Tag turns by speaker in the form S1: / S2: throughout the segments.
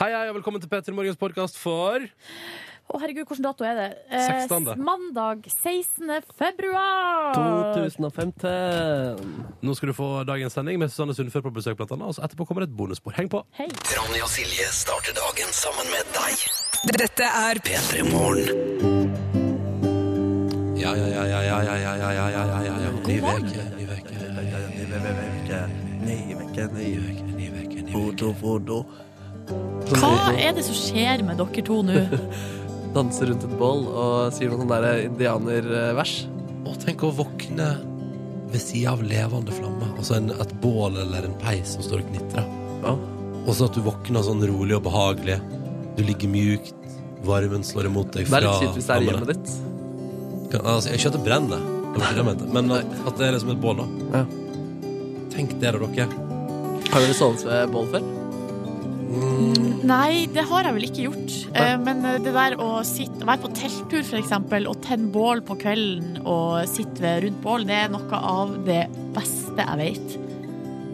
S1: Hei, hei, og velkommen til Petter Morgens podkast for
S2: Å, herregud, hvilken dato er det? Eh,
S1: Sekstende.
S2: mandag 16. februar.
S3: 2015.
S1: Nå skal du få dagens sending med Susanne Sundfør på besøk, blant annet. Og så etterpå kommer det et bonusspor. Heng på!
S2: Hei.
S4: Ronny og Silje starter dagen sammen med deg.
S5: Dette er
S4: P3 Morgen. Ja, ja, ja, ja, ja, ja, ja, ja, ja, ja, ja, ja, ja. Ny veke, ny veke, ny veke, ny veke, ny veke, ny veke, ny veke, ny veke.
S2: Hva er det som skjer med dere to nå?
S3: Danser rundt et bål og sier noen sånne der indianervers.
S4: Og tenk å våkne ved siden av levende flamme. Altså en, et bål eller en peis som står og knitrer.
S3: Ja.
S4: Og så at du våkner sånn rolig og behagelig. Du ligger mjukt. Varmen slår imot deg
S3: Det
S4: fra
S3: er litt kjipt hvis det er i
S4: flammene.
S3: hjemmet ditt.
S4: Kan- Altså, ikke at det brenner, det var ikke det jeg mente. men at, at det er liksom et bål, da.
S3: Ja.
S4: Tenk dere, dere.
S3: Har dere sovet ved bål før?
S2: Nei, det har jeg vel ikke gjort. Eh, Men eh, det der å sitte, være på telttur for eksempel, og tenne bål på kvelden og sitte ved rundt bål, det er noe av det beste jeg vet.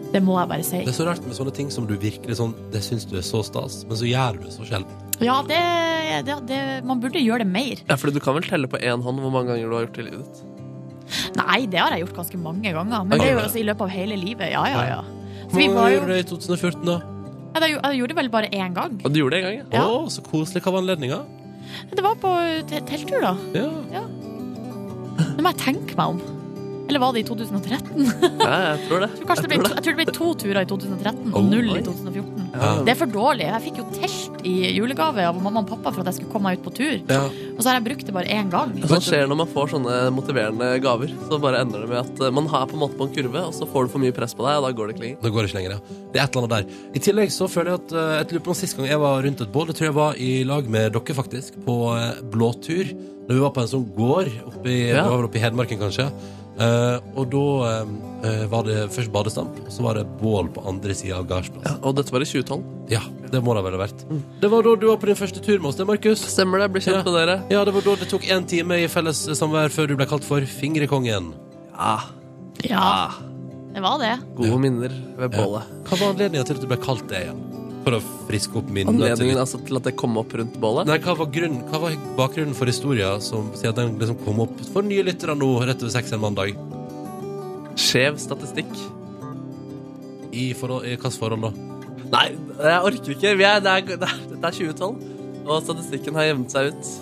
S2: Det må jeg bare si.
S4: Det er så rart med sånne ting som du virkelig sånn Det syns du er så stas, men så gjør du det så sjelden.
S2: Ja, det, det, det, man burde gjøre det mer.
S3: Ja, fordi du kan vel telle på én hånd hvor mange ganger du har gjort det i livet ditt.
S2: Nei, det har jeg gjort ganske mange ganger. Men
S4: Ok.
S2: det er jo altså i løpet av hele livet. Ja, ja, ja. Så vi
S4: Hva
S2: var jo,
S4: gjorde du det i 2014, da?
S2: Ja, jeg gjorde det vel bare én gang.
S3: Og du gjorde det en gang, ja.
S2: Ja.
S4: Å, så koselig. Hva var anledninga?
S2: Det var på te- telttur, da.
S4: Ja.
S2: Det må jeg tenke meg om. Eller var det i 2013?
S3: ja jeg tror det.
S2: Jeg tror, kanskje det ble,
S3: tror
S2: jeg tror det ble to turer i 2013 og
S3: Oh,
S2: null
S3: oi.
S2: i 2014.
S4: Ja.
S2: Det er for dårlig. Jeg fikk jo telt i julegave av mamma og pappa for at jeg skulle komme meg ut på tur.
S4: ja.
S2: Og så har jeg brukt det bare én gang.
S3: Sånt skjer når man får sånne motiverende gaver. Så bare ender det med at eh, man har på en måte på en kurve, og så får du for mye press på deg, og da går det ikke lenger.
S4: Da går det ikke lenger, ja. Det er et eller annet der. I tillegg så føler jeg at eh, Jeg lurer på om sist gang jeg var rundt et bål, det tror jeg var i lag med dere, faktisk, på eh, blåtur. Da vi var på en sånn gård oppe i,
S3: Ja.
S4: det var vel oppe i Hedmarken, kanskje. Eh, og da eh, eh, var det først badestamp, og så var det bål på andre sida av gardsplassen.
S3: Og dette var i 2012.
S4: Ja. det må det vel ha vært.
S3: Mm.
S4: Det var da du var på din første tur med oss, det, Markus.
S3: Stemmer det? Blir kjent
S4: Ja.
S3: med dere.
S4: Ja, det var da det tok én time i felles eh, samvær før du ble kalt for Fingrekongen.
S2: Ja, det var det.
S3: Gode minner ved
S4: Ja.
S3: bålet.
S4: Hva var anledningen til at du ble kalt det igjen? For å friske opp minnene? til-
S3: Anledningen altså til at det kom opp rundt bålet.
S4: Nei, hva var, grunnen, hva var bakgrunnen for historien som sier at den liksom kom opp for nye lyttere nå, rett over seks en mandag?
S3: Skjev statistikk.
S4: I, forhold, i hvilket forhold da?
S3: Nei, jeg orker ikke. Vi er, det, er, det, er, det er 2012, og statistikken har jevnet seg ut.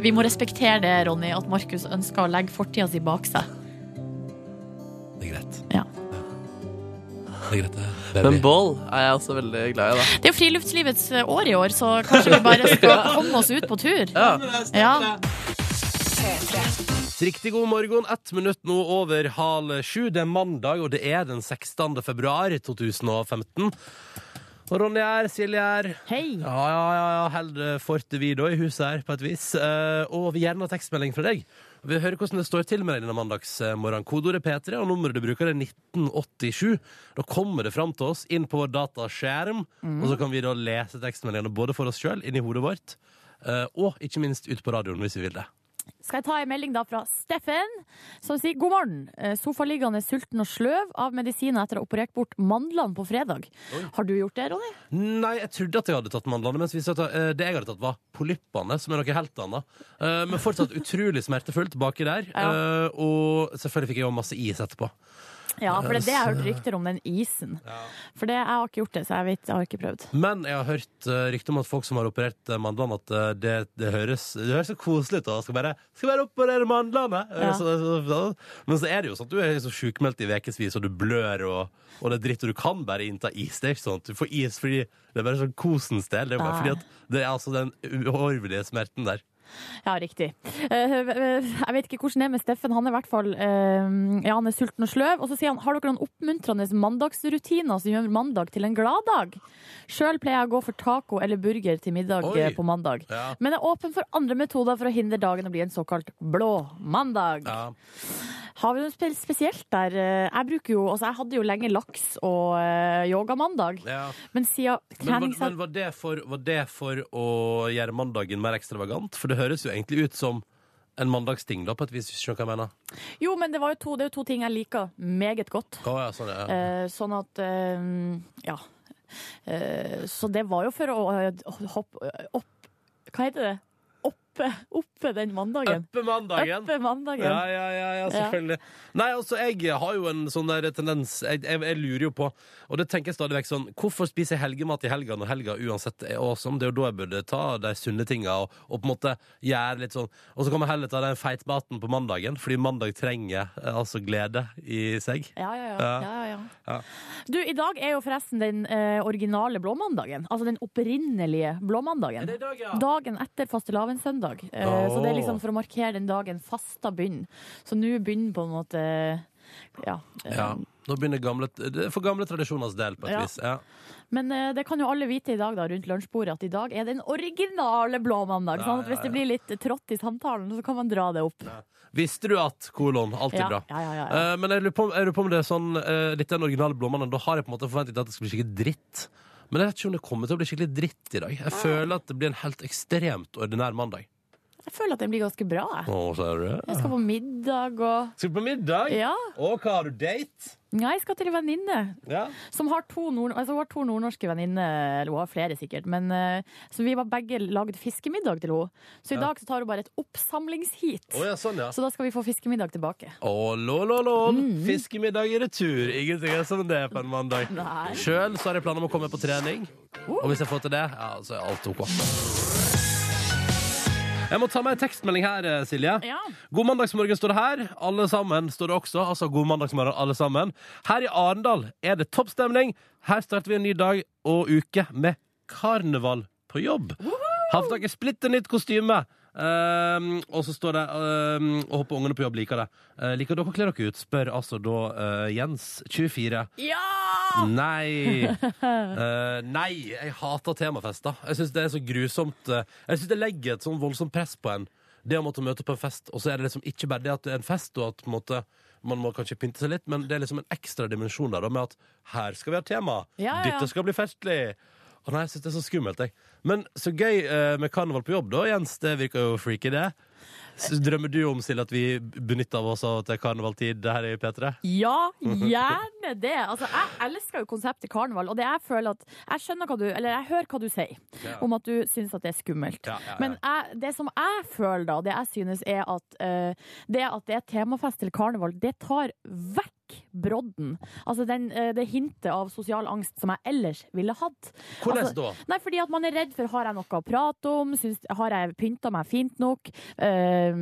S2: Vi må respektere det, Ronny, at Markus ønsker å legge fortida si bak seg.
S4: Det er greit.
S2: Ja.
S4: Det er greit, det.
S3: Men
S4: Baby.
S3: bål er jeg også veldig glad i,
S2: Det er jo friluftslivets eh, år i år, så kanskje vi bare skal komme oss ut på tur.
S3: da.
S2: Ja.
S1: Riktig god morgen. Ett minutt nå over halv sju. Det er mandag, og det er den 16. februar 2015. Og Ronny her, Silje her.
S2: Hei.
S1: Ja, ja, ja, ja. Held fortet vi da i huset her, på et vis. Eh, og vi gjerne har tekstmelding fra deg. Vi hører hvordan det står til med deg denne mandagsmorgenen. Kodeordet P3 og nummeret du bruker, er 1987. Da kommer det fram til oss inn på vår dataskjerm, og så kan vi da lese tekstmeldingene både for oss sjøl, inni hodet vårt, eh, og ikke minst ut på radioen hvis vi vil det.
S2: Skal jeg ta en melding da fra Steffen, som sier god morgen. Eh, Sofaliggende sulten og sløv av medisiner etter å ha operert bort mandlene på fredag. Har du gjort det, Ronny?
S1: Nei, jeg trodde at jeg hadde tatt mandlene. Mens vi satt, eh, det jeg hadde tatt, var polyppene, som er noe helt annet. Eh, men fortsatt utrolig smertefullt baki der. Eh, og selvfølgelig fikk jeg jo masse is etterpå.
S2: Ja, for det er det jeg har hørt rykter om, den isen. For det, jeg har ikke gjort det, så jeg vet, jeg har ikke prøvd.
S1: Men jeg har hørt eh, rykter om at folk som har operert eh, mandlene, at eh, det, det, høres, det høres så koselig ut. da. Skal bare, skal bare operere mandlene! Eh,
S2: Ja.
S1: Så, så, så, Men så er det jo sånn at du er så sjukmeldt i ukevis, og du blør, og, og det er dritt. Og du kan bare innta is. Det er ikke sånn at du får is fordi det er bare sånn kosens del. Det er jo bare
S2: Nei.
S1: fordi at det er altså den uhorvelige smerten der.
S2: Ja, riktig. Eh, eh, Jeg vet ikke hvordan det er med Steffen. Han er i hvert fall eh, ja, han er sulten og sløv. Og så sier han har dere noen oppmuntrende mandagsrutiner som gjør mandag til en glad dag. Sjøl pleier jeg å gå for taco eller burger til middag
S1: Oi.
S2: eh, på mandag.
S1: Ja.
S2: Men er åpen for andre metoder for å hindre dagen å bli en såkalt blå mandag.
S1: Ja.
S2: Har vi noe spe- spesielt der? Eh, Jeg bruker jo, altså jeg hadde jo lenge laks og eh, yogamandag,
S1: Ja.
S2: men siden
S1: Men, var,
S2: treningssenter
S1: men var, det for, var det for å gjøre mandagen mer ekstravagant? For det høres jo egentlig ut som en mandagsting, da, på et vis, hvis du skjønner hva jeg mener.
S2: Jo, men det, var jo to, det er jo to ting jeg liker meget godt.
S1: Å, ja, sånn, ja.
S2: Eh, sånn at eh, Ja. Eh, så det var jo for å eh, hoppe opp Hva heter det? Oppe, oppe den mandagen.
S1: Øppe mandagen.
S2: Oppe mandagen.
S1: Eh, Ja, ja, ja, ja selvfølgelig. Nei, altså, jeg har jo en sånn der tendens jeg, jeg, jeg lurer jo på, og det tenker jeg stadig vekk sånn Hvorfor spiser jeg helgemat i helga når helga uansett er awesome? Det er jo da jeg burde ta de sunne tinga og, og på en måte gjøre litt sånn Og så kan man heller ta den feitmaten på mandagen, fordi mandag trenger eh, altså glede i seg.
S2: Ja, ja, ja.
S1: Ja.
S2: ja, ja,
S1: Ja.
S2: Du, i dag er jo forresten den eh, originale blåmandagen. Altså den opprinnelige blåmandagen. Dagen etter fastelavnssøndag. Eh, Så det er liksom for å markere den dagen fasta begynner. Så nå begynner på en måte ja. eh,
S1: Ja. Nå begynner gamle, det er for gamle tradisjoners del, på et
S2: Ja.
S1: vis. Um, Ja.
S2: Men eh, det kan jo alle vite i dag da, rundt lunsjbordet at i dag er den originale blåmandag.
S1: Ja,
S2: Sånn at
S1: ja,
S2: hvis det blir litt trått i samtalen, så kan man dra det opp.
S1: Visste du at kolon alltid
S2: Ja,
S1: bra?
S2: ja, ja, ja.
S1: Eh, men jeg lurer, på, om- jeg lurer på om det er sånn uh, Litt den originale blåmannen Da har jeg på en måte forventet at det skal bli skikkelig dritt Men jeg vet ikke om det kommer til å bli skikkelig dritt i dag Jeg føler at det blir en helt ekstremt ordinær mandag
S2: Jeg føler at den blir ganske bra. jeg.
S1: Å, ser du det?
S2: Jeg skal på middag og
S1: Skal du på middag?
S2: Ja.
S1: Og hva har du, date?
S2: Nei, jeg skal til en venninne.
S1: Ja
S2: Som har to, nord altså, hun har to nordnorske venninner, eller hun har flere sikkert, men eh, så vi var begge lagd fiskemiddag til henne. Så i dag så tar hun bare et oppsamlingsheat.
S1: Å, ja, sånn, ja
S2: Så da skal vi få fiskemiddag tilbake.
S1: Å, lol, lol, lol Fiskemiddag i retur Ingenting er som det på en mandag
S2: Nei.
S1: Selv så har jeg planer om å komme på trening Og hvis jeg får til det, ja, så er alt ok Jeg må ta meg en tekstmelding her, eh, Silje
S2: Ja.
S1: God mandagsmorgen står det her. Alle sammen står det også. Altså god mandagsmorgen, alle sammen. Her i Arendal er det toppstemning. Her starter vi en ny dag og uke med karneval på jobb. Havtaket splitter nytt kostyme. Ehm, og så står det ehm, Og håper ungene på jobb liker det. Eh, liker dere å kle dere ut? Spør altså da eh, Jens, 24.
S2: Ja!
S1: Nei. Eh, nei, jeg hater temafester. Jeg syns det er så grusomt. eh, Jeg syns det legger et sånn voldsomt press på en. Det å måtte møte på en fest, og så er det liksom ikke bare det at det er en fest, og at på en måte man må kanskje pynte seg litt, men det er liksom en ekstra dimensjon der, da, med at her skal vi ha tema.
S2: Ja, ja, ja.
S1: Dette skal bli festlig. Å nei, jeg syns det er så skummelt, jeg. Men så gøy eh, med karneval på jobb, da, Jens. Det virker jo freaky, det. Så drømmer du om, Silje, at vi benytter av oss av at det er karnevaltid her i P3?
S2: Ja, gjerne det! Altså, jeg elsker jo konseptet karneval, og det jeg føler at Jeg skjønner hva du Eller jeg hører hva du sier
S1: Ja.
S2: om at du syns at det er skummelt.
S1: Ja, ja, ja.
S2: Men jeg, det som jeg føler, da, det jeg synes er at eh, det at det er temafest til karneval, det tar vekk brodden. Altså den, eh, det hintet av sosial angst som jeg ellers ville hatt.
S1: Hvordan
S2: Altså,
S1: da?
S2: Nei, fordi at man er redd for har jeg noe å prate om, Syns, har jeg pynta meg fint nok? Eh,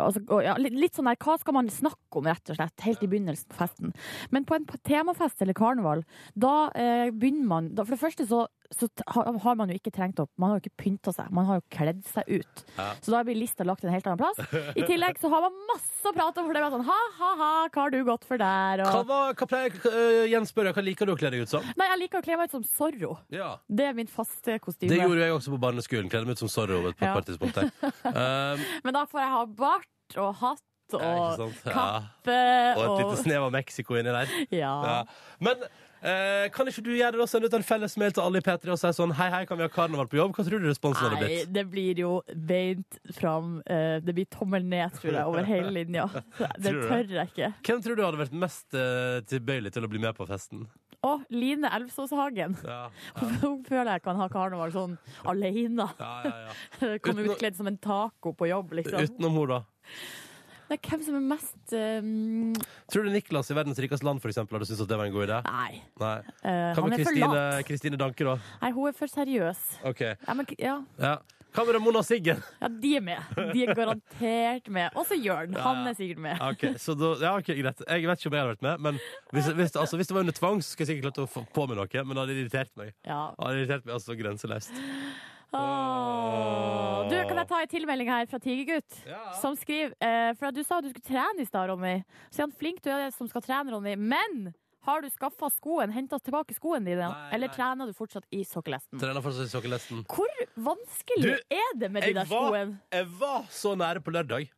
S2: altså, og ja, litt, litt sånn der, hva skal man snakke om, rett og slett, helt i begynnelsen på festen? Men på en p- temafest eller karneval, da eh, begynner man da, For det første så, så t- har, har man jo ikke trengt opp, man har jo ikke pynta seg, man har jo kledd seg ut. Så da blir lista lagt en helt annen plass. I tillegg så har man masse å prate om, for det er bare sånn ha, ha, ha, hva har du gått for der?
S1: Hva,
S2: Og,
S1: var, hva pleier eh, Jens spør, hva liker du å kle deg ut som?
S2: nei, jeg liker å kle meg ut som Zorro.
S1: Ja.
S2: Det er min faste kostyme.
S1: Det gjorde jeg også på barneskolen. Kledde meg ut som Zorro på et
S2: Ja.
S1: par tidspunkt. der. Um,
S2: Men da får jeg ha bart og hatt
S1: ja, ikke
S2: og
S1: sant? Ja.
S2: kappe
S1: Og et lite
S2: og
S1: snev av Mexico inni der.
S2: ja.
S1: Ja. Men eh, kan ikke du gjøre det og sende ut en felles mail til alle i P3 og si sånn Hei, hei, kan vi ha karneval på jobb? Hva tror du responsen hadde
S2: Nei,
S1: blitt?
S2: det blir jo beint fram. eh, Det blir tommel ned, tror jeg, over hele linja. Så Det
S1: Tror du
S2: tør jeg ikke.
S1: Hvem tror du hadde vært mest eh, tilbøyelig til å bli med på festen?
S2: Å, Line Elvsåshagen.
S1: Ja,
S2: Hun føler jeg kan ha karneval sånn alene.
S1: ja, ja, ja.
S2: Komme
S1: Uten å-
S2: utkledd som en taco på jobb, liksom.
S1: Utenom hun da.
S2: Nei, hvem som er mest eh,
S1: Tror du Niklas i Verdens rikeste land for eksempel, hadde syntes at det var en god idé?
S2: Nei.
S1: Nei.
S2: eh,
S1: Hva
S2: han
S1: med
S2: er for
S1: Kristine-
S2: lat.
S1: Kristine Danke, da?
S2: Nei, hun er for seriøs.
S1: OK.
S2: Ja, men, ja.
S1: Ja. Hva med Ramona Siggen?
S2: ja, de er med. De er garantert med. Også Jørn. Han er sikkert med.
S1: Ok, så da, ja, ok, greit. Jeg vet ikke om jeg hadde vært med, men hvis, hvis, altså, hvis det var under tvang, så skulle jeg sikkert klart å få på meg noe, men det hadde irritert meg.
S2: Ja.
S1: Det hadde irritert meg altså grenseløst.
S2: Åh. Du, kan jeg ta en tilmelding her fra Tigergutt?
S1: Ja.
S2: Som skriver eh, For at du sa at du skulle trene i stad, Ronny. Så er han flink, du er den som skal trene, Ronny. Men har du skaffa skoen? Henta tilbake skoen dine?
S1: Nei,
S2: eller
S1: nei.
S2: trener du fortsatt i sokkelesten?
S1: Trener fortsatt i sokkelesten.
S2: Hvor vanskelig
S1: Du,
S2: er det med de
S1: Jeg
S2: der
S1: var,
S2: skoene?
S1: jeg var så nære på lørdag,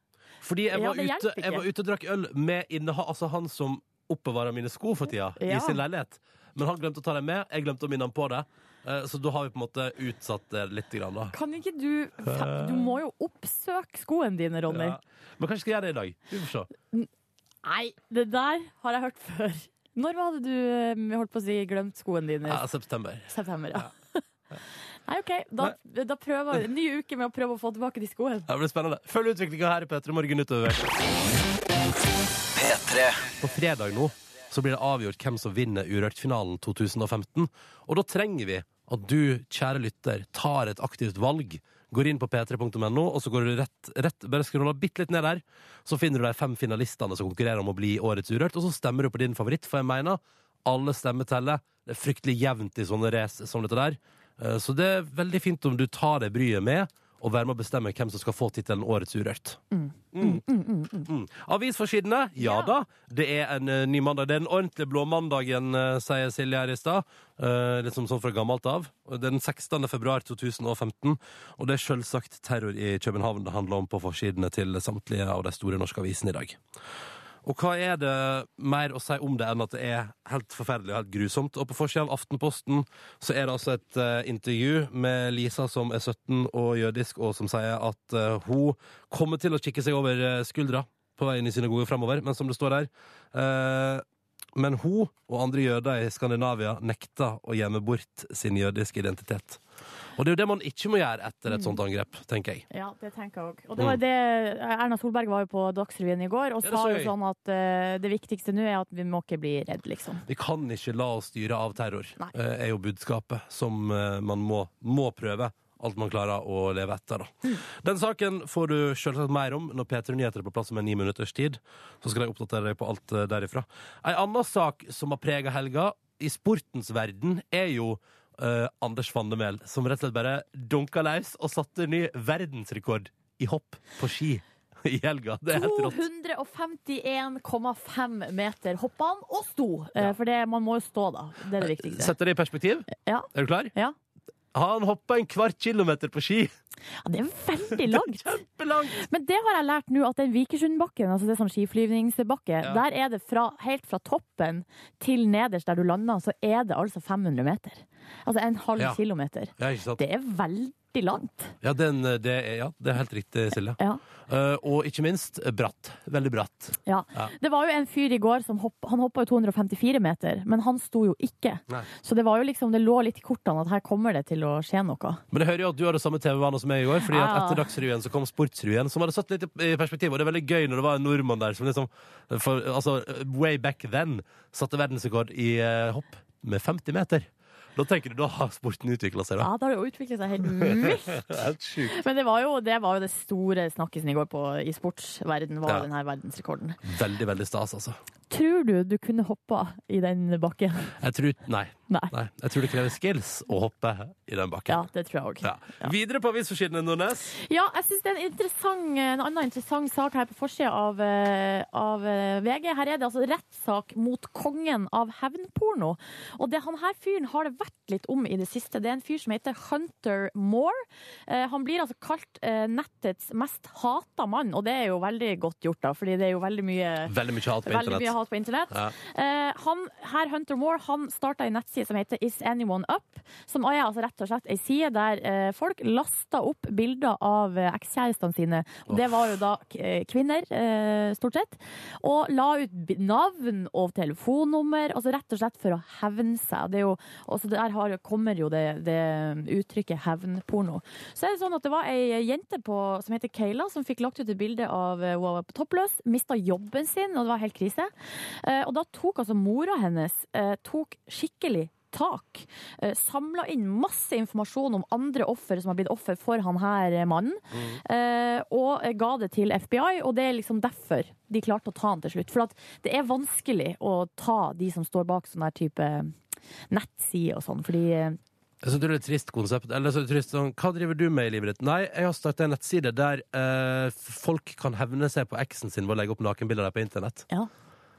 S1: fordi jeg
S2: Ja,
S1: var,
S2: det
S1: ute,
S2: hjelper ikke.
S1: jeg var ute og drakk øl med inneha, altså han som oppbevarer mine sko for tida,
S2: Ja.
S1: i sin leilighet. Men han glemte å ta dem med, jeg glemte å minne ham på det.
S4: Eh, Så da har vi på en måte utsatt det litt. Grann, da.
S2: Kan ikke du Du må jo oppsøke skoene dine, Ronny.
S4: Ja. Men kanskje skal jeg gjøre det i dag. Vi får se.
S2: Nei, det der har jeg hørt før. Når hadde du eh, holdt på å si, glemt skoene dine?
S4: Ja, september.
S2: September, ja. Nei, OK. Da, da prøver vi en ny uke med å prøve å få tilbake de skoene.
S4: Det blir spennende. Følg utviklinga her i P3 Morgen utover. På fredag nå så blir det avgjort hvem som vinner Urørt-finalen 2015. Og da trenger vi at du, kjære lytter, tar et aktivt valg. Går inn på p3.no, og så går du rett, rett bare scroller bitte litt ned der. Så finner du de fem finalistene som konkurrerer om å bli Årets Urørt, og så stemmer du på din favoritt, for jeg mener alle stemmer teller. Det er fryktelig jevnt i sånne race som dette der. Eh, Så det er veldig fint om du tar deg bryet med og være med å bestemme hvem som skal få tittelen Årets Urørt. Avisforsidene, ja, da. Det er en eh, ny mandag. Det er den ordentlige blåmandagen, uh, sier Silje her i stad. Eh, litt som sånn fra gammelt av. Og Det er den 16. februar 2015. Og det er selvsagt terror i København det handler om på forsidene til samtlige av de store norske avisene i dag. Og hva er det mer å si om det enn at det er helt forferdelig og helt grusomt? Og på forsida av Aftenposten så er det altså et eh, intervju med Lisa som er 17 og jødisk, og som sier at eh, hun kommer til å kikke seg over eh, skuldra på vei inn i synagogen framover, men som det står her eh, Men hun og andre jøder i Skandinavia nekter å gjemme bort sin jødiske identitet. Og det er jo det man ikke må gjøre etter et sånt angrep, tenker jeg.
S2: Ja, det tenker jeg òg. Og det var jo det Erna Solberg var jo på Dagsrevyen i går og
S4: Mm. Ja, det
S2: sa
S4: så
S2: jo
S4: jeg.
S2: sånn at eh, det viktigste nå er at vi må ikke bli redd, liksom.
S4: Vi kan ikke la oss styre av terror,
S2: Nei.
S4: eh, er jo budskapet som eh, man må, må prøve. Alt man klarer å leve etter, da. Den saken får du selvsagt mer om når P3 Nyheter er på plass om en ni minutters tid. Så skal jeg oppdatere deg på alt eh, derifra. Ei anna sak som har prega helga, i sportens verden, er jo eh, Anders Vandemel, som rett og slett bare dunka løs og satte ny verdensrekord i hopp på ski i helga. Det er helt rått.
S2: 251,5 meter hoppa han og sto. Eh, For det, man må jo stå, da. Det er det
S4: Eh,
S2: viktigste.
S4: Setter det i perspektiv.
S2: Ja.
S4: Er du klar?
S2: ja.
S4: Han hoppa en kvart kilometer på ski.
S2: ja det er veldig langt.
S4: Kjempelangt!
S2: Men det har jeg lært nå, at den Vikersundbakken, altså det er sånn skiflyvningsbakke,
S4: Ja.
S2: der er det fra, helt fra toppen til nederst der du lander, så er det altså 500 meter. Altså en halv
S4: Ja.
S2: kilometer.
S4: Ja, ikke sant?
S2: Det er veldig langt.
S4: Ja, den, eh, det, er, ja, det er helt riktig, Silje.
S2: Ja.
S4: Eh, og ikke minst eh, bratt. Veldig bratt.
S2: Ja.
S4: Ja.
S2: Det var jo en fyr i går som hopp, han hoppa jo 254 meter, men han sto jo ikke.
S4: Nei.
S2: Så det var jo liksom, det lå litt i kortene at her kommer det til å skje noe.
S4: Men jeg hører jo at du hadde samme TV-vane som meg i går. Fordi at
S2: Ja.
S4: etter Dagsrevyen så kom Sportsrevyen, som hadde satt litt i perspektiv. Og det er veldig gøy når det var en nordmann der som liksom for, Altså, way back then satte verdensrekord i eh, hopp med 50 meter. Da tenker du, da har sporten utvikla seg, da.
S2: Ja, det har jo utvikla seg helt vilt.
S4: Helt sjukt.
S2: Men det var jo det, var jo det store snakkisen i går på, i sportsverden, var
S4: Ja.
S2: jo den her verdensrekorden.
S4: Veldig, veldig stas, altså.
S2: Tror du du kunne hoppa i den bakken?
S4: Jeg tror Nei.
S2: Nei.
S4: nei. Jeg tror det krever skills å hoppe i den
S2: Ja,
S4: bakken.
S2: det tror jeg òg.
S4: Ja. Videre på avisforsidene, Nordnes.
S2: Ja, jeg synes det er en, interessant- en annen interessant sak her på forsida av, eh, av eh, VG. Her er det altså rettssak mot kongen av hevnporno. Og det, han her fyren har det vært litt om i det siste. Det er en fyr som heter Hunter Moore. Eh, han blir altså kalt eh, nettets mest hata mann, og det er jo veldig godt gjort, da, fordi det er jo veldig mye
S4: Veldig mye hat på
S2: Veldig mye
S4: internett.
S2: hat på internett.
S4: Ja.
S2: Eh, han, her, Hunter Moore han starta en nettside som heter Is Anyone Up? Som er altså rett og slett ei side der eh, folk lasta opp bilder av eh, ekskjærestene sine. Og det var jo da k- eh, kvinner, eh, stort sett. Og la ut b- navn og telefonnummer, altså rett og slett for å hevne seg. Det er jo, og så der har, kommer jo det, det uttrykket hevnporno. Så er det sånn at det var ei jente på, som heter Kayla, som fikk lagt ut et bilde av eh, hun var på toppløs, mista jobben sin, og det var helt krise. Eh, Og da tok altså mora hennes eh, tok skikkelig tak. Samla inn masse informasjon om andre offer som har blitt offer for han her eh, mannen. eh, Og eh, ga det til FBI, og det er liksom derfor de klarte å ta han til slutt. For at det er vanskelig å ta de som står bak sånn her type nettsider og sånn, fordi eh,
S4: Jeg synes det er et trist konsept. Eller så er det trist sånn, Hva driver du med i livet ditt? Nei, jeg har startet en nettside der eh, folk kan hevne seg på eksen sin ved å legge opp nakenbilder der på internett.
S2: Ja.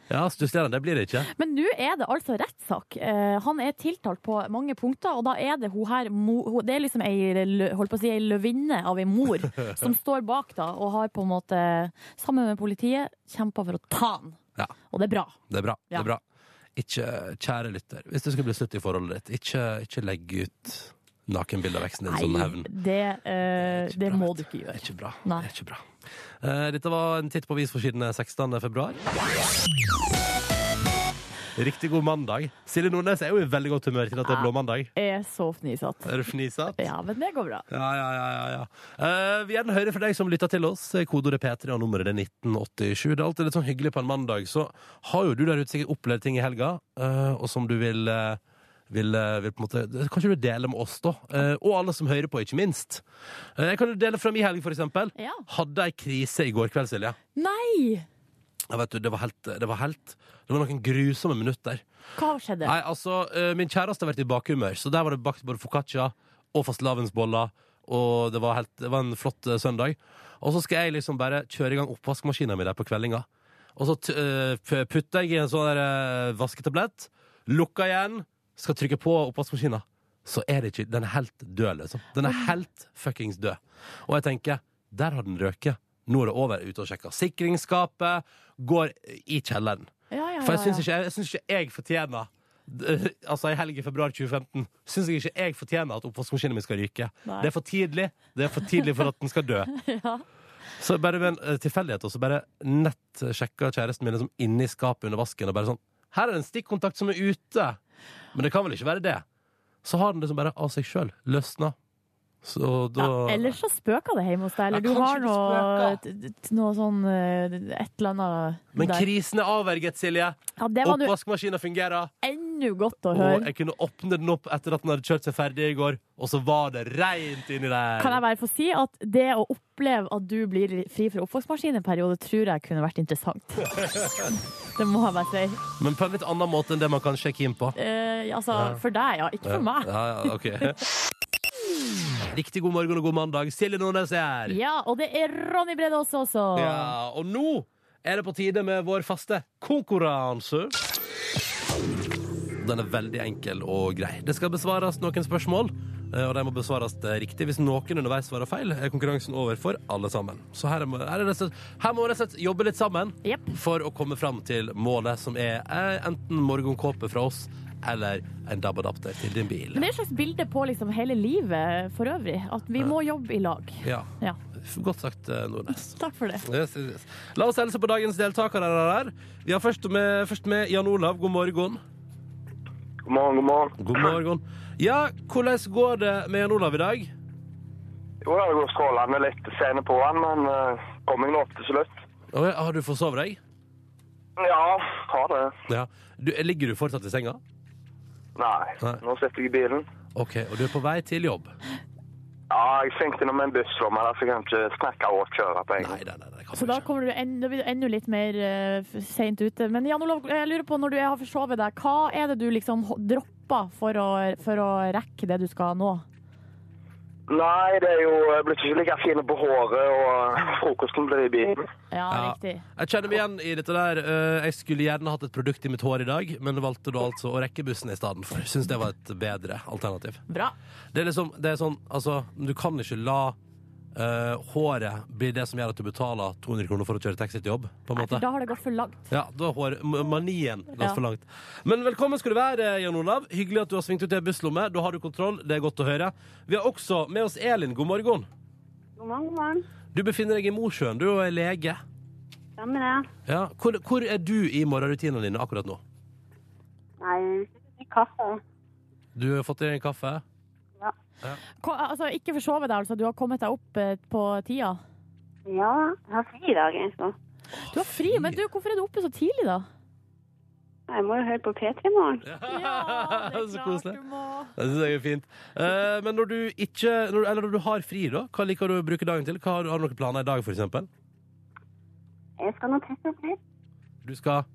S4: Ja, stusslig, det blir det ikke.
S2: Men nå er det altså rettssak. Eh, han er tiltalt på mange punkter, og da er det hun her mo- hun- Det er liksom ei, lø- holdt på å si, ei løvinne av ei mor som står bak da, og har på en måte, sammen med politiet, kjempa for å ta han.
S4: Ja.
S2: Og det er bra.
S4: Det er bra.
S2: Ja.
S4: Det er bra. Ikke, kjære lytter, hvis det skulle bli slutt i forholdet ditt, ikke, ikke legg ut nakenbilder av veksten din som hevn.
S2: det, eh, det må du ikke
S4: Det er
S2: gjøre.
S4: ikke bra.
S2: Nei.
S4: Det er ikke bra. Eh, dette var en titt på avisforsidene 16. eh, februar. Riktig god mandag. Silje Nordnes er jo i veldig godt humør til at det er blå mandag.
S2: Jeg er så fnisete.
S4: Er du fnisete?
S2: Ja, men det går bra.
S4: Ja, ja, ja. ja, ja. Eh, vi gjerne hører fra deg som lytter til oss. Kodeordet P3 og nummeret det er 1987. Det er alltid litt sånn hyggelig på en mandag. Så har jo du der ute sikkert opplevd ting i helga, eh, og som du vil, eh, vil, eh, vil på en måte Kanskje du deler med oss, da. Eh, og alle som hører på, ikke minst. Eh, jeg kan jo dele fra min helg, for eksempel.
S2: Ja.
S4: Hadde ei krise i går kveld, Silje.
S2: Nei!
S4: Ja, vet du, det var helt Det var, helt, det var noen grusomme minutter.
S2: Hva skjedde?
S4: Nei, altså, eh, min kjæreste har vært i bakhumør, så der var det bakt både focaccia og fastelavnsboller, og det var, helt, det var en flott eh, søndag. Og så skal jeg liksom bare kjøre i gang oppvaskmaskinen min der på kveldinga. Og så t- eh, p- putter jeg i en sånn der eh, vasketablett, lukker igjen, skal trykke på oppvaskmaskinen. Så er det ikke Den er helt død, liksom. Den er helt fuckings død. Og jeg tenker, der har den røket. Nå er det over. Ute og sjekker sikringsskapet. Går i kjelleren.
S2: Ja, ja,
S4: For jeg
S2: ja,
S4: syns
S2: ja.
S4: ikke, jeg syns ikke jeg fortjener d- Altså, i helgen i februar 2015 syns jeg ikke jeg fortjener at oppvaskmaskinen min skal ryke.
S2: Nei.
S4: Det er for tidlig. Det er for tidlig for at den skal dø. Så bare ved en eh, tilfeldighet og så bare nett sjekka kjæresten min liksom inni skapet under vasken og bare sånn Her er det en stikkontakt som er ute! Men det kan vel ikke være det? Så har den liksom bare av seg sjøl løsna. Så da
S2: Ja, ellers så spøker det hjemme hos deg. Eller
S4: Ja,
S2: du har
S4: kanskje
S2: noe,
S4: det
S2: t- t- noe sånn eh, Et eller annet
S4: Men
S2: der.
S4: krisen er avverget, Silje.
S2: Ja, det var nå
S4: Oppvaskmaskinen fungerer.
S2: ennå godt å
S4: Og
S2: høre.
S4: jeg kunne åpne den opp etter at den hadde kjørt seg ferdig i går, og så var det reint inni der.
S2: Kan jeg bare få si at det å oppleve at du blir fri fra oppvaskmaskin en periode, tror jeg kunne vært interessant. Det må jeg bare si.
S4: Men på en litt annen måte enn det man kan sjekke inn på.
S2: Eh, altså, for deg, ja. Ikke for meg.
S4: Ja, ja, ok. Riktig god morgen og god mandag. Silje Nordnes er her.
S2: Ja, og det er Ronny Brede også, altså. også.
S4: Ja, og nå er det på tide med vår faste konkurranse. Den er veldig enkel og grei. Det skal besvares noen spørsmål, eh, og de må besvares eh, riktig. Hvis noen underveis svarer feil, er konkurransen over for alle sammen. Så her, er, må- her, er det, her må vi rett og slett jobbe litt sammen
S2: Jepp.
S4: for å komme fram til målet, som er eh, enten morgenkåpe fra oss eller en DAB-adapter til din bil.
S2: Men det er et slags bilde på liksom hele livet for øvrig. At vi må jobbe i lag.
S4: Ja,
S2: Ja.
S4: Godt sagt, eh, Nordnes.
S2: Takk for det.
S4: Yes, yes, yes. La oss helse på dagens deltakere. Der. Vi har først med, først med Jan Olav. God morgen.
S5: God morgen, god morgen.
S4: God morgen. Ja, hvordan går det med Jan Olav i dag?
S5: Jo, det går strålende litt sene på han, men uh, kommer jeg nå opp til slutt?
S4: Oi, Har du forsovet deg?
S5: Ja, har det.
S4: Ja. Du, ligger du fortsatt i senga?
S5: Nei,
S4: Nei.
S5: nå sitter jeg i bilen.
S4: OK, og du er på vei til jobb?
S5: Ja, jeg svingte innom en busslomme, der, så jeg kan ikke snakke og kjøre på en
S4: Nei,
S5: gang.
S4: nei, nei. nei kan
S2: Så da, kommer du en, da blir du enda litt mer uh, seint ute. Men Jan Olav, jeg lurer på, når du har forsovet deg, hva er det du liksom ho- dropper for å, for å rekke det du skal nå?
S5: Nei, det er jo jeg blir ikke like fine på håret, og frokosten blir i bilen.
S2: Ja,
S4: Ja.
S2: riktig.
S4: Jeg kjenner meg igjen i dette der. Eh, Jeg skulle gjerne hatt et produkt i mitt hår i dag, men valgte da altså å rekke bussen i stedet for. Syns det var et bedre alternativ.
S2: Bra.
S4: Det er liksom, det er sånn, altså, du kan ikke la eh, håret bli det som gjør at du betaler 200 kroner for å kjøre taxi til jobb, på en
S2: Nei,
S4: måte.
S2: for da har det gått for langt.
S4: Ja, da har manien gått
S2: Ja.
S4: for langt. Men velkommen skal du være, Jan Olav. Hyggelig at du har svingt ut i busslomme. Da har du kontroll. Det er godt å høre. Vi har også med oss Elin. God morgen.
S6: God morgen, god morgen.
S4: Du befinner deg i Mosjøen. Du er lege.
S6: Stemmer det.
S4: Ja. Hvor, hvor er du i morgenrutinene dine akkurat nå?
S6: Nei, ikke kaffe.
S4: Du har fått i deg en kaffe?
S2: Hva, altså, ikke forsove deg, altså. Du har kommet deg opp eh, på tida.
S6: Ja, jeg har fri i dag, jeg. Så.
S2: Du har fri, men du, hvorfor er du oppe så tidlig, da?
S6: Jeg må jo høre på P3 i morgen.
S2: Ja, det er
S4: Så
S2: klart
S4: koselig.
S2: du må.
S4: Det syns jeg er fint. Eh, men når du ikke når, du- Eller når du har fri, da, hva liker du å bruke dagen til? Hva har, du- har du noen planer i dag, for eksempel?
S6: Jeg skal nå tisse opp litt.
S4: Du skal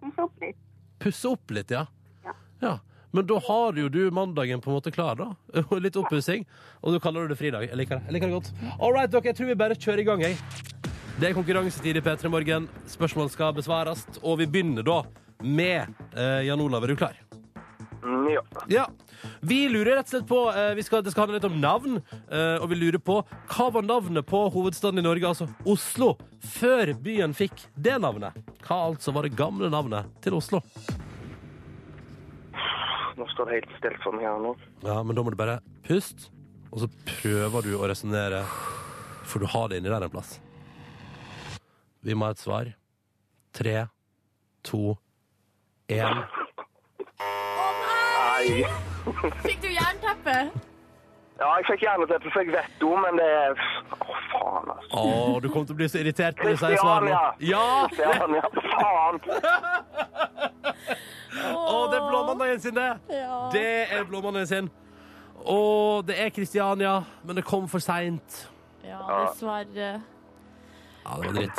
S6: Tisse opp litt.
S4: pusse opp litt, ja.
S6: Ja.
S4: ja. Men da har jo du mandagen på en måte klar, da. Og Litt oppussing. Og du kaller det fridag. Jeg liker det. Jeg liker det godt. All right, dere, jeg tror vi bare kjører i gang, jeg. Det er konkurransetid i P3 Morgen. Spørsmål skal besvares. Og vi begynner da med eh, Jan Olav. Er du klar?
S5: Mm, ja.
S4: Ja. Vi lurer rett og slett på eh, vi skal, Det skal handle litt om navn. eh, og vi lurer på hva var navnet på hovedstaden i Norge, altså Oslo, før byen fikk det navnet? Hva altså var det gamle navnet til Oslo?
S5: nå står det helt stilt for meg her nå.
S4: Ja, men da må du bare puste, og så prøver du å resonnere. For du har det inni der en plass. Vi må ha et svar. Tre, to, én.
S5: Nei.
S2: Fikk du jernteppe?
S5: Ja, jeg fikk jernteppe, for jeg vet jo, men det er Å, faen, altså.
S4: Å, du kommer til å bli så irritert når jeg sier svaret nå.
S5: Kristiania!
S4: Ja!
S5: Kristiania, faen!
S4: Å, det er blåmandagen sin, det!
S2: Ja.
S4: Det er blåmandagen sin. Å, det er Kristiania, men det kom for seint.
S2: ja, dessverre.
S4: Ja, det var dritt.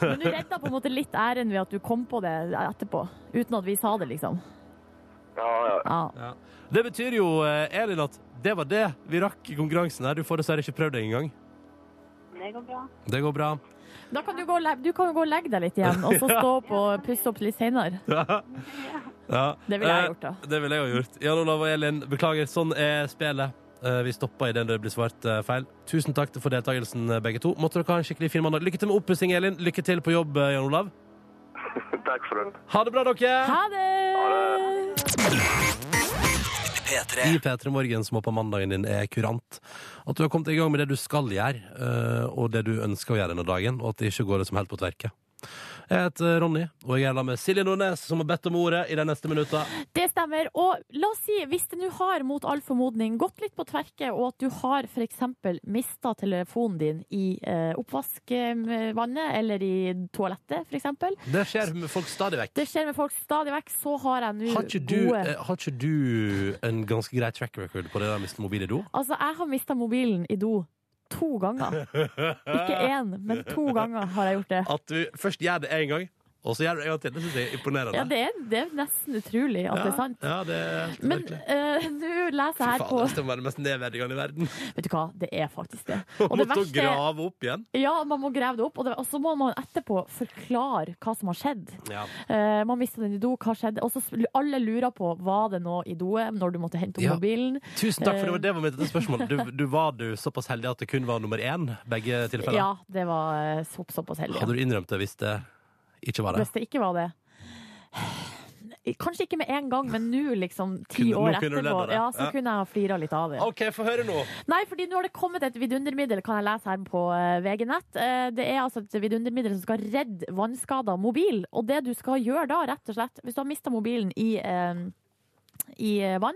S2: Men du redda på en måte litt æren ved at du kom på det etterpå. Uten at vi sa det, liksom.
S5: Ja, ja.
S2: Ja.
S4: Det betyr jo, eh, Elin, at det var det vi rakk i konkurransen her. Du får dessverre ikke prøvd det engang.
S6: Det går bra.
S4: Det går bra.
S2: Da kan du, gå, og le- du kan jo gå og legge deg litt igjen, og så stå opp og pusse opp litt seinere.
S4: Ja.
S2: Det ville jeg
S4: Eh,
S2: gjort, da.
S4: Det ville jeg også gjort. Jan Olav og Elin, beklager. Sånn er spillet. Eh, Vi stoppa idet det blir svart eh, feil. Tusen takk for deltakelsen, eh, begge to. Måtte dere ha en skikkelig fin mandag. Lykke til med oppussing, Elin. Lykke til på jobb, eh, Jan Olav.
S5: Takk for det.
S4: Ha det bra, dere!
S2: Ha det!
S4: I P3 Morgen, som håper mandagen din er kurant. At du har kommet i gang med det du skal gjøre, eh, og det du ønsker å gjøre denne dagen, og at det ikke går liksom helt på tverke. Jeg heter Ronny, og jeg er sammen med Silje Nordnes, som har bedt om ordet i de neste minutta.
S2: Det stemmer. Og la oss si, hvis det nå har mot all formodning gått litt på tverke, og at du har f.eks. mista telefonen din i eh, oppvaskvannet eller i toalettet, f.eks.
S4: Det skjer med folk stadig vekk.
S2: Det skjer med folk stadig vekk. Så har jeg nå
S4: Har ikke, du,
S2: gode
S4: eh, har ikke du eh, en ganske grei track record på det der med mobil i do?
S2: Altså, jeg har mista mobilen i do to ganger. Ikke én, men to ganger har jeg gjort det.
S4: At du først gjør det én gang, og så gjør du det en gang til. Det syns jeg er imponerende.
S2: Ja, det er, det er nesten utrolig at det er sant.
S4: Ja, det er helt
S2: Men
S4: merkelig.
S2: eh, nå leser jeg her
S4: Faen,
S2: på
S4: det må være den mest nedverdigende i verden.
S2: Vet du hva, det er faktisk det.
S4: Og måtte å grave opp igjen.
S2: Ja, man må grave det opp, og, det, og så må man etterpå forklare hva som har skjedd.
S4: Ja.
S2: Eh, man mista den i do, hva skjedde? Og så sp- alle lurer på var det noe i doet når du måtte hente opp
S4: Ja.
S2: mobilen.
S4: Tusen takk, for det var, det var mitt spørsmål. Du, du Var du såpass heldig at det kun var nummer én? Begge tilfeller?
S2: Ja, det var eh, så, såpass heldig.
S4: Hadde du innrømt det hvis det ikke var det?
S2: Hvis det ikke var det. Kanskje ikke med en gang, men nå, liksom ti
S4: Kunne-
S2: år
S4: nå kunne du
S2: etterpå,
S4: ledd av det.
S2: ja, så
S4: Ja.
S2: kunne jeg ha flira litt av det.
S4: OK, få høre nå.
S2: Nei, fordi nå har det kommet et vidundermiddel, kan jeg lese her på eh, VG Nett. Eh, Det er altså et vidundermiddel som skal redde vannskader av mobil. Og det du skal gjøre da, rett og slett, hvis du har mista mobilen i, eh, i eh, vann,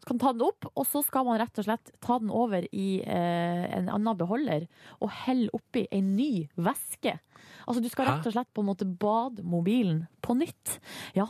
S2: så kan du ta den opp, og så skal man rett og slett ta den over i eh, en annen beholder og helle oppi ei ny væske. Altså du skal
S4: Hæ?
S2: rett og slett på en måte bade mobilen på nytt. Ja,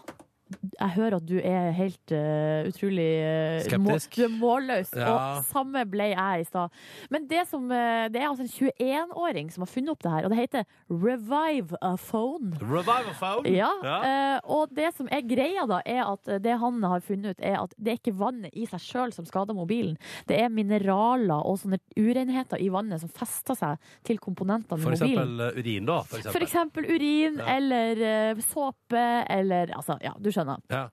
S2: jeg hører at du er helt eh, utrolig eh,
S4: Skeptisk.
S2: Må, du er målløs.
S4: Ja.
S2: Og samme ble jeg i stad. Men det, som, eh, det er altså en 21-åring som har funnet opp det her, og det heter Revive a Phone.
S4: Revival phone.
S2: Ja,
S4: Ja.
S2: eh, og det som er greia da, er at eh, det han har funnet ut, er at det er ikke vannet i seg sjøl som skader mobilen. Det er mineraler og sånne urenheter i vannet som fester seg til komponentene i
S4: For
S2: mobilen.
S4: eksempel eh, urin, da. For
S2: For
S4: eksempel.
S2: eksempel urin
S4: Ja.
S2: eller eh, såpe eller Altså, ja, du skjønner.
S4: Ja.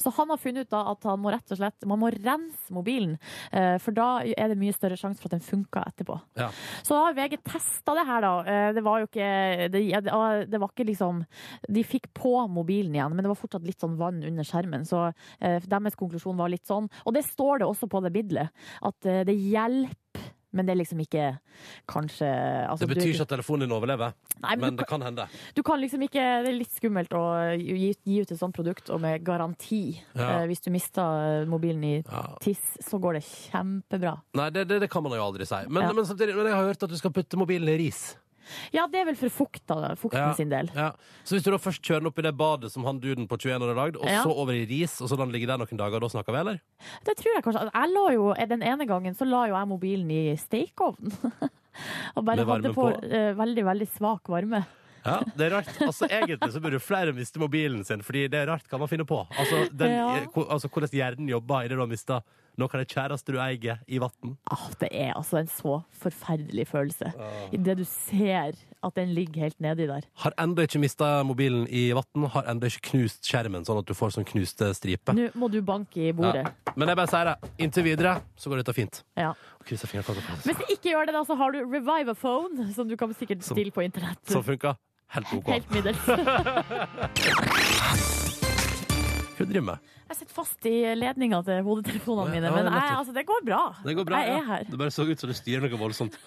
S2: Så han har funnet ut da at han må rett og slett Man må rense mobilen, eh, for da er det mye større sjanse for at den funker etterpå.
S4: Ja.
S2: Så da har VG testa det her, da. Eh, Det var jo ikke det, ja, det var- det var ikke liksom De fikk på mobilen igjen, men det var fortsatt litt sånn vann under skjermen. Så eh, deres konklusjon var litt sånn. Og det står det også på det middelet, at eh, det hjelper. Men det er liksom ikke kanskje altså,
S4: Det betyr
S2: du,
S4: ikke at telefonen din overlever,
S2: Nei, men
S4: men
S2: du,
S4: det kan hende.
S2: kan- du kan liksom ikke Det er litt skummelt å gi, gi ut et sånt produkt og med garanti.
S4: Ja.
S2: Eh, Hvis du mister eh, mobilen i
S4: Ja.
S2: tiss, så går det kjempebra.
S4: Nei, det, det, det kan man jo aldri si. Men,
S2: Ja.
S4: men samtidig, men jeg har hørt at du skal putte mobilen i ris.
S2: Ja, det er vel for fukta, fukten
S4: Ja.
S2: sin del.
S4: Ja. Så hvis du da først kjører den opp i det badet som han duden på 21 år har lagd, og
S2: Ja.
S4: så over i ris, og så lar den ligge der noen dager, da snakker vi, eller?
S2: Det tror jeg kanskje. Jeg la jo, eh, den ene gangen så la jo jeg mobilen i stekeovnen. Og bare
S4: Med varmen
S2: hadde på,
S4: på?
S2: eh, veldig, veldig svak varme.
S4: Ja, det er rart. Altså, Egentlig så burde flere miste mobilen sin, fordi det er rart hva man finner på. Altså, den,
S2: Ja.
S4: ko- altså hvordan hjernen jobber idet du har mista noe av det kjæreste du eier, i vann.
S2: Ah, det er altså en så forferdelig følelse.
S4: Ah.
S2: I det du ser at den ligger helt nedi der.
S4: Har ennå ikke mista mobilen i vann, har ennå ikke knust skjermen, sånn at du får sånn knuste striper.
S2: Nå må du banke i
S4: Ja.
S2: bordet.
S4: Men jeg bare sier det. Inntil videre så går dette fint.
S2: Ja.
S4: Krysser fingrene for at det passer.
S2: Hvis du ikke gjør det, da, så har du Revivaphone, som du kan sikkert
S4: Som-
S2: stille på internett.
S4: Som funka helt OK.
S2: Helt middels.
S4: Could driver med.
S2: Jeg sitter fast i ledninga til hodetelefonene mine,
S4: Ja,
S2: men jeg,
S4: nettopp.
S2: altså, det går bra.
S4: Det går bra,
S2: jeg er
S4: ja.
S2: her.
S4: Det bare så ut som du styrer noe voldsomt.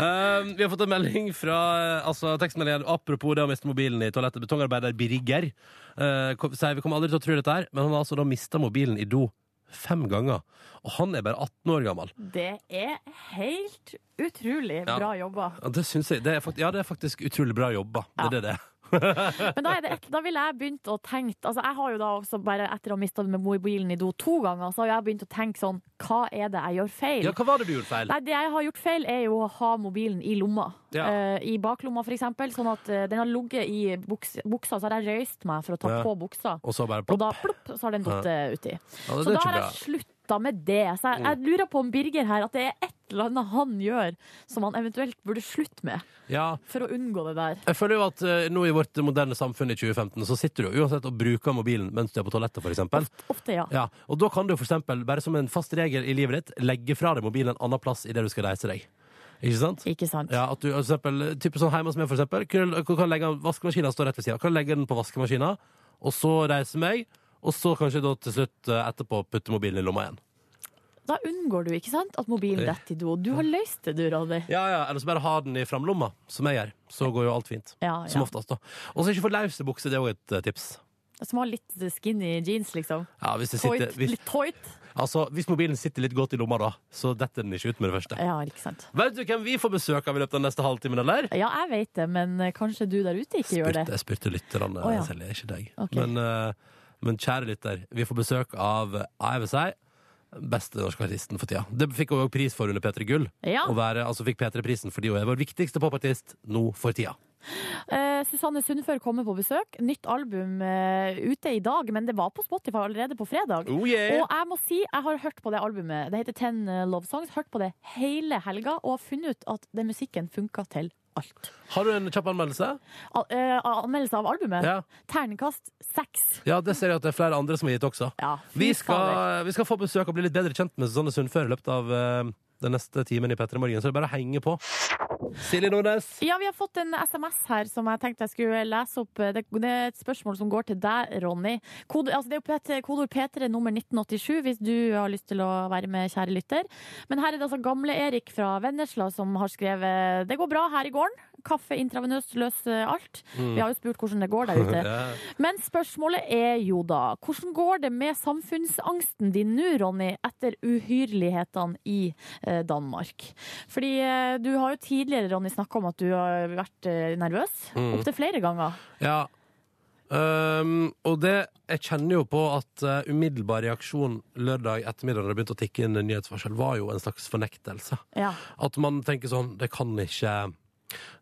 S4: Um, vi har fått en melding fra eh, altså, tekstmeldingen apropos det å miste mobilen i toalettet. Betongarbeider Birger eh, kom- sier vi kommer aldri til å tro dette her, men han har altså da mista mobilen i do fem ganger. Og han er bare 18 år gammel.
S2: Det er helt utrolig
S4: Ja.
S2: bra jobba.
S4: Ja, det, syns jeg, det, er faktisk, ja, det er faktisk utrolig bra jobba. Det
S2: Ja.
S4: er det det er.
S2: Men da, er det et, da ville jeg begynt å tenke altså Jeg har jo da også bare etter å ha mista mobilen i do to ganger, så har jeg begynt å tenke sånn Hva er det jeg gjør feil?
S4: Ja, hva var det du gjorde feil?
S2: Nei, Det jeg har gjort feil, er jo å ha mobilen i lomma.
S4: Ja.
S2: Eh, I baklomma, for eksempel. Sånn at eh, den har ligget i buks, buksa, så har jeg røyst meg for å ta
S4: Ja.
S2: på buksa.
S4: Og så bare
S2: Og
S4: plopp.
S2: da plopp, så har den datt eh, uti.
S4: Ja, det
S2: Så
S4: er
S2: da
S4: ikke
S2: har
S4: bra. Mm.
S2: jeg slutta med det. Så jeg, jeg lurer på om Birger her at det er et eller annet han gjør som han eventuelt burde slutte med,
S4: Ja,
S2: for å unngå det der.
S4: jeg føler jo at eh, nå i vårt moderne samfunn i 2015 så sitter du jo uansett og bruker mobilen mens du er på toalettet, for eksempel.
S2: Ofte, ja.
S4: Ja, og da kan du for eksempel, bare som en fast regel i livet ditt, legge fra deg mobilen en annen plass i det du skal reise deg. Ikke sant?
S2: Ikke sant?
S4: Ja, at du for eksempel, type sånn hjemme som jeg for eksempel, kan, kan legge, vaskemaskinen står rett ved siden, kan legge den på vaskemaskinen, og så reise meg, og så kanskje da til slutt eh, etterpå putte mobilen i lomma igjen.
S2: Da unngår du ikke sant, at mobilen
S4: Ja.
S2: detter i do. Du har løst det, du, Ronny.
S4: Ja, ja, eller så bare ha den i framlomma, som jeg gjør. Så går jo alt fint.
S2: Ja, ja.
S4: Som oftest da. Og så ikke få løse bukser, det er jo et eh, tips.
S2: Som har litt skinny jeans, liksom.
S4: Ja, hvis, det
S2: Tight,
S4: sitter, hvis,
S2: litt tight.
S4: altså, hvis mobilen sitter litt godt i lomma da, så detter den ikke ut med det første.
S2: Ja, ikke sant.
S4: Vet du hvem vi får besøk av i løpet av den neste halvtimen, eller?
S2: Ja, jeg vet det, men eh, kanskje du der ute ikke gjør
S4: spurte,
S2: det.
S4: jeg spurte lytterne
S2: Å, ja.
S4: selv, ikke deg.
S2: Ok.
S4: Men, eh, men kjære lytter, vi får besøk av AFSI. Beste norske artisten for tida. Det fikk hun òg pris for under P3 Gull.
S2: Ja.
S4: Å være, altså fikk P3-prisen fordi hun er vår viktigste popartist nå for tida.
S2: Eh, Susanne Sundfør kommer på besøk. Nytt album eh, ute i dag, men det var på Spotify allerede på fredag.
S4: Oh,
S2: Og jeg må si, jeg har hørt på det albumet. Det heter Ten eh, Love Songs. Hørt på det hele helga og har funnet ut at den musikken funka til alt.
S4: Har du en kjapp anmeldelse?
S2: Al eh, anmeldelse av albumet.
S4: Ja.
S2: Terningkast seks.
S4: ja, det ser jeg at det er flere andre som har gitt også.
S2: Ja, fy
S4: Vi
S2: fader.
S4: skal, vi skal få besøk og bli litt bedre kjent med Susanne Sundfør i løpet av eh, den neste timen i P3 Morgen, så det er bare å henge på. Silje Nordnes.
S2: Ja, vi har fått en SMS her som jeg tenkte jeg skulle lese opp. Det, det er et spørsmål som går til deg, Ronny. Kode, altså det er jo P3 kodord P3 nummer 1987 hvis du har lyst til å være med, kjære lytter. Men her er det altså gamle Erik fra Vennesla som har skrevet Det går bra her i gården. Kaffe intravenøst løser alt. Vi har jo spurt hvordan det går der ute.
S4: Ja.
S2: Men spørsmålet er jo da Hvordan går det med samfunnsangsten din nå, Ronny, etter uhyrlighetene i eh, Danmark? Fordi eh, du har jo tidligere, Ronny, snakka om at du har vært eh, nervøs.
S4: Mm.
S2: Opptil flere ganger.
S4: Ja. Ehm, og det Jeg kjenner jo på at eh, umiddelbar reaksjon lørdag ettermiddag da det begynte å tikke inn en nyhetsvarsel, var jo en slags fornektelse.
S2: Ja.
S4: At man tenker sånn Det kan ikke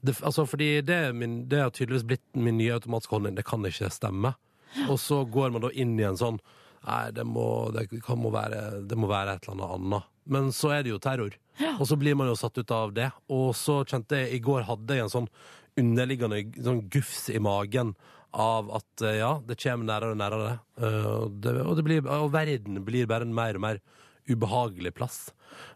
S4: det, altså fordi det, er min, det har tydeligvis blitt min nye automatiske holdning. Det kan ikke stemme. Og så går man da inn i en sånn Nei, det må, det kan må, være, det må være et eller annet annet. Men så er det jo terror. Og så blir man jo satt ut av det. Og så kjente jeg I går hadde jeg en sånn underliggende sånn gufs i magen av at eh, ja, det kommer nærere og nærere. Eh, og det, og, det blir, og verden blir bare en mer og mer ubehagelig plass.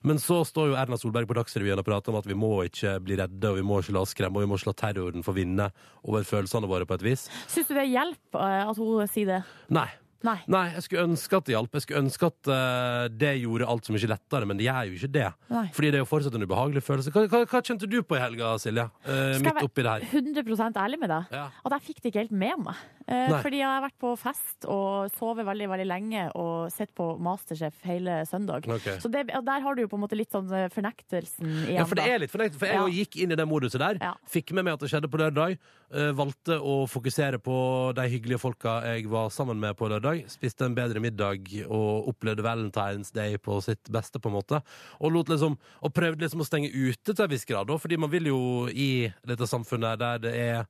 S4: Men så står jo Erna Solberg på Dagsrevyen og prater om at vi må ikke bli redde, og vi må ikke la oss skremme, og vi må ikke la terroren få vinne over følelsene våre på et vis.
S2: Syns du det hjelper eh, at hun sier det?
S4: Nei.
S2: Nei.
S4: Nei, jeg skulle ønske at det hjalp. Jeg skulle ønske at eh, det gjorde alt så mye lettere, men det gjør jo ikke det.
S2: Nei.
S4: Fordi det er jo fortsatt en ubehagelig følelse. Hva, hva, hva kjente du på i helga, Silje? Eh,
S2: Skal jeg
S4: midt
S2: være-
S4: oppi det her.
S2: 100 ærlig med deg.
S4: Ja.
S2: At jeg fikk det ikke helt med meg. Eh,
S4: Nei.
S2: fordi jeg har vært på fest og sovet veldig veldig lenge og sett på Masterchef hele søndag.
S4: Ok.
S2: Så det, og der har du jo på en måte litt sånn eh, fornektelsen igjen.
S4: Ja, for det
S2: da.
S4: er litt fornøyd, for jeg
S2: Ja.
S4: også gikk inn i den moduset der.
S2: Ja.
S4: Fikk med meg at det skjedde på lørdag. eh, valgte å fokusere på de hyggelige folka jeg var sammen med på lørdag. Spiste en bedre middag og opplevde Valentine's Day på sitt beste, på en måte. Og, lot liksom, og prøvde liksom å stenge ute til en viss grad, da, fordi man vil jo i dette samfunnet der det er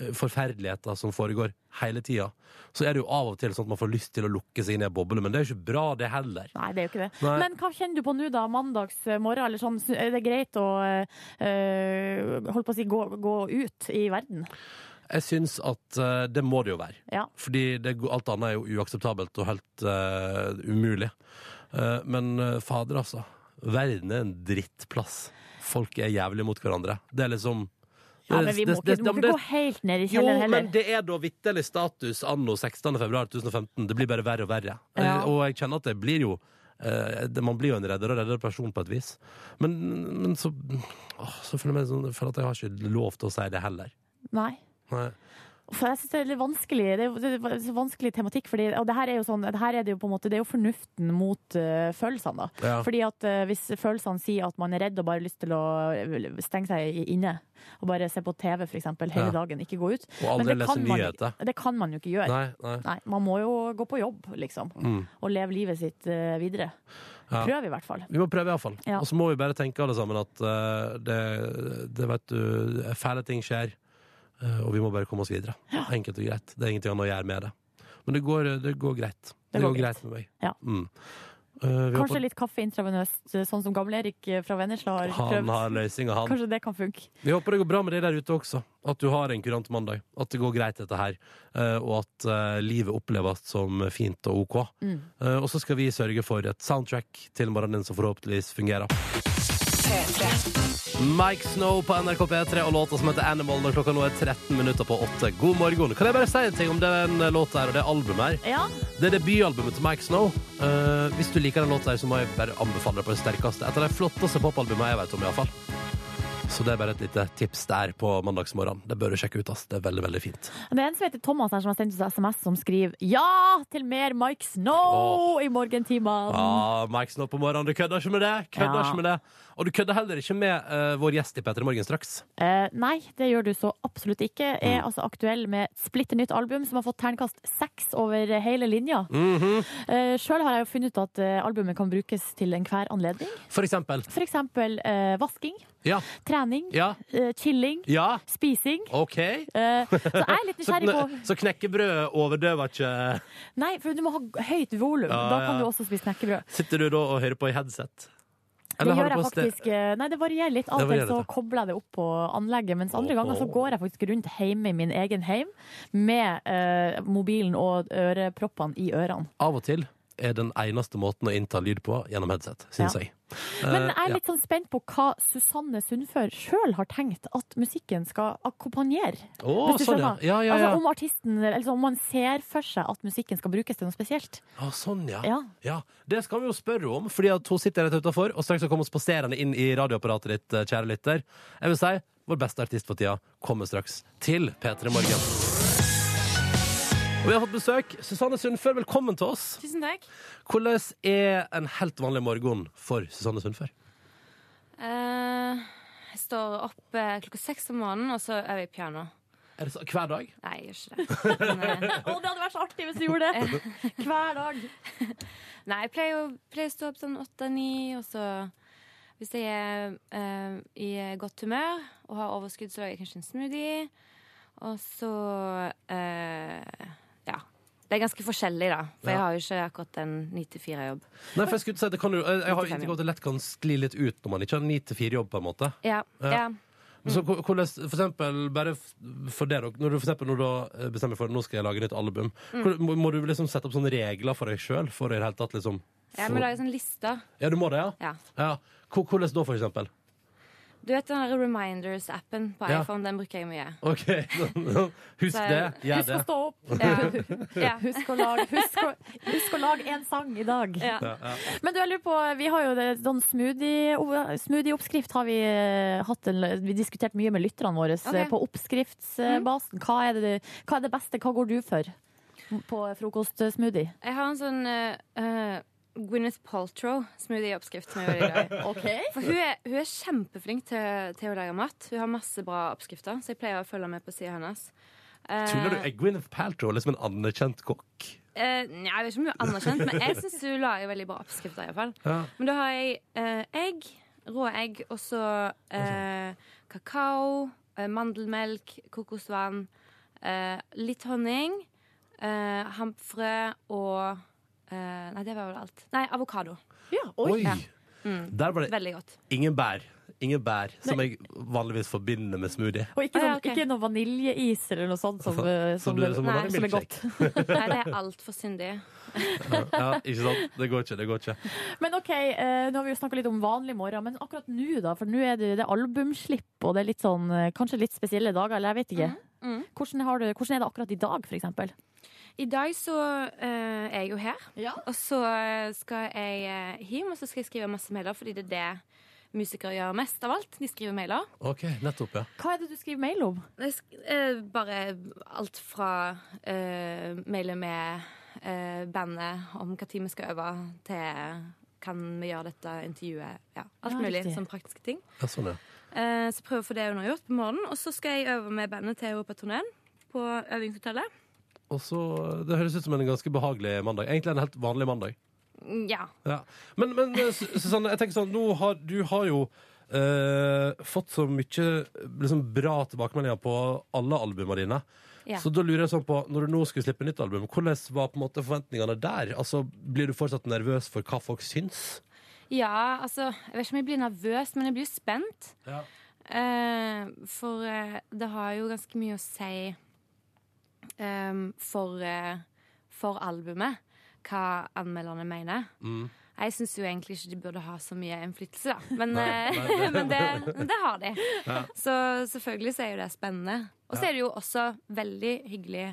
S4: eh, forferdeligheter som foregår hele tida, så er det jo av og til sånn at man får lyst til å lukke seg inn i en boble, men det er jo ikke bra, det heller.
S2: Nei, det er jo ikke det.
S4: Nei.
S2: Men hva kjenner du på nå, da? Mandags eh, morgen? Eller sånn, er det greit å eh, holdt på å si gå, gå ut i verden?
S4: Jeg syns at eh, det må det jo være.
S2: Ja.
S4: Fordi det, alt annet er jo uakseptabelt og helt eh, umulig. Eh, men eh, fader, altså. Verden er en drittplass. Folk er jævlig mot hverandre. Det er liksom
S2: Ja, men vi må ikke, du må ikke gå helt ned i
S4: jo,
S2: kjelleren
S4: men
S2: heller.
S4: det er da vitterlig status anno 16. februar 2015. Det blir bare verre og verre.
S2: Ja.
S4: Eh, Og jeg kjenner at det blir jo eh, det- Man blir jo en reddere og reddere person på et vis. Men, men så, åh, så føler jeg meg sånn jeg føler at jeg har ikke lov til å si det heller.
S2: Nei.
S4: Nei.
S2: For jeg synes det er litt vanskelig Det er jo- det er så vanskelig tematikk fordi, Og det her er jo sånn det her er det, jo på en måte, det er jo fornuften mot eh, følelsene da
S4: Ja.
S2: Fordi at eh, hvis følelsene sier at man er redd Og bare har lyst til å eh, stenge seg i- inne Og bare se på TV for eksempel Hele
S4: Ja.
S2: dagen, ikke gå ut
S4: Og
S2: Men
S4: aldri
S2: det
S4: lese
S2: kan man jo-
S4: nyheter.
S2: Det kan man jo ikke gjøre
S4: Nei, nei.
S2: Nei, man må jo gå på jobb, liksom. Og leve livet sitt eh, videre.
S4: Mm. Ja.
S2: Prøv, i hvert fall.
S4: Vi må prøve, iallfall.
S2: Ja.
S4: Og så må vi bare tenke alle sammen at eh, det, det vet du, fæle ting skjer, eh, og vi må bare komme oss videre. Enkelt og greit. Det er ingenting annet å gjøre med det. Men det går, det går greit. Det, går, greit. med meg.
S2: Ja.
S4: Mm. Eh, vi
S2: Kanskje
S4: håper-
S2: litt kaffe intravenøst, sånn som gamle-Erik fra Vennesla har
S4: Han
S2: prøvd.
S4: har løsninga, han.
S2: Kanskje det kan funke.
S4: Vi håper det går bra med deg der ute også. At du har en kurant mandag. At det går greit, dette her. Eh, Og at eh, livet oppleves som fint og OK. Eh, Og så skal vi sørge for et soundtrack til morgenen som forhåpentligvis fungerer. Mike Snow på NRK P3 og låta som heter Animal når klokka nå er 13 minutter på 8. God morgen. Kan jeg bare si en ting om den låta her og det albumet her?
S2: Ja,
S4: Det er debutalbumet til Mike Snow. Eh, hvis du liker den låta, her, så må jeg bare anbefale det på det sterkeste. Et av de flotteste popalbumene jeg vet om, iallfall. Så det er bare et lite tips der på mandagsmorgenen. Det bør du sjekke ut. ass. Det er veldig, veldig fint.
S2: Det er en som heter Thomas her som har sendt oss SMS som skriver Ja til mer Mike Snow i morgentimene!
S4: Ja, Mike Snow på morgenen. Du kødder ikke med det! Kødder
S2: Ja.
S4: ikke med det. Og du kødder heller ikke med eh, vår gjest i P3 Morgen straks.
S2: Eh, nei, det gjør du så absolutt ikke.
S4: Mm.
S2: Er altså aktuell med et splitter nytt album som har fått terningkast seks over hele linja.
S4: Mhm.
S2: eh, Sjøl har jeg jo funnet ut at eh, albumet kan brukes til enhver anledning.
S4: For eksempel.
S2: For eksempel eh, vasking,
S4: Ja.
S2: trening,
S4: Ja.
S2: eh, chilling,
S4: Ja.
S2: spising.
S4: OK.
S2: Eh, så jeg er litt
S4: Så,
S2: nysgjerrig på
S4: så knekkebrød overdøver ikke
S2: Nei, for du må ha høyt volum.
S4: Ja,
S2: Da
S4: ja.
S2: kan du også spise knekkebrød.
S4: Sitter du da og hører på i headset?
S2: Det
S4: har
S2: gjør
S4: du
S2: jeg
S4: på ste-
S2: faktisk eh, Nei, det varierer litt. Av
S4: Det
S2: og til
S4: varierer
S2: så
S4: litt,
S2: kobler jeg det opp på anlegget, mens andre
S4: Åh.
S2: ganger så går jeg faktisk rundt hjemme i min egen heim med eh, mobilen og øreproppene i ørene.
S4: av og til er den eneste måten å innta lyd på gjennom headset, syns
S2: Ja.
S4: jeg.
S2: Men
S4: Eh,
S2: jeg er
S4: ja.
S2: litt sånn spent på hva Susanne Sundfør sjøl har tenkt at musikken skal akkompagnere.
S4: Å,
S2: Hvis du
S4: sånn, ja.
S2: skjønner.
S4: Ja, ja, ja.
S2: Altså om artisten, eller om man ser for seg at musikken skal brukes til noe spesielt.
S4: Å, sånn, ja.
S2: Ja.
S4: ja. Det skal vi jo spørre om, fordi at hun sitter rett utafor, og straks kommer hun spaserende inn i radioapparatet ditt, eh, kjære lytter. Jeg vil si vår beste artist for tida kommer straks til P3 Morgen. Og vi har fått besøk. Susanne Sundfør, velkommen til oss.
S7: Tusen takk.
S4: Hvordan er en helt vanlig morgen for Susanne Sundfør?
S7: Eh, jeg står opp eh, klokka seks om morgenen, og så øver jeg piano.
S4: Er det så, hver dag?
S7: Nei, jeg gjør ikke det. Men, eh,
S2: Å, det hadde vært så artig hvis du gjorde det! Hver dag.
S7: nei, jeg pleier, å, pleier å stå opp sånn åtte-ni, og så hvis jeg er eh, i godt humør og har overskudd, så lager jeg kanskje en smoothie. Og så eh, Ja. Det er ganske forskjellig, da. For
S4: Ja.
S7: jeg har jo ikke akkurat en 9-4-jobb.
S4: Nei, for jeg skulle si, det kan jo, jeg, jeg har jo inntrykk av at det lett kan skli litt ut når man ikke har 9-4-jobb, på en måte.
S7: Ja,
S4: Ja.
S7: ja.
S4: Men
S2: Mm.
S4: Så hvor- hvordan, for eksempel, bare f- for det, da, når du, for eksempel, når du da, eh, bestemmer for nå skal jeg lage nytt album,
S2: Mm.
S4: hvor- må, må du liksom sette opp sånne regler for deg sjøl? For i det hele tatt, liksom?
S7: Jeg må lage sånn liste.
S4: Ja, du må det, ja?
S7: Ja.
S4: ja. Hvor- Hvordan da, for eksempel?
S7: Du vet den der Reminders-appen på
S4: Ja.
S7: iPhone? Den bruker jeg mye.
S4: OK, husk
S7: Så-
S4: det.
S2: Husk
S4: Gjør
S2: å
S4: det.
S2: stå opp.
S7: Ja. ja.
S2: Husk å lage, husk å, husk å lage en sang i dag.
S7: Ja.
S2: Men du, jeg lurer på, vi har jo det, sånn smoothie, smoothie-oppskrift har vi eh, hatt en, Vi diskutert mye med lytterne våre eh,
S7: Ok.
S2: på oppskriftsbasen. Hva, er det, hva er det beste? Hva går du for på frokostsmoothie?
S7: Jeg har en sånn eh, eh, Gwyneth Paltrow-smoothie-oppskrift som jeg er veldig glad i. For hun er, hun er kjempeflink til, til å lage mat. Hun har masse bra oppskrifter, så jeg pleier å følge med på sida hennes. Eh,
S4: Tuller du? Er Gwyneth Paltrow liksom en anerkjent kokk?
S7: eh, nei, jeg vet ikke om hun er anerkjent, men jeg syns hun lager veldig bra oppskrifter. i hvert fall.
S4: Ja.
S7: Men da har jeg eh, egg, rå egg, og så eh, kakao, eh, mandelmelk, kokosvann, eh, litt honning, eh, hamfrø og eh, Nei, det var vel alt. Nei, avokado.
S2: Ja, Mm. oi.
S4: Oi! Der var det
S7: Veldig godt.
S4: ingen bær.
S1: ingebær, som jeg vanligvis forbinder med smoothie.
S2: Og ikke,
S7: Ah,
S2: sånn,
S7: ja, ok.
S2: ikke noe vaniljeis eller noe sånt som, eh,
S1: Som
S2: som,
S1: du- som må
S2: nei,
S1: være
S2: som er
S1: milkshake.
S2: godt.
S7: Nei, det er altfor syndig.
S1: Ja, ikke sant? Det går ikke. det går ikke
S2: Men ok, eh, nå har vi jo snakka litt om vanlig morgen, men akkurat nå, da? For nå er det, det er albumslipp, og det er litt sånn eh, kanskje litt spesielle dager, eller jeg vet ikke.
S7: mhm.
S2: Hvordan, har du, hvordan er det akkurat i dag, for eksempel?
S7: I dag så eh, er jeg jo her,
S2: Ja.
S7: og så skal jeg eh, hjem, og så skal jeg skrive masse mailer, fordi det er det musikere gjør mest av alt. De skriver mailer.
S1: OK, nettopp, ja.
S2: Hva er det du skriver mail om?
S7: Jeg sk eh, bare alt fra eh, mailer med eh, bandet om hva tid vi skal øve, til kan vi gjøre dette intervjuet. Ja, alt
S2: Ja,
S7: mulig
S2: riktig.
S7: sånn praktiske ting.
S1: ja sånn, ja.
S7: Eh, så prøver å få det unnagjort på morgenen. Og så skal jeg øve med bandet til Europaturneen på øvingshotellet.
S1: Og så, Det høres ut som en ganske behagelig mandag. Egentlig en helt vanlig mandag.
S7: Mm, Ja.
S1: Ja. Men, men eh, Sus- Susanne, jeg tenker sånn, nå har, du har jo eh, fått så mye liksom, bra tilbakemeldinger på alle albumene dine.
S7: Ja.
S1: Så da lurer jeg sånn på, når du nå skulle slippe nytt album, hvordan var på en måte forventningene der? Altså, Blir du fortsatt nervøs for hva folk syns?
S7: ja, altså Jeg vet ikke om jeg blir nervøs, men jeg blir spent.
S1: Ja.
S7: Eh, for eh, det har jo ganske mye å si ehm, for, eh, for albumet, hva anmelderne mener.
S1: Mm.
S7: Jeg syns jo egentlig ikke de burde ha så mye innflytelse, da. Men,
S1: Nei, nei,
S7: eh,
S1: nei.
S7: men det, men det har de. Så selvfølgelig så er jo det spennende. Og så er det jo også veldig hyggelig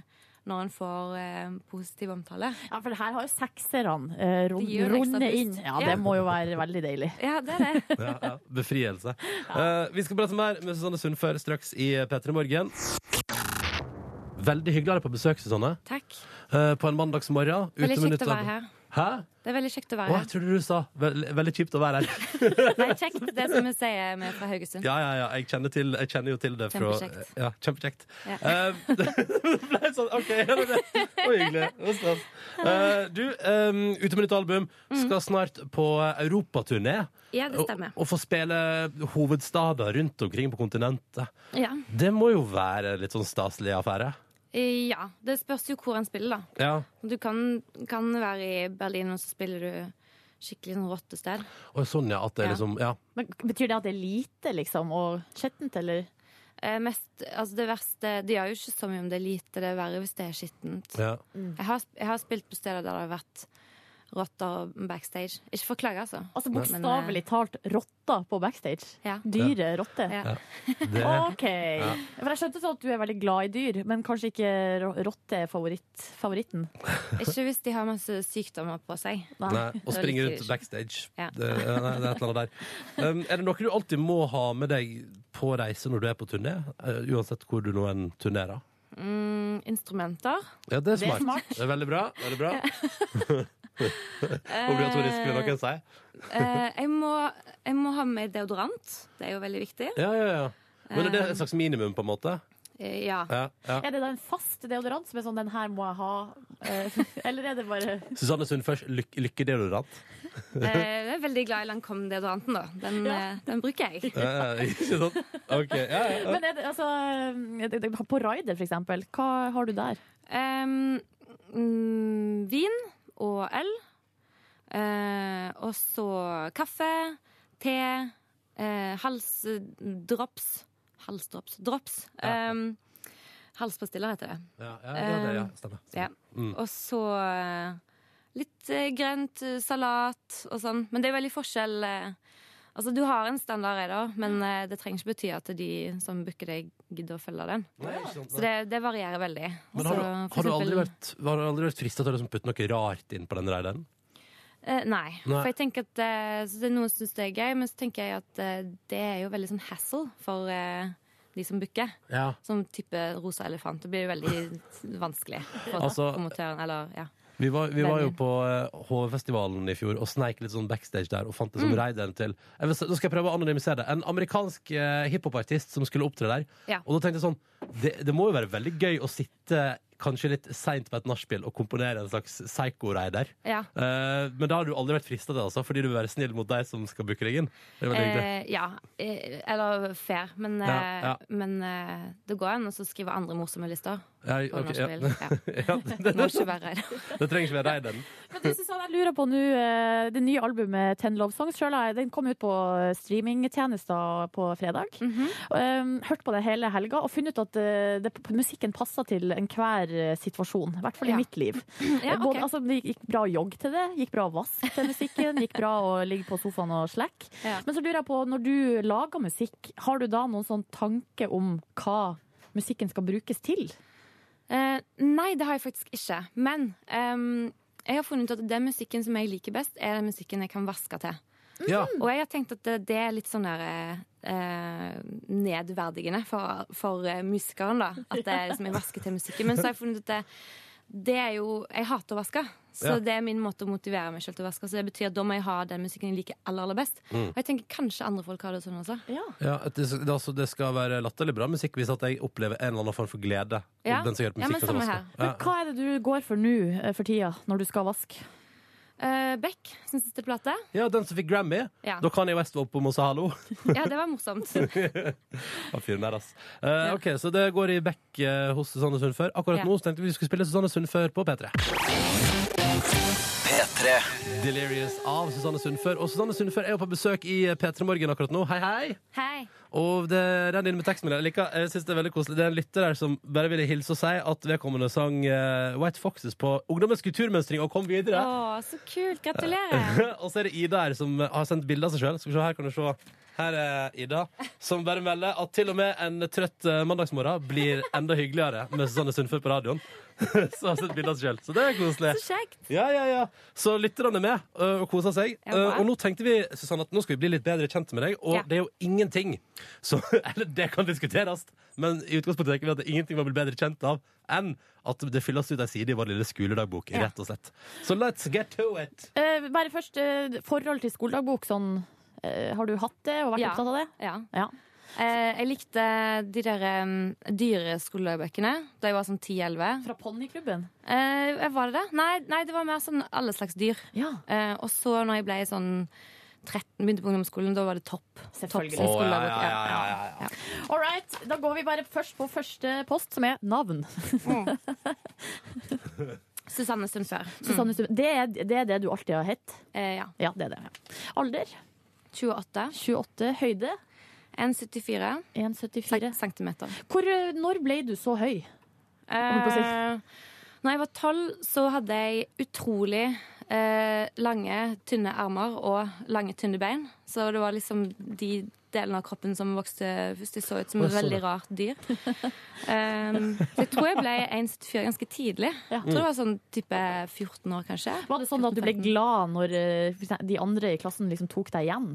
S7: når en får eh, positiv omtale.
S2: Ja, for her har jo sekserne eh, rund,
S7: Det gir jo en ekstra
S2: rundet
S7: boost.
S2: inn. Ja,
S7: Ja.
S2: det må jo være veldig deilig.
S7: Ja, det er det.
S1: Ja, ja. Befrielse. Eh, vi skal prate mer med Susanne Sundfør straks i P3 Morgen. Veldig hyggelig å ha deg på besøk, Susanne.
S7: Takk.
S1: Eh, på en mandagsmorgen. ute
S7: Veldig
S1: med
S7: kjekt
S1: nytt
S7: å være
S1: album.
S7: her.
S1: Hæ?
S7: Det er veldig kjekt å
S1: Å,
S7: være
S1: jeg
S7: her.
S1: trodde du sa veld, veldig kjipt å være her.
S7: Nei, kjekt, det er som vi sier vi er fra Haugesund.
S1: Ja, ja, ja. Jeg kjenner, til, jeg kjenner jo til det. Fra,
S7: Kjempekjekt.
S1: ja, kjempekjekt.
S7: Ja.
S1: Eh, det ble sånn, OK, ja, det det var hyggelig. Det var stas. Eh, du, eh, ute med nytt album, skal snart på europaturné.
S7: Ja, Mm. det stemmer.
S1: Og, og få spille hovedstader rundt omkring på kontinentet.
S7: Ja.
S1: Det må jo være litt sånn staselig affære.
S7: Ja, det spørs jo hvor en spiller, da.
S1: Ja.
S7: Du kan, kan være i Berlin, og så spiller du skikkelig sånn rottested.
S1: Og sånn, ja. At det er
S7: Ja.
S1: liksom Ja.
S2: Men Betyr det at det er lite, liksom, og skjettent, eller?
S7: Eh, mest, altså det verste De gjør jo ikke så mye om det er lite, det er verre hvis det er skittent.
S1: ja.
S7: Jeg, har, jeg har spilt på steder der det har vært rotter backstage. Ikke for å klage, altså.
S2: Altså
S7: Men, eh,
S2: bokstavelig talt rotter på backstage.
S7: Ja.
S2: Dyre rotter.
S7: Ja.
S1: Det,
S2: OK. For jeg skjønte sånn at du er veldig glad i dyr, men kanskje ikke ro- rotte er favoritt, favoritten.
S7: Ikke hvis de har masse sykdommer på seg.
S1: nei, og
S7: Det er
S1: springe
S7: litt
S1: rundt
S7: kult.
S1: backstage.
S7: Ja.
S1: Det, ja, nei, det er et eller annet der. Um, er det noe du alltid må ha med deg på reise når du er på turné? Eh, uansett hvor du nå enn turnerer?
S7: Mm, instrumenter.
S1: Ja, det er
S2: Det er
S1: smart.
S2: smart.
S1: Det er veldig bra. Veldig bra. Obligatorisk, vil noen si.
S7: Eh, jeg, må, jeg må ha med deodorant. Det er jo veldig viktig.
S1: Ja, ja, ja. Men er det et slags minimum, på en måte?
S7: Eh, ja.
S1: Ja, ja.
S2: Er det da en fast deodorant som er sånn 'den her må jeg ha', eh, eller er det bare
S1: Susanne Sundfors, lyk lykkedeodorant.
S7: Eh, jeg er veldig glad i Lancome-deodoranten, da. Den, eh, den bruker jeg.
S1: Ja, ja, Eh, Ikke sant? OK. Ja, ja, ja.
S2: Men er det altså eh, det- det- På Raider, for eksempel, hva har du der?
S7: Ehm, mm, vin og øl. Eh, og så kaffe, te, eh, halsdrops Halsdrops? Drops. Ehm, halspastiller heter det.
S1: Ja, ja, ja, det, ja. Stemmer.
S7: eh, Ja.
S1: Mm.
S7: Og så eh, litt eh, grønt, eh, salat og sånn. Men det er veldig forskjell. eh, Altså, Du har en standard, jeg, da, men eh, det trenger ikke bety at de som booker deg, gidder å følge den.
S1: Nei, ikke sant,
S7: Så det, det varierer veldig.
S1: Men har,
S7: Så
S1: du,
S7: Altså,
S1: har,
S7: for
S1: du
S7: eksempel-
S1: aldri vært, har du aldri vært fristet til å liksom putte noe rart inn på den raideren?
S7: Eh, nei.
S1: Nei.
S7: For jeg tenker at eh, så det er Noen syns det er gøy, men så tenker jeg at eh, det er jo veldig sånn hassle for eh, de som booker.
S1: Ja.
S7: Som type rosa elefant. Det blir jo veldig vanskelig for
S1: Altså-
S7: promotøren. Eller, ja.
S1: Vi var, vi var jo på eh, HV-festivalen i fjor og sneik litt sånn backstage der og fant liksom
S7: Mm.
S1: raideren til jeg vil, se- Nå skal jeg prøve å anonymisere det. En amerikansk eh, hiphopartist som skulle opptre der.
S7: Ja.
S1: Og da tenkte jeg sånn det, det må jo være veldig gøy å sitte kanskje litt seint på et nachspiel og komponere en slags psycho-raider.
S7: Ja.
S1: Eh, men da har du aldri vært frista til det, altså, fordi du vil være snill mot de som skal booke deg inn. Det er veldig hyggelig.
S7: Eh, ja. Eh, Eller fair. Men,
S1: Ja,
S7: eh,
S1: ja.
S7: men eh, det går an å så skrive andre morsomme lister.
S1: Ja,
S7: på
S1: ok, ja.
S7: nachspiel. Ja.
S1: ja, det,
S7: Må ikke være redd.
S1: det trenger ikke være Reiden.
S2: Men det, synes jeg, jeg lurer på nå, eh, det nye albumet Ten Love Songs selv, har jeg- den kom ut på streamingtjenester på fredag. Um, Hørt på det hele helga og funnet ut at eh, det, musikken passer til enhver eh, situasjon. I hvert fall i
S7: Ja.
S2: mitt liv.
S7: Ja,
S2: Både,
S7: ok.
S2: altså, det gikk bra å jogge til det, gikk bra å vaske til musikken, gikk bra å ligge på sofaen og slack.
S7: Ja.
S2: Men så lurer jeg på, når du lager musikk, har du da noen sånn tanke om hva musikken skal brukes til?
S7: Eh, nei, det har jeg faktisk ikke. Men ehm, jeg har funnet ut at den musikken som jeg liker best, er den musikken jeg kan vaske til.
S1: Ja.
S7: Og jeg har tenkt at det, det er litt sånn der eh, nedverdigende for, for eh, musikeren, da. At det er liksom jeg vasker til musikken. Men så har jeg funnet ut at det, det er jo Jeg hater å vaske. Så
S1: Ja.
S7: det er min måte å motivere meg selv til å vaske. Så det betyr at da må jeg ha den musikken jeg liker aller, aller best.
S1: Mm.
S7: Og jeg tenker kanskje andre folk har det sånn også.
S2: Ja.
S1: Ja, at det, det, altså, det skal være latterlig bra musikk hvis at jeg opplever en eller annen form for glede.
S7: Ja.
S1: Den som gjør
S7: Ja, men
S1: musikk,
S7: samme her.
S2: Men hva er det du går for nå eh, for tida, når du skal vaske?
S7: Eh, Beck sin siste plate.
S1: Ja, den som fikk Grammy.
S7: Ja.
S1: Da kan jeg West opp om og sa hallo.
S7: ja, det var morsomt.
S1: Han fyren der, ass. Eh, ok, Så det går i back eh, hos Susanne Sundfør. Akkurat
S7: Ja.
S1: nå så tenkte vi vi skulle spille Susanne Sundfør på P3. Delirious av Susanne Sundfør. Og Susanne Sundfør er jo på besøk i P3 Morgen akkurat nå. Hei, hei!
S7: Hei.
S1: Og det renner inn med tekstmeldinger. Jeg liker- Jeg synes det er veldig koselig. Det er en lytter der som bare ville hilse og si at vedkommende sang eh, White Foxes på Ungdommens kulturmønstring og kom videre.
S7: Å, så kult. Gratulerer.
S1: og så er det Ida her som har sendt bilde av seg sjøl. Skal vi se, her kan du se. Her er Ida, som bare melder at til og med en trøtt eh, mandagsmorgen blir enda hyggeligere med Susanne Sundfør på radioen. så har hun sendt bilde av seg sjøl. Så det er koselig.
S7: Så kjekt.
S1: Ja, ja, ja. Så lytterne er med ø, og koser seg.
S7: Ja, bra.
S1: Ø, og nå tenkte vi Susanne, at nå skal vi bli litt bedre kjent med deg, og
S7: Ja.
S1: det er jo ingenting som Eller det kan diskuteres, men i utgangspunktet tenker vi at det er ingenting man blir bedre kjent av enn at det fylles ut ei side i vår lille skoledagbok,
S2: Ja.
S1: rett og slett. Så let's get to it.
S2: Eh, bare først, eh, forhold til skoledagbok, sånn eh, Har du hatt det og vært
S7: Ja.
S2: opptatt av det?
S7: Ja.
S2: Ja.
S7: Eh, jeg likte de der um, dyre skoledagbøkene da jeg var sånn 10-11.
S2: Fra ponniklubben?
S7: Eh, var det det? Nei, nei, det var mer sånn alle slags dyr.
S2: Ja,
S7: Eh, og så når jeg ble sånn 13, begynte på ungdomsskolen, da var det topp. sånn
S2: selvfølgelig.
S7: Topp skoledagbok,
S1: ja, ja, ja,
S7: ja.
S2: All right, da går vi bare først på første post, som er navn.
S7: Susanne Sundfør.
S2: Susanne Stum- Det, er, det er det du alltid har hett?
S7: Eh, ja.
S2: Ja, det er det. ja. Alder
S7: 28.
S2: 28, høyde
S7: 1,74
S2: 1,74.
S7: centimeter.
S2: Hvor, eh, Når ble du så høy? holdt på å si.
S7: Eh, når jeg var tolv, så hadde jeg utrolig eh, lange, tynne armer og lange, tynne bein. Så det var liksom de delene av kroppen som vokste først. Jeg så ut som
S1: Å, jeg
S7: et
S1: så
S7: veldig
S1: det.
S7: rart dyr. Um, så jeg tror jeg ble 1,74 ganske tidlig.
S2: Ja.
S7: Jeg tror det var sånn type 14 år, kanskje.
S2: Var det sånn at du ble glad når eh, for eksempel de andre i klassen liksom tok deg igjen?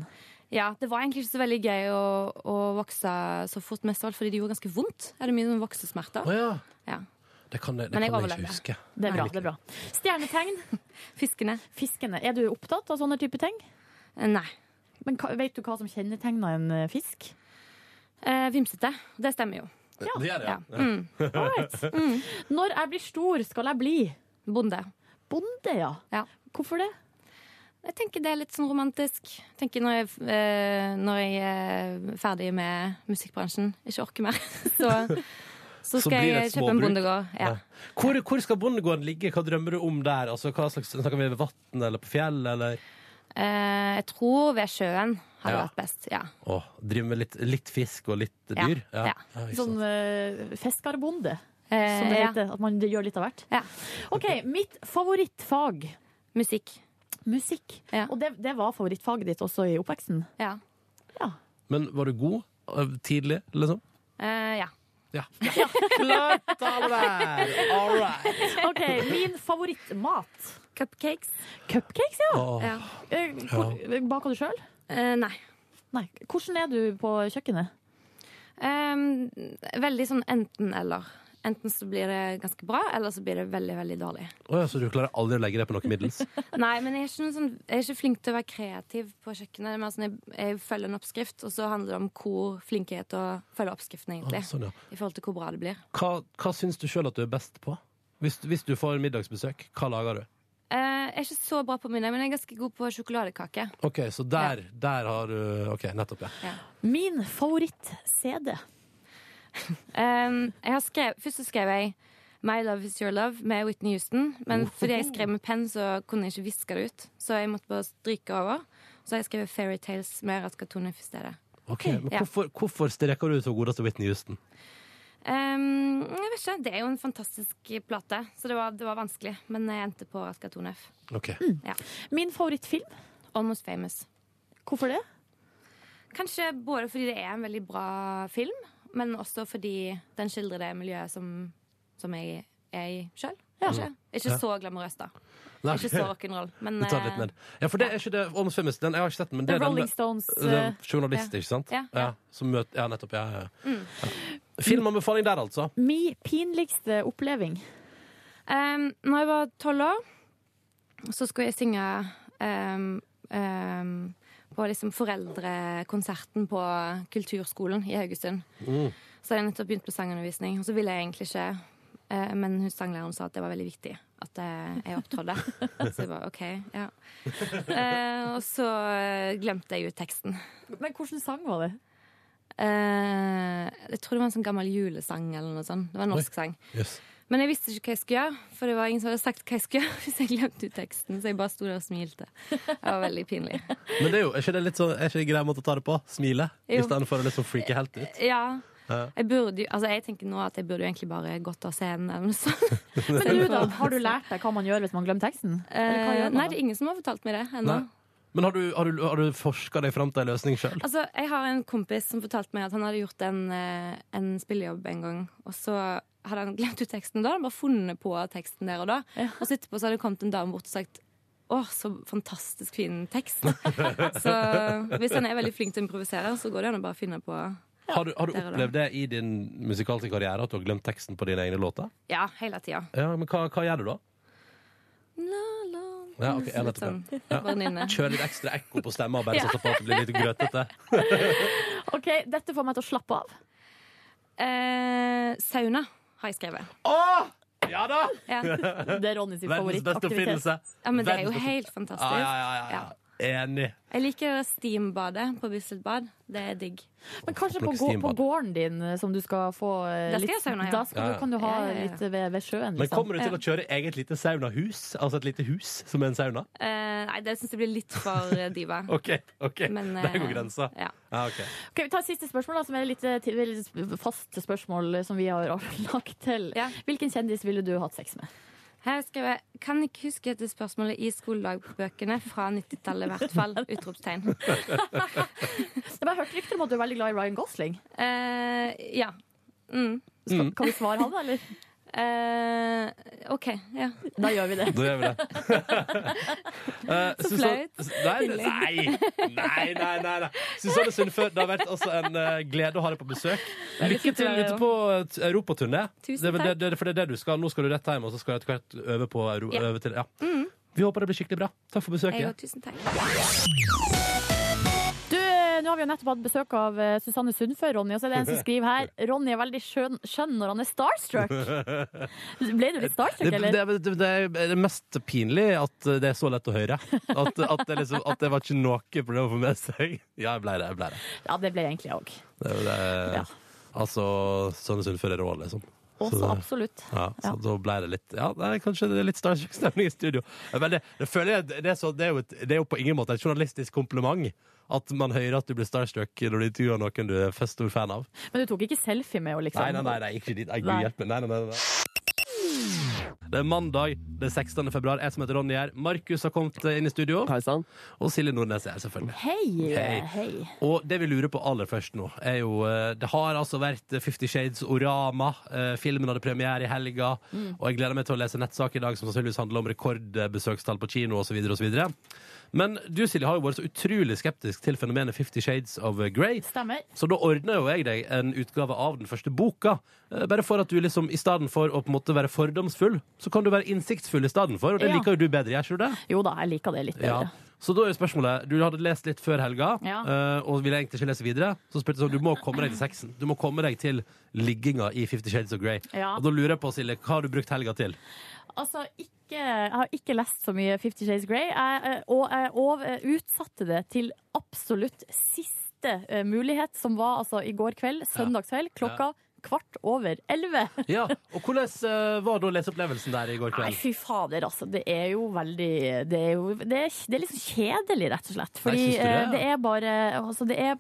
S7: Ja, det var egentlig ikke så veldig gøy å, å vokse så fort, mest av alt fordi det gjorde ganske vondt. Jeg hadde mye sånn voksesmerter.
S1: Å ja.
S7: Ja.
S1: Det kan jeg, det
S7: Men jeg
S1: kan jeg
S7: overlevde.
S1: ikke huske.
S2: Det er bra. det er bra. Stjernetegn?
S7: Fiskene.
S2: Fiskene. Er du opptatt av sånne type ting?
S7: Eh, Nei.
S2: Men hva, vet du hva som kjennetegner en eh, fisk?
S7: Eh, vimsete. Det stemmer jo.
S1: Det gjør jeg. Ja.
S2: All right. Når jeg blir stor, skal jeg bli
S7: Bonde.
S2: bonde, ja.
S7: Ja.
S2: Hvorfor det?
S7: Jeg tenker det er litt sånn romantisk. Jeg tenker når jeg, eh, når jeg er ferdig med musikkbransjen, ikke orker mer, så, så
S1: Så
S7: skal
S1: blir det
S7: jeg
S1: et
S7: kjøpe en
S1: småbruk.
S7: bondegård. Ja.
S1: Hvor, hvor skal bondegården ligge? Hva drømmer du om der? Altså, hva slags, snakker vi ved vann eller på fjell? Eller?
S7: Eh, jeg tror ved sjøen hadde
S1: Ja.
S7: vært best. Ja.
S1: Å, drive med litt, litt fisk og litt
S7: Ja,
S1: dyr?
S7: ja.
S1: ikke sant.
S2: Sånn eh, fiskerbonde,
S7: Eh,
S2: som det
S7: ja.
S2: heter. At man gjør litt av hvert.
S7: Ja.
S2: OK, mitt favorittfag.
S7: Musikk.
S2: Musikk.
S7: Ja.
S2: Og det, det var favorittfaget ditt også i oppveksten?
S7: Ja.
S1: Men var du god eh, tidlig, liksom?
S7: Eh, ja.
S1: Ja. Klart tale der! All right.
S2: OK, min favorittmat.
S7: Cupcakes?
S2: Cupcakes, ja.
S1: Åh,
S7: Ja.
S2: Eh, Hvor, baker du sjøl?
S7: Eh, nei.
S2: Nei. Hvordan er du på kjøkkenet?
S7: Ehm, veldig sånn enten-eller. Enten så blir det ganske bra, eller så blir det veldig, veldig dårlig.
S1: Åh, ja, så du klarer aldri å legge deg på noe middels?
S7: Nei, men jeg er, ikke noen sånn, jeg er ikke flink til å være kreativ på kjøkkenet. Det er mer sånn, jeg, jeg følger en oppskrift, og så handler det om hvor flink jeg er til å følge oppskriften. egentlig.
S1: Åh, sånn, ja.
S7: I forhold til hvor bra det blir.
S1: Hva, hva syns du sjøl at du er best på? Hvis, hvis du får middagsbesøk, hva lager du?
S7: Eh, jeg er ikke så bra på middag, men jeg er ganske god på sjokoladekake.
S1: OK, så der, der har du OK, nettopp, ja.
S2: Min favoritt-CD.
S7: Ehm, jeg har skrev, først så skrev jeg My Love Is Your Love med Whitney Houston. Men fordi jeg skrev med penn, så kunne jeg ikke viske det ut. Så jeg måtte bare stryke over. Så har jeg skrevet Fairytales med Raska Tornif i stedet.
S1: Ok, men
S7: Ja.
S1: hvorfor, hvorfor streker du ut av godeste Whitney Houston?
S7: Ehm, jeg vet ikke, Det er jo en fantastisk plate, så det var, det var vanskelig. Men jeg endte på Raska Tornif.
S1: Ok.
S2: Min favorittfilm.
S7: Almost Famous.
S2: Hvorfor det?
S7: Kanskje både fordi det er en veldig bra film, men også fordi den skildrer det miljøet som, som jeg er i sjøl.
S1: Mm.
S7: Kanskje. Ikke
S1: Ja.
S7: så glamorøst, da.
S1: Nei,
S7: Ikke så rock'n'roll. Men eh,
S1: Vi tar det litt ned. Ja, for det er ikke det Almost Famous. Den, jeg har ikke sett den, men det
S2: The
S1: er den
S2: Rolling
S1: med
S2: Stones.
S1: den
S2: eh,
S1: journalist,
S7: ja.
S1: ikke sant?
S7: Ja, Mm. ja.
S1: som møter, ja nettopp. Ja, ja. ja. Filmanbefaling der, altså.
S2: Mi pinligste oppleving.
S7: Um, når jeg var tolv år, så skulle jeg synge ehm, ehm, på liksom foreldrekonserten på kulturskolen i Haugesund. Så hadde jeg nettopp begynt på sangundervisning, og så ville jeg egentlig ikke. eh, men hun sanglæreren sa at det var veldig viktig at eh, jeg opptrådde. Så jeg bare OK, ja. Eh, og så eh, glemte jeg jo teksten.
S2: Men hvilken sang var det?
S7: Eh, jeg tror det var en sånn gammel julesang eller noe sånt. Det var en norsk sang.
S1: Yes.
S7: Men jeg visste ikke hva jeg skulle gjøre, for det var ingen som hadde sagt hva jeg skulle gjøre. Hvis jeg glemte ut teksten, så jeg bare sto der og smilte. Det var veldig pinlig.
S1: Men det er jo er ikke det litt sånn, er ikke det grei måte å ta det på? Smile?
S7: Jo.
S1: Istedenfor å liksom freake helt ut.
S7: Ja. Jeg burde jo Altså, jeg tenker nå at jeg burde jo egentlig bare gått av scenen eller noe sånt.
S2: Men du da, Har du lært deg hva man gjør hvis man glemmer teksten? Eller hva
S7: Eh,
S2: gjør
S7: nei,
S2: man
S7: det
S2: da?
S7: er ingen som har fortalt meg det ennå.
S1: Nei. Men har du, har du, har du forska deg fram til en løsning sjøl?
S7: Altså, jeg har en kompis som fortalte meg at han hadde gjort en, eh, en spillejobb en gang, og så hadde han glemt ut teksten da, han bare funnet på teksten der og da, og så etterpå så hadde det kommet en dame bort og sagt Åh, så fantastisk fin tekst. så hvis han er veldig flink til å improvisere, så går det an å bare finne på
S1: Har, du- har du
S7: der og da.
S1: opplevd det i din musikalske karriere, at du har glemt teksten på dine egne låter?
S7: Ja, hele tida.
S1: Ja, men hva, hva gjør du da?
S7: La, la
S1: Ja, ok, jeg
S7: Litt
S1: nettopp,
S7: sånn. Venninne.
S1: Kjør litt ekstra ekko på stemma og bare satser på at det blir litt grøtete.
S2: Ok, Dette får meg til å slappe av.
S7: Eh, sauna har jeg skrevet.
S1: Å! Ja da!
S7: Ja.
S2: Det er Ronny
S1: Verdens
S2: sin
S1: beste
S2: favorittaktivitet.
S1: oppfinnelse.
S7: ja, men det er jo
S1: Verdens beste-
S7: helt
S1: Ja, ja,
S7: fantastisk.
S1: ja, ja, ja. Enig.
S7: Jeg liker steambadet på Bislett-bad. Det er digg.
S2: Men kanskje på,
S1: Plukke
S2: gå, på
S1: stimbad.
S2: gården din eh, som du skal få eh,
S7: Da skal
S2: litt-
S7: jeg sauna, ja.
S2: Da skal
S1: Ja,
S2: du,
S1: ja.
S2: kan du ha
S7: Ja, ja, ja.
S2: litt ved, ved sjøen.
S1: Men
S2: Liksom.
S1: kommer du til å kjøre eget lite saunahus? Altså et lite hus som er en sauna?
S7: Eh, nei, det syns jeg blir litt for eh, diva.
S1: OK, ok,
S7: Men,
S1: der
S7: eh,
S1: går grensa.
S7: ja.
S1: Ja, ok.
S2: Ok, vi tar et siste spørsmål, da, som er litt, eh, til- veldig sp- faste spørsmål eh, som vi har lagt til.
S7: Ja.
S2: Hvilken kjendis ville du hatt sex med?
S7: Her skrev jeg Kan ikke huske dette spørsmålet i skoledagbøkene fra 90-tallet, i hvert fall. Utropstegn.
S2: Jeg har bare hørt rykter om at du er veldig glad i Ryan Gosling.
S7: Eh, ja. Mm.
S2: Skal, Kan vi svare han, eller?
S7: Eh, OK. Ja.
S2: Da gjør vi det.
S1: Da gjør vi det. Eh, Susanne- Nei, det- nei, nei, nei, nei, nei. Susanne Sundfør, det har vært altså en eh, glede å ha deg på besøk. Lykke til
S2: være det,
S1: ute på eh, europaturné.
S7: Tusen
S1: Det er vel
S7: takk.
S1: det, det, for det er det du skal. Nå skal du rett hjem, og så skal du etter hvert øve på euro,
S7: Ja. Mm.
S1: øve til. Ja. Vi håper det blir skikkelig bra. Takk for
S7: Jeg
S1: besøket.
S7: òg. Tusen takk.
S2: Du, eh, nå har vi jo nettopp hatt besøk av eh, Susanne Sundfør, Ronny, og så er det en som skriver her Ronny er veldig skjønn, skjønn når han er starstruck. Ble du litt starstruck,
S1: Det,
S2: eller?
S1: det, er- det, det er det mest pinlig at eh, det er så lett å høre. At, at, det, liksom, at det var ikke noe problem å få med seg. Ja, jeg ble det. jeg ble det.
S2: Ja, det ble jeg egentlig jeg òg.
S1: det, er jo det
S2: Ja.
S1: Altså, Sønne Sundfør er rå, liksom.
S2: Også
S1: Så det-
S2: absolutt.
S1: Ja, så
S2: Ja.
S1: da ble det litt Ja, det er kanskje det er litt starstruck-stemning i studio. Men det, det føler jeg det er, så, det, er jo et, det er jo på ingen måte et journalistisk kompliment at man hører at du blir starstruck når du intervjuer noen du er først stor fan av.
S2: Men du tok ikke selfie med henne, liksom?
S1: Nei, nei, nei, nei ikke dit. Nei, Gud
S2: Nei.
S1: hjelpe meg. Nei, nei, nei, nei. Det er mandag det er 16. februar. Jeg som heter Ronny her. Markus har kommet inn i studio.
S3: Hei sann.
S1: Og Silje Nordnes er her, selvfølgelig.
S2: Hei,
S1: Hei.
S2: hei.
S1: Og det vi lurer på aller først nå, er jo eh, Det har altså vært Fifty Shades Orama. eh, Filmen hadde premiere i helga. Og jeg gleder meg til å lese nettsak i dag som sannsynligvis handler om rekordbesøkstall på kino osv. videre Men du Silje har jo vært så utrolig skeptisk til fenomenet Fifty Shades of Grey.
S2: Stemmer.
S1: Så da ordner jo jeg deg en utgave av den første boka. Eh, Bare for at du liksom, i stedet for å på en måte være fordomsfull, så kan du være innsiktsfull i stedet for. Og det
S2: Ja.
S1: liker jo du bedre, gjør ikke du det?
S2: Jo da, jeg liker det litt
S1: Ja.
S2: bedre.
S1: Så da er jo spørsmålet Du hadde lest litt før helga
S2: Ja.
S1: eh, og ville egentlig ikke lese videre. Så spurte jeg sånn, du må komme deg til sexen. Du må komme deg til ligginga i Fifty Shades of Grey.
S2: Ja.
S1: Og da lurer jeg på, Silje, hva har du brukt helga til?
S2: Altså, ikke, jeg har ikke lest så mye Fifty Shades Grey, jeg, eh, og jeg og, eh, utsatte det til absolutt siste eh, mulighet, som var altså i går kveld, søndagskveld, klokka kvart over elleve.
S4: Ja, og hvordan eh, var da leseopplevelsen der i går
S2: Nei,
S4: kveld?
S2: fy fader, altså. Det er jo veldig Det er, jo, det er, det er liksom kjedelig, rett og slett. Fordi
S4: Nei, syns du det,
S2: eh,
S4: ja?
S2: det er bare Altså, det er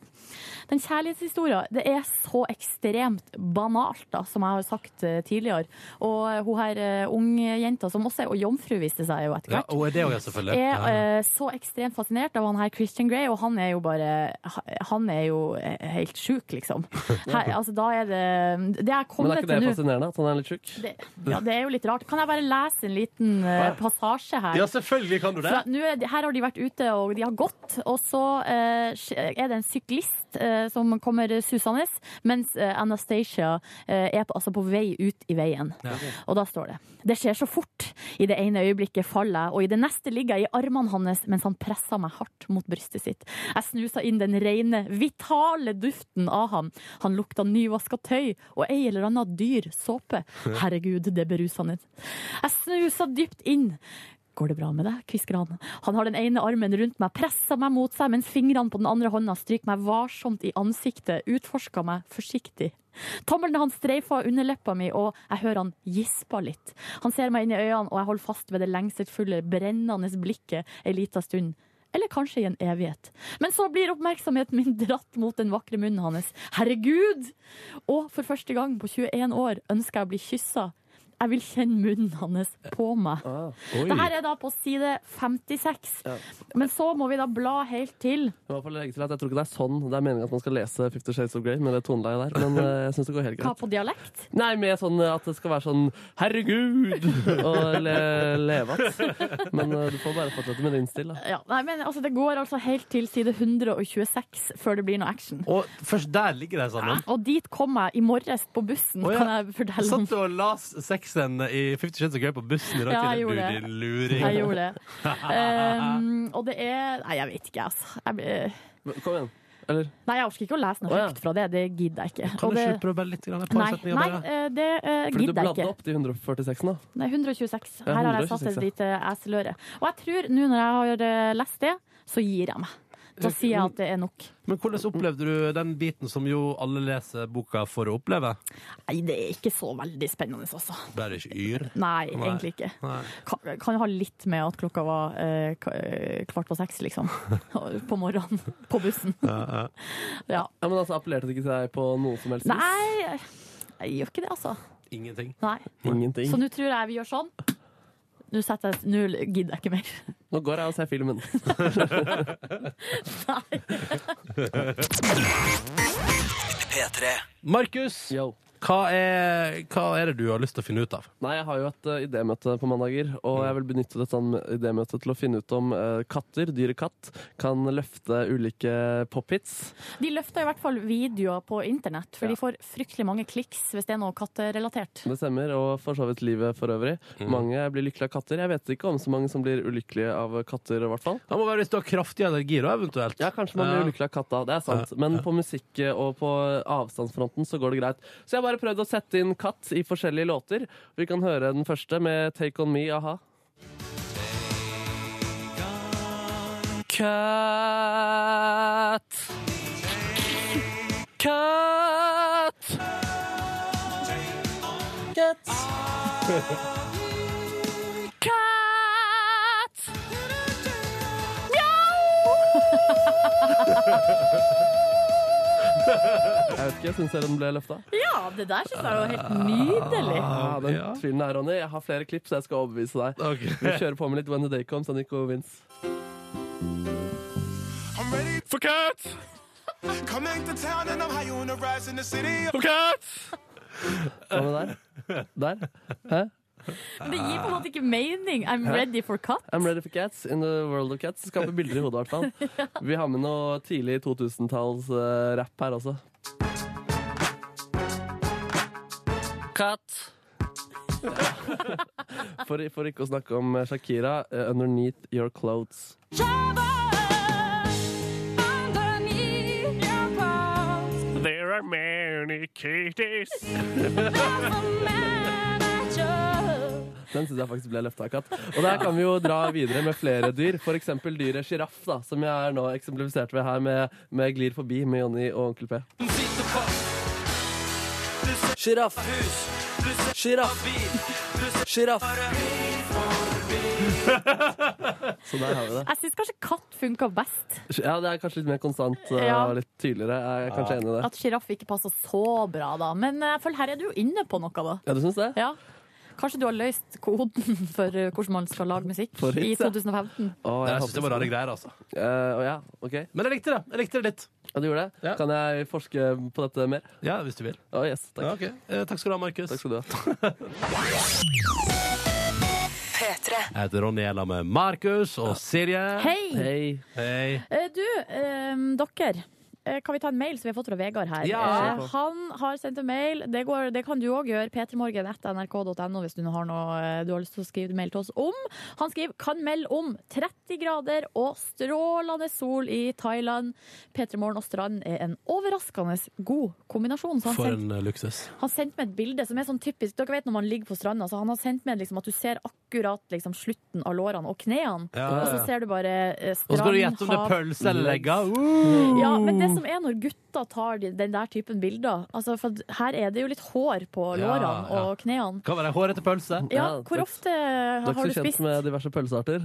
S2: Den kjærlighetshistorien, det er så ekstremt banalt, da, som jeg har sagt eh, tidligere. Og eh, hun her eh, ungjenta, som også er og jomfru, viste det seg jo etter
S4: Ja,
S2: hvert.
S4: og er det òg, selvfølgelig.
S2: er
S4: Ja, ja.
S2: eh, så ekstremt fascinert av han her Christian Grey, og han er jo bare Han er jo eh, helt sjuk, liksom. Her, altså, da er det Det jeg er
S3: Men er
S2: kommet
S3: ikke det
S2: til nå
S3: fascinerende at han er litt tjukk?
S2: det, ja, det er jo litt rart. Kan jeg bare lese en liten eh, passasje her?
S4: ja, selvfølgelig kan du det.
S2: Fra, nå er, de- her har de vært ute, og de har gått. Og så eh, sk- er det en syklist eh, som kommer susende, mens eh, Anastacia eh, er på, altså på vei ut i veien. Og da står det Det skjer så fort. I det ene øyeblikket faller jeg, og i det neste ligger jeg i armene hans mens han presser meg hardt mot brystet sitt. Jeg snusa inn den rene, vitale duften av ham. Han lukta nyvaska tøy og ei eller anna dyr såpe. Herregud, det beruser han. Jeg snusa dypt inn. Går det bra med deg? kvisker han. Han har den ene armen rundt meg, presser meg mot seg, mens fingrene på den andre hånda stryker meg varsomt i ansiktet, utforsker meg forsiktig. Tommelen hans streifer underleppa mi, og jeg hører han gisper litt. Han ser meg inn i øynene, og jeg holder fast ved det lengselsfulle, brennende blikket ei lita stund. Eller kanskje i en evighet. Men så blir oppmerksomheten min dratt mot den vakre munnen hans. Herregud! Og for første gang på 21 år ønsker jeg å bli kyssa. Jeg vil kjenne munnen hans på meg. Det her er da på side 56. Men så må vi da bla helt til.
S3: Jeg, må bare legge til at jeg tror ikke det er sånn det er meningen at man skal lese Fifty Shades of Grey med det tonelaget der, men eh, jeg syns det går helt
S2: Hva
S3: greit.
S2: på dialekt?
S3: Nei, med sånn eh, at det skal være sånn 'herregud' og le leve att. Men eh, du får bare fortsette med din stil, da.
S2: Ja, nei, men altså, det går altså helt til side 126 før det blir noe action.
S4: Og først der ligger de sammen.
S2: Og dit kom jeg i morges på bussen,
S4: Å, ja.
S2: kan jeg fortelle om.
S4: Satt du og las sexen i Fifty Shades of Grey på bussen i dag
S2: Ja, jeg
S4: til? Du,
S2: gjorde det.
S4: din luring.
S2: Jeg gjorde det. Ehm, og det er Nei, jeg vet ikke, altså. Jeg, blir-
S3: Men Kom igjen. Eller?
S2: nei, jeg orker ikke å lese noe
S3: Å, ja.
S2: høyt fra det. Det gidder jeg ikke.
S4: Kan
S2: Og
S4: du
S2: det,
S4: ikke prøve bare litt? Grann, et par
S2: nei,
S4: setninger
S2: nei,
S4: bare?
S2: eh, det eh,
S3: Fordi du
S2: gidder jeg
S3: bladde
S2: ikke.
S3: opp de 146, da.
S2: Nei, 126.
S3: Ja,
S2: Her har jeg satt
S3: 126,
S2: et
S3: ja.
S2: lite eseløre. Og jeg tror, nå når jeg har eh, lest det, så gir jeg meg. Da sier jeg at det er nok.
S4: Men hvordan opplevde du den biten som jo alle leser boka for å oppleve?
S2: Nei, det er ikke så veldig spennende, altså.
S4: Ble det ikke yr?
S2: Nei,
S4: Nei.
S2: egentlig ikke.
S4: Nei.
S2: Kan, kan ha litt med at klokka var eh, k- eh, kvart på seks, liksom. På morgenen. På bussen. Ja.
S3: Ja, men altså, Appellerte det ikke til deg på noe som helst vis?
S2: Nei, jeg gjør ikke det, altså.
S4: Ingenting.
S2: Nei.
S3: Ingenting.
S2: Så nå tror jeg vi gjør sånn. Nå setter jeg Nå gidder jeg ikke mer.
S3: Nå går jeg og ser filmen.
S2: Nei.
S4: Markus,
S3: Yo.
S4: hva, er, hva er det du har lyst til å finne ut av?
S3: Nei, jeg har jo et eh, idémøte på mandager, og jeg vil benytte dette idémøtet til å finne ut om eh, katter, dyre katt, kan løfte ulike pop-hits.
S2: De løfter i hvert fall videoer på internett, for de får fryktelig mange kliks hvis det er noe katterelatert.
S3: Det stemmer, og for så vidt livet for øvrig. Mange blir lykkelige av katter. Jeg vet ikke om så mange som blir ulykkelige av katter, i hvert fall.
S4: Det må være hvis du har kraftig allergi, da, eventuelt.
S3: Ja, kanskje man blir
S4: Ja.
S3: ulykkelig av katta. Det er sant. Men på musikk eh, og på avstandsfronten så går det greit. Så jeg har bare prøvd å sette inn katt i forskjellige låter. Vi kan høre den første med Take On Me, a-ha. Katt. Katt. Katt. Katt. Jeg vet ikke, syns dere den ble løfta?
S2: Ja, det der syns jeg er jo helt nydelig.
S3: Ja, den
S4: ja.
S3: tvilen er, Ronny. Jeg har flere klipp, så jeg skal overbevise deg.
S4: Ok.
S3: Vi kjører på med litt When the Day Comes av Nico Vince.
S8: For cat! Coming to town and I'm high on the rise in the city. For cat!
S3: Hva med der? Der? Hæ?
S2: Men det gir på en måte ikke mening. I'm ready for cut.
S3: I'm ready for cats in the world of cats. Skaper bilder i hodet, i hvert fall. Vi har med noe tidlig 2000-talls-rapp her også. Katt. For, for ikke å snakke om Shakira, eh, 'Underneath Your Clothes'.
S8: There are many kitties.
S3: Den synes jeg faktisk ble løftet av katt. Og der kan vi jo dra videre med flere dyr. For eksempel dyret sjiraff, da, som jeg er nå eksemplifisert ved her med, med Glir forbi med Jonny og Onkel P.
S9: Sjiraff. Sjiraff. Sjiraff.
S3: Så der har vi det.
S2: Jeg syns kanskje katt funka best.
S3: Ja, det er kanskje litt mer konstant eh,
S2: Ja.
S3: og litt tydeligere. Jeg er kanskje enig i det.
S2: At sjiraff ikke passer så bra, da. Men eh, jeg føler her er du jo inne på noe, da.
S3: Ja, du syns det?
S2: Ja. Kanskje du har løst koden for eh, hvordan man skal lage musikk
S3: For
S2: i
S3: hits, ja.
S2: 2015?
S3: Å,
S1: Jeg
S3: håper
S1: synes det var rare greier, altså.
S3: Eh, å ja, ok.
S1: Men jeg likte det. Jeg likte det litt.
S3: Ja, du gjorde det?
S1: Ja.
S3: Kan jeg forske på dette mer?
S1: Ja, hvis du vil.
S3: Å, yes, takk.
S1: Ja, ok. eh, takk skal du ha, Markus.
S3: Takk skal du ha.
S1: Jeg heter Ronny Gjella med Markus og Silje.
S2: Hei!
S3: Hei.
S1: Hei.
S2: Eh, Du, eh, dere. eh, Kan vi ta en mail som vi har fått fra Vegard her?
S1: Ja.
S2: Eh, Han har sendt en mail. Det, går, det kan du òg gjøre. p3morgen.nrk.no hvis du nå har noe eh, du har lyst til å skrive mail til oss om. Han skriver 'Kan melde om 30 grader og strålende sol i Thailand'. P3morgen og strand er en overraskende god kombinasjon. Så han
S1: For
S2: sendte-
S1: en eh, luksus.
S2: Han sendte meg et bilde som er sånn typisk Dere vet når man ligger på stranda, så han har sendt meg liksom at du ser akkurat liksom slutten av lårene og knærne.
S1: Ja, ja, ja.
S2: Og så ser du bare eh,
S1: Og så
S2: strand,
S1: skal du gjette om det er
S2: hav
S1: pølse eller legger.
S2: ja, men
S1: Mm.
S2: det som er når gutta tar de- den der typen bilder altså For at her er det jo litt hår på
S1: Ja,
S2: lårene
S1: ja.
S2: og knærne.
S1: Kan være hårete pølse.
S2: Ja,
S3: Ja,
S2: hvor
S3: dere-
S2: ofte
S3: Du er
S2: har
S3: ikke
S2: du
S3: så kjent
S2: spist?
S3: med diverse pølsearter?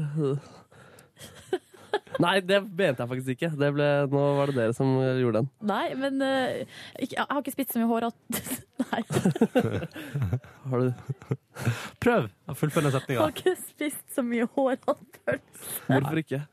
S3: Nei, det mente jeg faktisk ikke. Det ble, nå var det dere som gjorde den.
S2: Nei, men eh, ikke, jeg har ikke spist så mye hår at Nei, jeg
S3: Har du,
S1: Prøv å fullføre setninga.
S2: har ikke spist så mye hår at
S3: hvorfor ikke?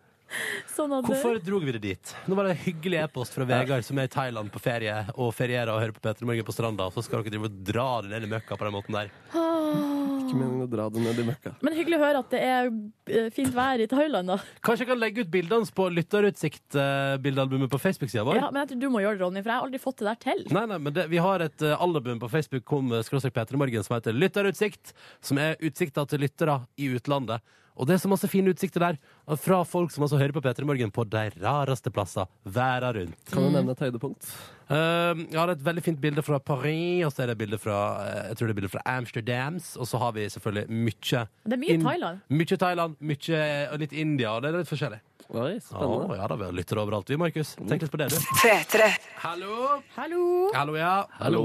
S2: Sånn at det-
S1: Hvorfor drog vi det dit? Nå var det en hyggelig e-post fra Vegard som er i Thailand på ferie og ferierer og hører på Peter Morgen på stranda, så skal dere drive og dra det ned i møkka på den måten der.
S3: Ikke meningen å dra det ned i møkka.
S2: Ah. Men hyggelig å høre at det er eh, fint vær i Thailand, da.
S1: Kanskje jeg kan legge ut bildene hans på Lytterutsikt-bildealbumet på Facebook-sida vår?
S2: Ja, men jeg tror du må gjøre det, Ronny, for jeg har aldri fått det der til.
S1: Nei, nei, men det, Vi har et eh, album på Facebook kom, eh, skråstrek Peter i morgen, som heter Lytterutsikt. Som er utsikta til lyttere i utlandet. Og det er så masse fine utsikter der. og Fra folk som altså hører på Peter i morgen på de rareste plasser verden rundt.
S3: Kan du nevne et høydepunkt?
S1: Eh, jeg har et veldig fint bilde fra Paris, og så er det et bilde fra, eh, jeg tror det er et bilde fra Amsterdams. Og så har vi selvfølgelig mye
S2: Det er mye
S1: Inn-
S2: Thailand.
S1: Mye Thailand, mye, eh, og litt India, og det er litt forskjellig.
S3: Oi,
S1: Å,
S3: spennende.
S1: ja da, vi har lyttere overalt, vi, Markus. Tenk litt på det, du. Hallo.
S2: Hallo!
S1: Hallo, ja.
S3: Hallo.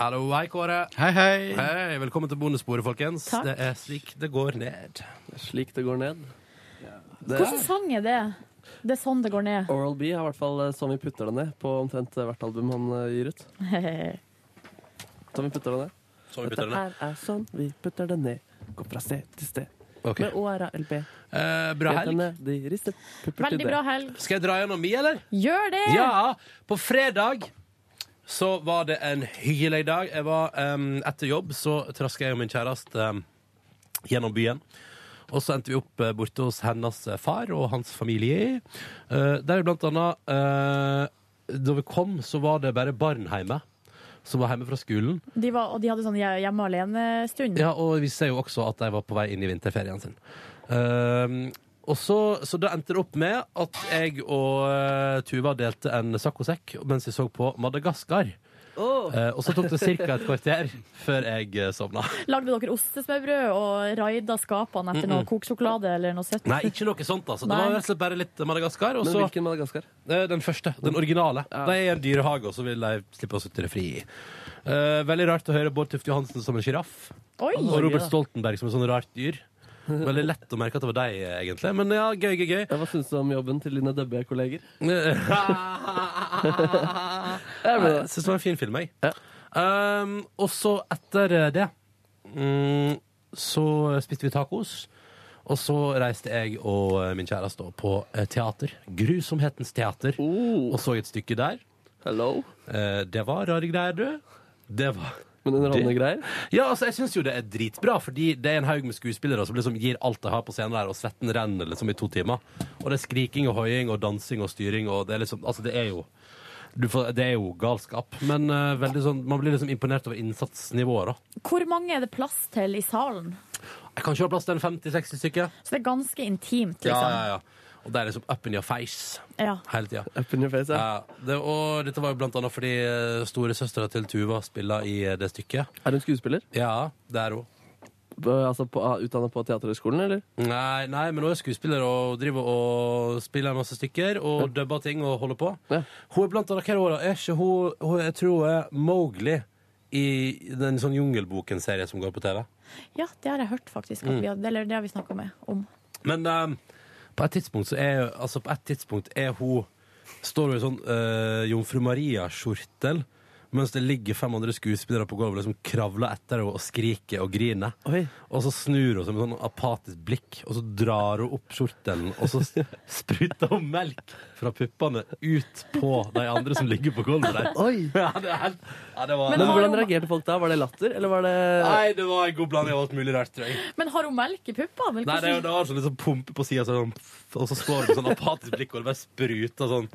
S1: Hallo, hei, Kåre.
S9: Hei, hei.
S1: Hei, velkommen til bonusbordet, folkens.
S2: Takk.
S1: Det er slik det går ned.
S3: Slik det går ned. Det
S2: Hvilken sang er det? Det er sånn det går ned.
S3: Oral B har i hvert fall eh, som vi putter det ned på omtrent eh, hvert album han eh, gir ut. Som vi putter det ned.
S1: Så vi
S3: Dette
S1: bytter den.
S3: her er sånn vi putter det ned. Går fra sted til sted.
S1: Ok.
S3: Med O-R-A-L-B.
S1: Eh, bra helg.
S3: Jentene, de rister pupper til
S2: Veldig
S3: det.
S2: bra helg.
S1: Skal jeg dra gjennom mi, eller?
S2: Gjør det!
S1: Ja! På fredag så var det en hyggelig dag. Jeg var em, Etter jobb så traska jeg og min kjæreste em, gjennom byen. Og så endte vi opp eh, borte hos hennes eh, far og hans familie. Eh, der blant annet eh, Da vi kom, så var det bare barn hjemme. Som var hjemme fra skolen.
S2: De var, og de hadde sånn hje- hjemme alene-stund.
S1: Ja, og vi ser jo også at de var på vei inn i vinterferien sin. Ehm, og så, så da endte det opp med at jeg og eh, Tuva delte en saccosekk mens vi så på Madagaskar. Eh, og så tok det ca. et kvarter før jeg eh, sovna.
S2: Lagde dere ostesmørbrød og raida skapene etter noe kokesjokolade eller noe søtt?
S1: Nei, ikke noe sånt, altså. Det var
S2: Nei.
S1: rett og slett bare litt Madagaskar. Og
S3: Men
S1: så
S3: hvilken Madagaskar?
S1: eh, den første. Den originale.
S3: Ja.
S1: De er i en dyrehage, og så vil de slippe oss ut i det fri. Eh, veldig rart å høre Bård Tufte Johansen som en sjiraff.
S2: Oi!
S1: Og Robert Stoltenberg som et sånn rart dyr. Veldig lett å merke at det var deg, egentlig. Men ja, gøy, gøy, gøy.
S3: Ja, Hva syns du om jobben til dine dubbe-kolleger?
S1: Nei, Jeg syns det var en fin film, jeg.
S3: Ja.
S1: Um, og så etter eh, det mm, så spiste vi tacos. Og så reiste jeg og min kjæreste da på eh, teater. Grusomhetens teater.
S3: Oh.
S1: Og så et stykke der.
S3: Hello?
S1: Eh, det var rare greier, du. Det var
S3: Men underholdende greier?
S1: Ja, altså, jeg syns jo det er dritbra, fordi det er en haug med skuespillere som liksom gir alt de har på scenen der, og svetten renner liksom i to timer. Og det er skriking og hoiing og dansing og styring, og det er liksom Altså, det er jo du får, Det er jo galskap, men eh, veldig sånn Man blir liksom imponert over innsatsnivået, da.
S2: Hvor mange er det plass til i salen?
S1: Jeg kan ikke ha plass til en 50-60 stykker.
S2: Så det er ganske intimt,
S1: Ja,
S2: liksom.
S1: ja, ja. Og det er liksom up in your face
S2: Ja.
S1: hele tida.
S3: Up in your face, ja.
S1: Ja, det, og dette var jo blant annet fordi eh, storesøstera til Tuva spilla i eh, det stykket.
S3: Er hun skuespiller?
S1: Ja, det er hun.
S3: B- Altså på, ah, Utdannet på Teaterhøgskolen, eller?
S1: Nei, nei, men hun er skuespiller og driver og spiller masse stykker og dubber ting og holder på.
S3: Ja.
S1: Hun er blant annet hva er hun da? Er ikke hun, hun Jeg tror hun er Mowgli i den sånn Jungelboken-serien som går på TV.
S2: Ja, det har jeg hørt, faktisk.
S1: Mm.
S2: At vi hadde, eller det har vi snakka med om.
S1: Men eh, på et tidspunkt så er Altså på et tidspunkt er hun Står hun i sånn eh, Jomfru Maria-skjortel Mens det ligger 500 skuespillere på gulvet Som kravler etter henne og skriker og griner
S3: Oi.
S1: Og så snur hun seg med sånn apatisk blikk Og så drar hun opp skjortelen Og så s- sprutter hun melk Fra puppene ut på De andre som ligger på gulvet der ja, det, er, helt- ja, det var
S2: Men
S3: Men
S2: har
S3: hvordan
S2: hun-
S3: reagerte folk da? Var det latter, eller var det
S1: Nei, det var en god blanding av alt mulig rart, tror jeg
S2: Men har hun melk i puppa? Vel,
S1: Nei, det er jo
S2: hvordan-
S1: det var sånn liksom pumpe på sida, sånn, og så slår det med sånn apatisk blikk, og det bare spruter sånn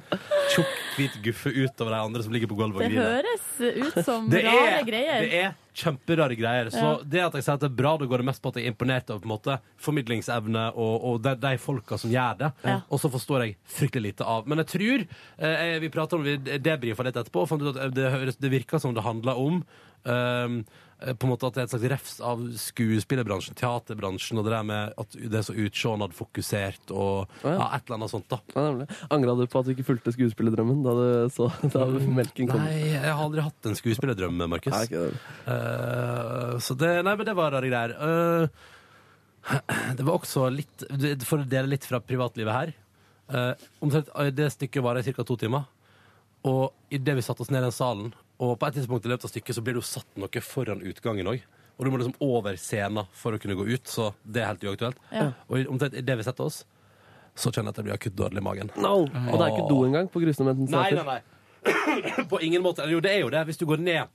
S1: tjukk, hvit guffe utover de andre som ligger på gulvet
S2: det
S1: og griner.
S2: høres ut som
S1: Det
S2: rare
S1: er,
S2: greier.
S1: det er kjemperare greier. Så
S2: Ja.
S1: det at jeg sier at det er bra, det går det mest på at jeg er imponert over på en måte, formidlingsevne og, og de, de folka som gjør det.
S2: Ja.
S1: Og så forstår jeg fryktelig lite av. Men jeg tror eh, jeg- Vi pratet om vi debrifa litt etterpå og fant ut at det, høres- det virka som det handla om ehm, eh, på en måte at det er et slags refs av skuespillerbransjen, teaterbransjen, og det der med at det er så utsjånad-fokusert og
S3: ja.
S1: ja, et eller annet sånt, da.
S3: Ja, nemlig. Angra du på at du ikke fulgte skuespillerdrømmen da du så da melken kom?
S1: Nei, jeg har aldri hatt en skuespillerdrøm, Markus.
S3: Nei, ikke det.
S1: Eh, så det, nei, men det var rare greier. Eh, det var også litt For å dele litt fra privatlivet her. eh, omtrent eh, Det stykket varer i ca. to timer. Og idet vi satte oss ned i den salen, og på et tidspunkt i løpet av stykket, så blir det jo satt noe foran utgangen òg. Og du må liksom over scenen for å kunne gå ut, så det er helt uaktuelt.
S2: Ja.
S1: Og omtrent idet vi setter oss, så kjenner jeg at jeg blir akutt dårlig i magen.
S3: No! Og det er ikke do engang på Grusnementens
S1: Nei,
S3: teater.
S1: nei, nei. På ingen måte. Eller Jo, det er jo det. Hvis du går ned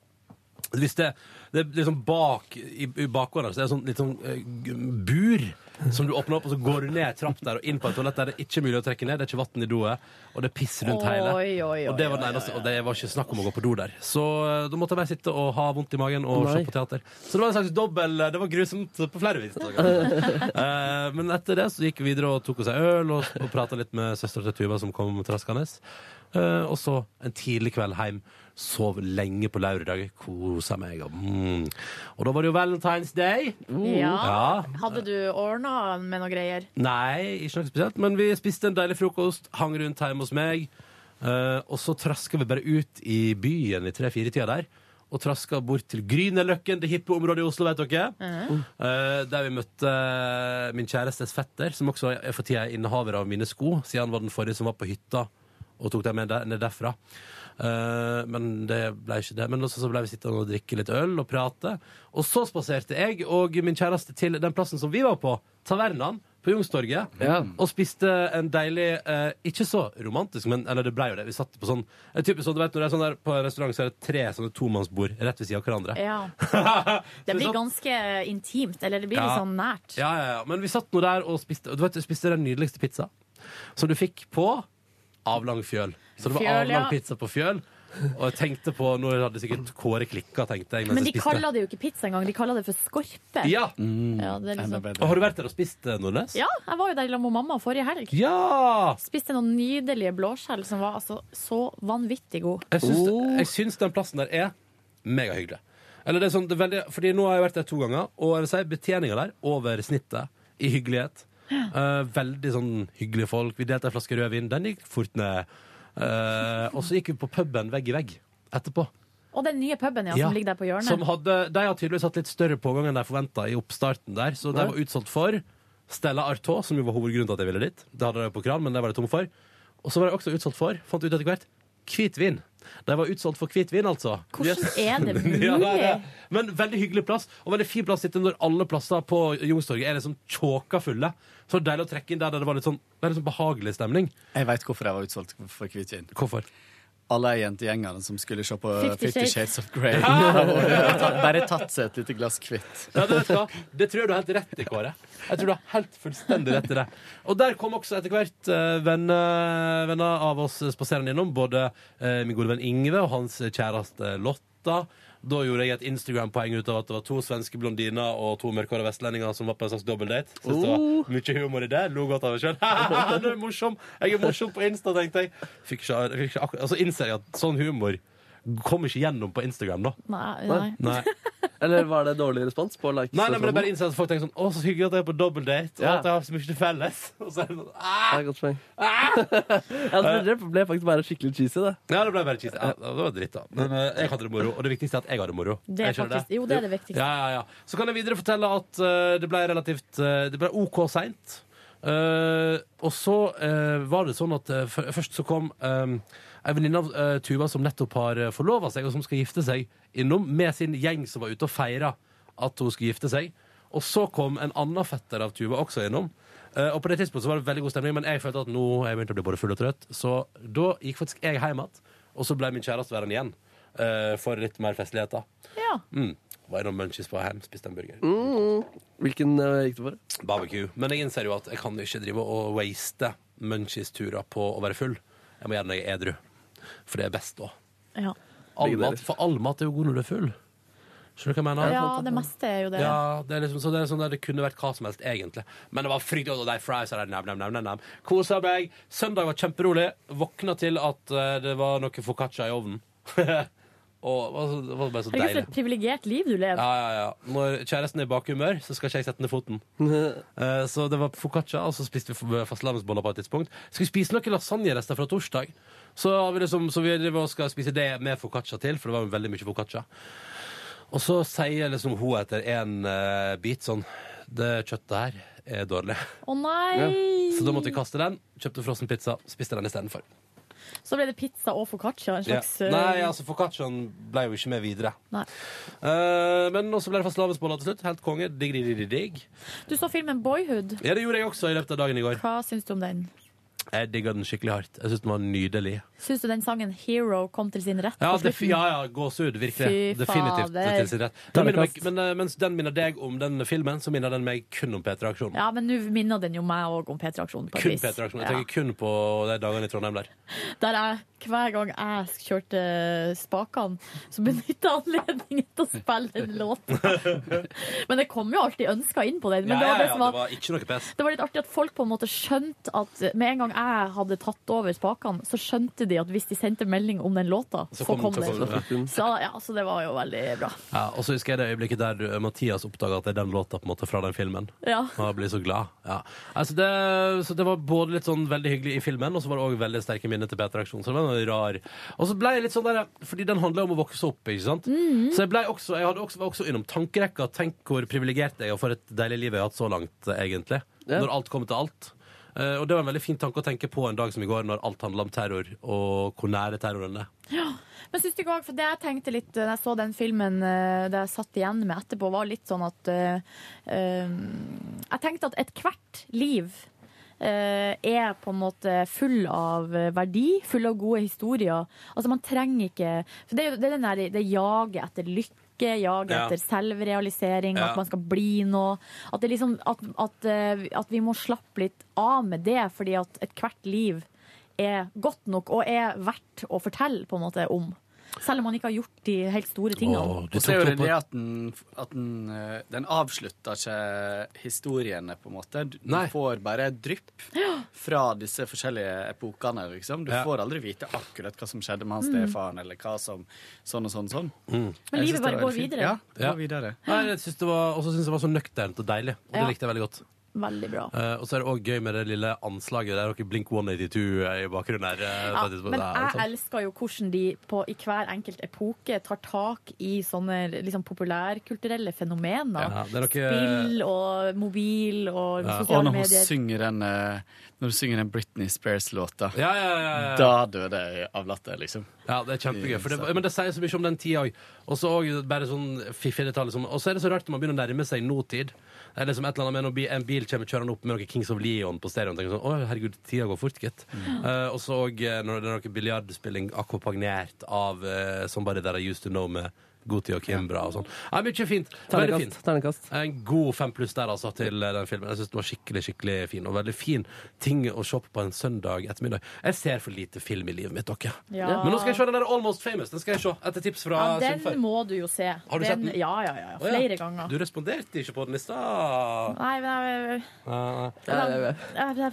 S1: hvis det, det er liksom bak i, i bakgården her, så er det sånn litt sånn eh, g- bur som du åpner opp, og så går du ned en trapp der og inn på et toalett der det er ikke mulig å trekke ned. Det er ikke vann i doet, og det pisser rundt hele.
S2: Oi, oi, oi,
S1: og det var den eneste, og det var ikke snakk om å gå på do der. Så eh, da måtte jeg bare sitte og ha vondt i magen og
S3: Nei.
S1: se på teater. Så det var en slags dobbel eh, Det var grusomt på flere vis. Eh, men etter det så gikk vi videre og tok oss en øl og, og prata litt med søstera til Tuva som kom traskende. Eh, og så en tidlig kveld hjem. Sov lenge på lørdag, kosa meg. Og, mm. og da var det jo Valentine's Day.
S2: Ja.
S1: Ja.
S2: Hadde du ordna med noe greier?
S1: Nei, ikke noe spesielt, men vi spiste en deilig frokost, hang rundt hjemme hos meg, eh, og så traska vi bare ut i byen i tre-fire-tida der. Og traska bort til Grünerløkken, det hippe området i Oslo, vet dere. Eh, der vi møtte min kjærestes fetter, som også er for tida innehaver av mine sko, siden han var den forrige som var på hytta og tok dem med der, ned derfra. Eh, men det ble ikke det. Men også så ble vi sittende og drikke litt øl og prate. Og så spaserte jeg og min kjæreste til den plassen som vi var på, Tavernaen på Youngstorget,
S3: Ja.
S1: og spiste en deilig eh, Ikke så romantisk, men eller det ble jo det. Vi satt på sånn en type sånn, du vet, når det er sånn der På en restaurant så er det tre sånne tomannsbord rett ved siden av hverandre.
S2: Ja.
S1: Så
S2: Det
S1: vi
S2: blir
S1: satt-
S2: ganske intimt, eller det blir litt
S1: Sånn. Ja.
S2: sånn nært.
S1: ja, ja, ja. Men vi satt nå der og spiste, og du vet, du spiste den nydeligste pizza. Som du fikk på avlang fjøl. Så det var
S2: Fjøl,
S1: avlang
S2: ja.
S1: pizza på fjøl. Og jeg tenkte på Nå hadde sikkert Kåre klikka, tenkte jeg. Mens
S2: Men de
S1: jeg spiste.
S2: kaller det jo ikke pizza engang, de kaller det for skorpe.
S1: Ja! Mm.
S2: Ja, det er liksom...
S1: Og har du vært der og spist, eh, Nordnes?
S2: ja jeg var jo der sammen med mamma forrige helg.
S1: Ja!
S2: Spiste noen nydelige blåskjell som var altså så vanvittig god.
S1: Jeg syns, jeg syns den plassen der er megahyggelig. Eller det er sånn, det er veldig, fordi nå har jeg vært der to ganger, og jeg vil si betjeninga der over snittet i hyggelighet. Eh, veldig sånn hyggelige folk. Vi delte en flaske rødvin. Den gikk fort ned. Eh, og så gikk vi på puben vegg i vegg etterpå.
S2: Og den nye puben ja,
S1: Ja.
S2: som ligger der på
S1: Som
S2: hjørnet.
S1: hadde, de har tydeligvis hatt litt større pågang enn de forventa i oppstarten der, så de
S3: Ja.
S1: var utsolgt for Stella Artois, som jo var hovedgrunnen til at jeg ville dit. Det hadde de på kran, men det var de tom for. Og så var de også utsolgt for, fant ut etter hvert, hvitvin. De var utsolgt for hvitvin, altså.
S2: Hvordan
S1: Yes.
S2: er det mulig?
S1: Ja, det er det. Men veldig hyggelig plass, og veldig fin plass å sitte når alle plasser på Youngstorget er liksom tjåka fulle. Så deilig å trekke inn der der det var litt sånn, det er litt sånn behagelig stemning.
S10: Jeg veit hvorfor jeg var utsolgt for hvitvin.
S1: Hvorfor?
S10: Alle jentegjengene som skulle se på
S2: Fifty
S10: Fifty
S2: Shades.
S10: Shades of Grey. Bare tatt- Bare tatt seg et lite glass hvitt.
S1: Ja, det, vet du hva? det tror jeg du har helt rett i, Kåre. Jeg tror du har helt fullstendig rett i det. Og der kom også etter hvert eh, venner, venner av oss spaserende innom. Både eh, min gode venn Ingve og hans kjæreste Lotta. Da gjorde jeg et Instagram-poeng ut av at det var to svenske blondiner og to mørkhåra vestlendinger som var på en slags dobbeldate. Syns det var mye humor i det. Lo godt av meg sjøl. Du er morsom! Jeg er morsom på Insta, tenkte jeg. Fikk ikke, fikk ikke akkurat, altså innser jeg at sånn humor kommer ikke gjennom på Instagram, da.
S2: Nei, nei.
S1: Nei.
S3: Eller var det dårlig respons på likes?
S1: Nei, nei, men det er bare innsett at folk tenker sånn Å, så hyggelig at jeg er på dobbeltdate, og
S3: Ja.
S1: at jeg har så mye til felles. Og så er det sånn
S3: Det
S1: «Ah!»
S3: er et godt poeng. Ja, altså, det ble- det ble faktisk bare skikkelig cheesy, det.
S1: Ja, det ble bare cheesy. Ja, det var dritt, da. Men eh, jeg hadde det moro, og det viktigste er at jeg har det moro.
S2: Det er
S1: Jeg skjønner
S2: faktisk, jo, det er det viktigste.
S1: Ja, ja, ja. Så kan jeg videre fortelle at eh, det ble relativt eh, Det ble OK seint. Eh, og så eh, var det sånn at eh, f- først så kom um, ei venninne av eh, Tuva som nettopp har uh, forlova seg, og som skal gifte seg, innom med sin gjeng som var ute og feira at hun skulle gifte seg. Og så kom en annen fetter av Tuva også innom. Eh, og på det tidspunktet så var det veldig god stemning, men jeg følte at nå er jeg begynte å bli både full og trøtt. Så da gikk faktisk jeg hjem igjen, og så ble min kjæreste værende igjen eh, for litt mer festligheter.
S2: Ja.
S1: Mm. Var innom Munchies på Ham, spiste en burger.
S3: Hvilken eh, gikk det for?
S1: Barbecue. Men jeg innser jo at jeg kan jo ikke drive og waste Munchies-turer på å være full. Jeg må gjerne være edru. For det er best da.
S2: Ja.
S1: All
S3: Begge deler.
S1: mat, for all mat er jo god når du er full. Skjønner du hva jeg mener?
S2: ja, det meste er jo det.
S1: Ja, det er liksom, så det er sånn der det kunne vært hva som helst, egentlig. Men det var fryktelig godt, og de fries og de nam, nam, nam, nam, nam. Kosa meg. Søndag var kjemperolig. Våkna til at eh, det var noe focaccia i ovnen. og det var, så, det var bare så
S2: Herregud,
S1: deilig.
S2: for et privilegert liv du lever.
S1: Ja, ja, ja. Når kjæresten er i bakhumør, så skal ikke jeg sette ned foten. Eh, så det var focaccia, og så spiste vi fastlandsboller på et tidspunkt. Skal vi spise noen lasagnerester fra torsdag? Så, har vi liksom, så vi driver og skal spise det med focaccia til, for det var jo veldig mye focaccia. Og så sier liksom hun etter en eh, bit sånn Det kjøttet her er dårlig.
S2: Å nei!
S1: Så da måtte vi kaste den. Kjøpte frossen pizza, spiste den istedenfor.
S2: Så ble det pizza og foccaccia. En
S1: Ja.
S2: slags eh,
S1: Nei, altså focacciaen ble jo ikke med videre.
S2: Nei.
S1: Eh, men også ble det fastlandsboller til slutt. Helt konge. Digg, digg, digg, digg, digg.
S2: Du så filmen Boyhood.
S1: Ja, det gjorde jeg også i løpet av dagen i går.
S2: Hva syns du om den?
S1: Jeg digga den skikkelig hardt. Jeg synes den var nydelig.
S2: Syns du den sangen 'Hero' kom til sin rett?
S1: Ja,
S2: på
S1: det,
S2: slutten?
S1: ja, ja gåsehud, virkelig.
S2: Fy
S1: Definitivt
S2: fader.
S1: til sin rett. Den minner meg, men eh, mens den minner deg om den filmen, så minner den meg kun om P3 Aksjon.
S2: Ja, men nå minner den jo meg òg om P3-aksjonen. på et
S1: Kun
S2: vis.
S1: P3 Aksjon. Jeg
S2: Ja.
S1: tenker kun på de dagene i Trondheim der.
S2: Der jeg, Hver gang jeg kjørte spakene, så benytta jeg anledningen til å spille den låten. Men det kom jo alltid ønsker inn på den. Men
S1: Ja,
S2: det
S1: ja,
S2: var det
S1: ja,
S2: som var
S1: ikke noe pes.
S2: det var litt artig at folk på en måte skjønte at med en gang jeg hadde tatt over spakene, så skjønte de at hvis de sendte melding om den låta, så, kom, den.
S1: så kom
S3: den.
S2: Så, ja, så det var jo veldig bra.
S1: Ja, og så husker jeg det øyeblikket der du- Mathias oppdaga at det er den låta på en måte fra den filmen.
S2: Ja.
S1: Og jeg blir så glad. Ja. Altså det, så det var både litt sånn veldig hyggelig i filmen, og så var det også veldig sterke minner til Peter Aksjon. Så det var en rar. Og så ble jeg litt sånn der, fordi den handler om å vokse opp, ikke sant? Så jeg, ble også, jeg hadde også, var også innom tankerekka. Tenk hvor privilegert jeg er for et deilig liv jeg har hatt så langt, eh, egentlig.
S3: Ja.
S1: Når alt kommer til alt. Eh, og det var en veldig fin tanke å tenke på en dag som i går, når alt handler om terror, og hvor nære terroren er.
S2: Men syns du ikke også, for det jeg tenkte litt da jeg så den filmen eh, det jeg satt igjen med etterpå, var litt sånn at eh, eh, Jeg tenkte at ethvert liv eh, er på en måte full av eh, verdi, full av gode historier. Altså man trenger ikke For det, er jo- det er den der, det jaget etter lykke. Jaget
S1: Ja.
S2: etter selvrealisering,
S1: Ja.
S2: at man skal bli noe. At, det liksom, at, at, eh, at vi må slappe litt av med det, fordi at ethvert liv er godt nok og er verdt å fortelle på en måte om. Selv om man ikke har gjort de helt store tingene.
S1: Åh, du
S10: Og så er jo
S1: tok det
S10: det
S1: på-
S10: det at den, at den, eh, den avslutter ikke historiene, på en måte. Du du
S1: Nei.
S10: får bare et drypp fra disse forskjellige epokene, liksom. Du
S1: Ja.
S10: får aldri vite akkurat hva som skjedde med han stefaren, eller hva som Sånn og sånn og sånn.
S2: Mm. Men
S10: Jeg
S2: livet
S10: synes det
S2: bare
S10: var
S2: går
S10: veldig fint.
S2: videre.
S10: Ja,
S1: Mm.
S10: det
S1: Ja.
S10: går videre.
S1: Nei, jeg synes det var, og så synes jeg det var så nøkternt og deilig, og det
S2: Ja.
S1: likte jeg veldig godt.
S2: Veldig bra.
S1: Eh, og så er det også gøy med det lille anslaget der, dere Blink 182 er i bakgrunnen her. eh,
S2: Ja,
S1: på et tidspunkt. Det
S2: men
S1: er litt
S2: jeg
S1: sånn.
S2: elsker jo hvordan de på, i hver enkelt epoke tar tak i sånne liksom, populærkulturelle fenomener.
S1: Ja, det er noe...
S2: Spill og mobil og
S10: Og
S2: sosiale
S10: når hun
S2: medier.
S10: synger den, eh, når hun synger den Britney Spears-låta,
S1: Ja, ja, ja, ja, ja.
S10: da døde jeg av latter, liksom.
S1: ja, det er kjempegøy. For det, men det sier så mye om den tida òg. Og så også bare sånn fiffig detalj. Liksom. Og så er det så rart når man begynner å nærme seg nåtid. Det er liksom et eller annet med når bi- en bil kommer kjørende opp med noen Kings of Leon på stereoen. Tenker sånn, å herregud, tida går fort, gitt. Eh, og så også, eh, når det er noe biljardspilling akkompagnert av eh, Somebody That I Used To Know med Guti og Kimbra og sånn. Ja, mye fint. Veldig fint.
S3: Ternekast. Ternekast.
S1: En god fem pluss der altså til eh, den filmen. Jeg synes den var skikkelig skikkelig fin. Og veldig fin ting å se på på en søndag ettermiddag. Jeg ser for lite film i livet mitt, dere.
S2: Ja.
S1: Men nå skal jeg se den der Almost Famous. Den skal jeg se etter tips fra
S2: Ja,
S1: Sylfør.
S2: den må du jo se.
S1: Har du sett den?
S2: Ja, ja, ja. ja.
S1: Å, ja.
S2: Flere ganger.
S1: Du responderte ikke på den i stad.
S2: Nei, men jeg,
S1: Nei, nei.
S3: Ja, ja, ja.
S2: jeg, jeg,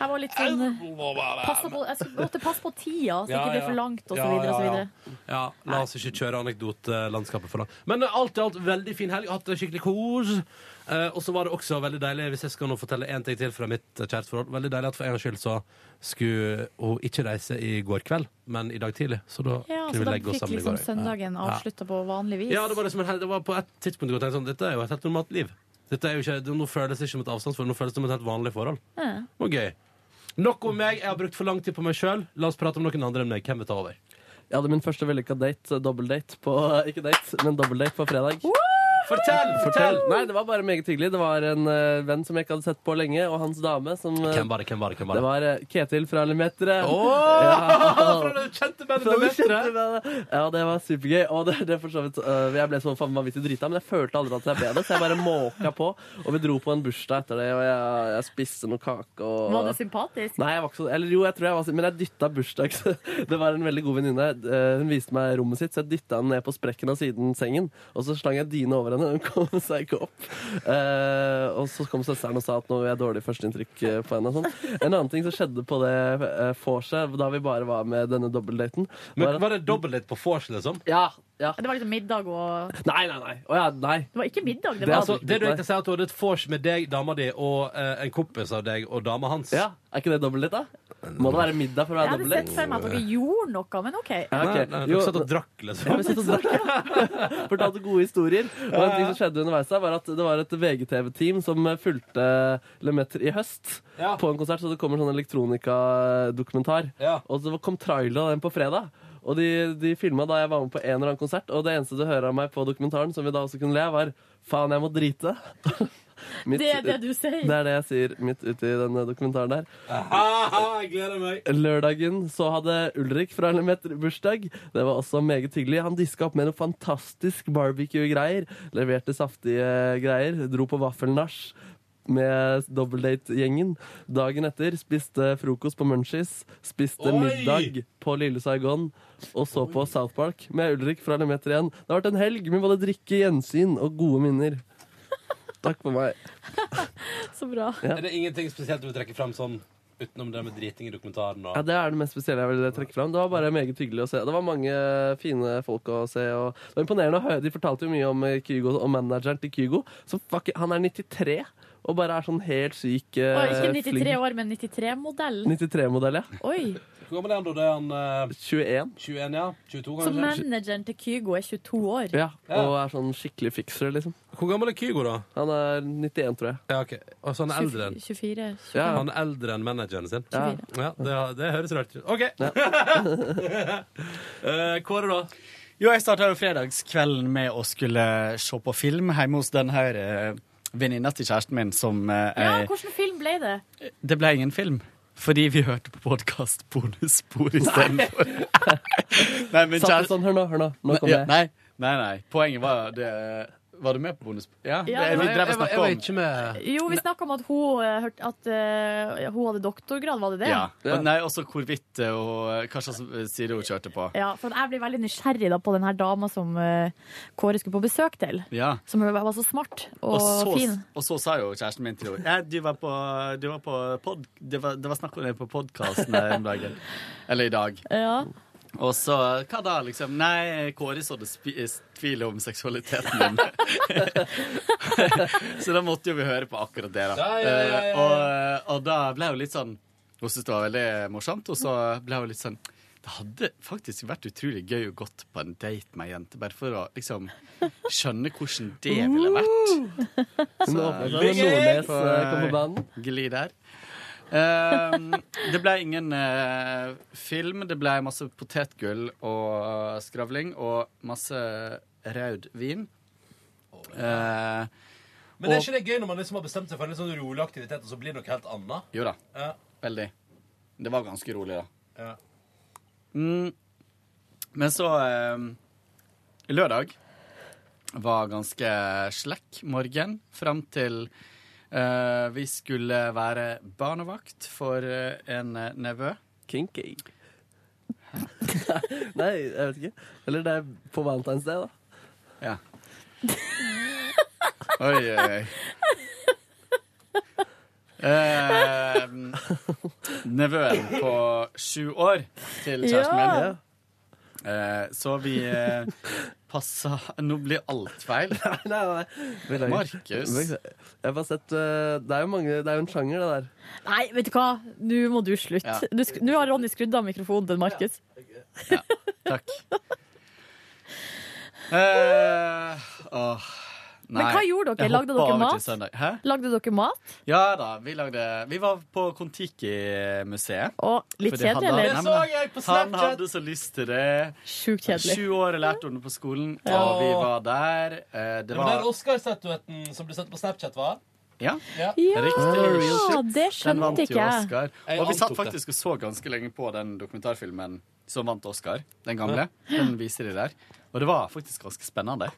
S2: jeg var litt sånn passa på, Jeg skulle måtte passe på tida, så
S1: Ja,
S2: ikke det
S1: ja.
S2: blir for langt, og så
S1: Ja,
S2: videre og så
S1: ja, ja.
S2: videre.
S1: Ja, la oss ikke kjøre anekdote landskapet for langt. Men eh, alt i alt veldig fin helg. Hatt det skikkelig kos. Eh, og så var det også veldig deilig, hvis jeg skal nå fortelle én ting til fra mitt eh, kjæresteforhold Veldig deilig at for en gangs skyld så skulle hun ikke reise i går kveld, men i dag tidlig. Så da
S2: Ja, så
S1: kunne vi
S2: da
S1: legge oss
S2: fikk
S1: sammen i
S2: liksom
S1: går.
S2: søndagen
S1: Ja.
S2: avslutta på vanlig vis.
S1: Ja, det var, liksom en, hel- det var på et tidspunkt jeg tenkte sånn, dette er jo et helt normalt liv. Dette er jo ikke, det- nå føles det ikke som et avstandsforhold, nå føles det som et helt vanlig forhold.
S2: Ja.
S1: Det var gøy. Nok om meg, jeg har brukt for lang tid på meg sjøl. La oss prate om noen andre enn meg. Hvem vil ta over?
S3: Jeg hadde min første vellykka date, dobbeldate, på Ikke date, men dobbeldate på fredag.
S1: Fortell! fortell!
S3: Nei, det var bare meget hyggelig. Det var en eh, venn som jeg ikke hadde sett på lenge, og hans dame som eh,
S1: Hvem var det? hvem var det, hvem var
S3: Det
S1: det?
S3: var eh, Ketil fra Lemetere.
S1: Åh, fra det kjente bandet
S3: Fra
S1: til
S3: vi
S1: Vettre.
S3: kjente med det. Ja, det var supergøy. Og det, det er for så vidt, øh, jeg ble så faen vanvittig drita, men jeg følte aldri at jeg ble det, så jeg bare måka på. Og vi dro på en bursdag etter det, og jeg, jeg spiste noe kake og
S2: Var det sympatisk?
S3: Nei, jeg var ikke så Eller jo, jeg tror jeg var Men jeg dytta bursdags Det var en veldig god venninne. Eh, Hun viste meg rommet sitt, så jeg dytta henne ned på sprekken av siden sengen. Og så slang jeg dyne over henne. Hun kom seg ikke opp. Eh, og så kom søsteren og sa at nå gjør jeg dårlig førsteinntrykk eh, på henne. Og sånn. En annen ting som skjedde på det eh, vorset, da vi bare var med denne dobbeltdaten
S1: Men Var det dobbeltdate på vors, liksom?
S3: Ja, ja.
S2: Det var liksom middag og
S3: Nei, nei, nei. Å ja, nei.
S2: Det var ikke middag, det
S3: Det er
S2: var
S1: Altså, det du
S3: Nei.
S1: egentlig sier, er at du hadde et vors med deg, dama di, og eh, en kompis av deg og dama hans.
S3: Ja, Er ikke det dobbeltdate, da? Må det være middag for
S2: Jeg
S3: å være
S2: hadde sett
S3: dobbeltdate?
S2: for meg at dere gjorde noe, men OK.
S3: Ja,
S1: Nei,
S3: ok.
S1: nei, dere
S3: Jo,
S1: satt og drakk,
S3: Ja,
S1: liksom.
S3: vi satt og drakk. Fortalte gode historier. Og en ting som skjedde underveis, der var at det var et VGTV-team som fulgte Lemaitre i høst
S1: Ja.
S3: på en konsert, så det kommer sånn elektronikadokumentar.
S1: Ja.
S3: Og så kom traileren av den på fredag. Og de, de filma da jeg var med på en eller annen konsert, og det eneste du hører av meg på dokumentaren, som vi da også kunne le, av, var 'faen, jeg må drite'. Mitt-
S2: Det er det du sier.
S3: det er det jeg sier midt ute i denne dokumentaren der.
S1: Aha, Ah, jeg gleder meg.
S3: Lørdagen så hadde Ulrik fra Lemeter bursdag. Det var også meget hyggelig. Han diska opp med noe fantastisk barbecue-greier. Leverte saftige greier. Dro på vaffelnach med dobbeldate-gjengen. Dagen etter spiste frokost på Munchies. Spiste
S1: Oi!
S3: middag på Lille Saigon. Og så på South Park med Ulrik fra Lemeter igjen. Det har vært en helg med både drikke, gjensyn og gode minner. Takk for meg.
S2: Så bra.
S1: Er det ingenting spesielt du vil trekke fram sånn utenom det med driting i dokumentaren? Og...
S3: Ja, Det er det mest spesielle jeg ville trekke fram. Det var bare meget hyggelig å se. Det var mange fine folk å se. Og det var imponerende å høre. De fortalte jo mye om eh, Kygo og manageren til Kygo. Så fuck, han er 93 og bare er sånn helt syk eh,
S2: Og ikke 93
S3: flink.
S2: år, men 93-modell.
S3: 93-modell, ja.
S2: Oi.
S1: Hvor gammel er han da? Det er han eh,
S3: 21.
S1: 21, ja? 22,
S2: Så
S1: kanskje?
S2: manageren til Kygo er 22 år.
S3: Ja, Og er sånn skikkelig fikser, liksom.
S1: Hvor gammel er Kygo, da?
S3: Han er 91, tror jeg.
S1: Ja, ok. Altså, han er eldre enn
S2: 24.
S3: Ja,
S1: han er eldre enn manageren sin.
S3: ja.
S1: Ja, det, det høres rart ut. OK! Eh, Kåre, da?
S10: Jo, jeg starta jo fredagskvelden med å skulle se på film hjemme hos den her eh, venninna til kjæresten min som eh,
S2: Ja,
S10: jeg-
S2: hvilken film ble det?
S10: Det ble ingen film. Fordi vi hørte på podkast bonusspor istedenfor. nei, men
S3: Satt det
S10: kjære...
S3: sånn, hør nå, hør nå. Nå
S10: Nei,
S3: kommer jeg.
S10: nei, nei, nei. Poenget var det Var du med på bonusspor? Ja, det,
S2: Ja, det var-
S10: vi drev og snakka om
S1: med
S2: Jo, vi snakka om at hun, eh, hørte at eh, hun hadde doktorgrad, var det det?
S10: Ja.
S3: Ja.
S10: Og nei, også hvorvidt eh, og hva slags eh, side hun kjørte på.
S2: Ja, for jeg blir veldig nysgjerrig da på den her dama som eh, Kåre skulle på besøk til.
S10: Ja.
S2: Som var så smart og,
S10: Og så,
S2: fin.
S10: og så sa jo kjæresten min til henne Ja, du var på, du var på pod, det, var, det var snakk om det på podkasten her om dagen. Eller i dag.
S2: Ja.
S10: Og så Hva da, liksom? Nei, Kåre så det spi- tvil om seksualiteten din. så da måtte jo vi høre på akkurat det, da.
S1: Ja, ja, ja, ja, ja.
S10: Eh, Og, og da ble hun litt sånn Hun syntes det var veldig morsomt, og så ble hun litt sånn det hadde faktisk vært utrolig gøy å gått på en date med ei jente, bare for å liksom skjønne hvordan det ville vært.
S3: Hun åpner seg, og Nordnes eh, kom på banen.
S10: Gli der. Ehm, det ble ingen eh, film. Det ble masse potetgull og skravling og masse rød vin. Eh,
S1: Men det er ikke det gøy når man liksom har bestemt seg for en litt sånn rolig aktivitet, og så blir det noe helt annet?
S10: jo da,
S1: Ja.
S10: veldig. Det var ganske rolig, da.
S1: Ja.
S10: Mm. Men så ehm, Lørdag var ganske slekk morgen fram til eh, vi skulle være barnevakt for eh, en eh, nevø.
S3: Kinky. Nei, jeg vet ikke. Eller det er på Valentine's Day, da.
S10: Ja. Oi, oi, oi. Eh, nevøen på sju år til
S2: Ja.
S10: kjæresten min Eh, så vi eh, passa Nå blir alt feil.
S3: Nei, nei, nei. Beklager.
S10: Markus.
S3: Beklager. Jeg har bare sett eh, Det er jo mange Det er jo en sjanger, det der.
S2: Nei, vet du hva? Nå må du slutte.
S10: Ja.
S2: Du sk- Nå har Ronny skrudd av mikrofonen til Markus.
S10: Takk. Eh, åh, nei.
S2: Men hva gjorde dere?
S10: Jeg
S2: Lagde
S10: hoppa
S2: dere
S10: over til
S2: mat?
S10: søndag. Hæ?
S2: Lagde dere mat?
S10: Ja da, vi lagde Vi var på Kon-Tiki-museet.
S2: Og litt
S10: fordi
S2: kjedelig,
S10: han-
S2: eller?
S10: Nei, men Han hadde så lyst til det.
S2: Sjukt kjedelig.
S10: Sju år lærte hun det på skolen, og vi var der. Eh, Det var
S4: Oscar-statuetten som ble sendt på Snapchat, var?
S10: Ja,
S2: Ja, det
S10: Riktig. den vant
S2: skjønte
S10: jo
S2: ikke jeg.
S10: Oscar.
S4: Jeg
S10: Og vi satt
S4: antok det.
S10: faktisk og så ganske lenge på den dokumentarfilmen som vant Oscar, den gamle. Den viser de der. Og det var faktisk ganske spennende.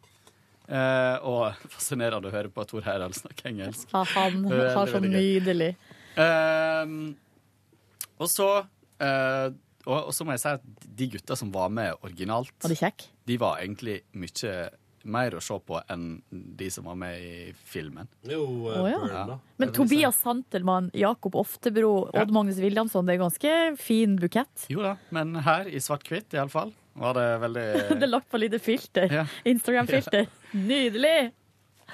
S10: Eh, og fascinerende å høre på Tor Heyerdahl snakke engelsk.
S2: Ja, han
S10: Veldig,
S2: har så
S10: veldig gøy.
S2: nydelig
S10: Ehm, og så eh, og, og så må jeg si at de gutta som var med originalt,
S2: Var det kjekk?
S10: de var egentlig mye mer å se på enn de som var med i filmen.
S4: Jo, eh,
S2: Å, ja.
S4: Burn, da.
S2: Men Tobias Santelmann, Jakob Oftebro, Odd Magnus Williamson, det er ganske fin bukett.
S10: Jo da, men her i svart-hvitt iallfall var det veldig
S2: Det er lagt på lite filter.
S10: Ja.
S2: Instagram-filter. Nydelig!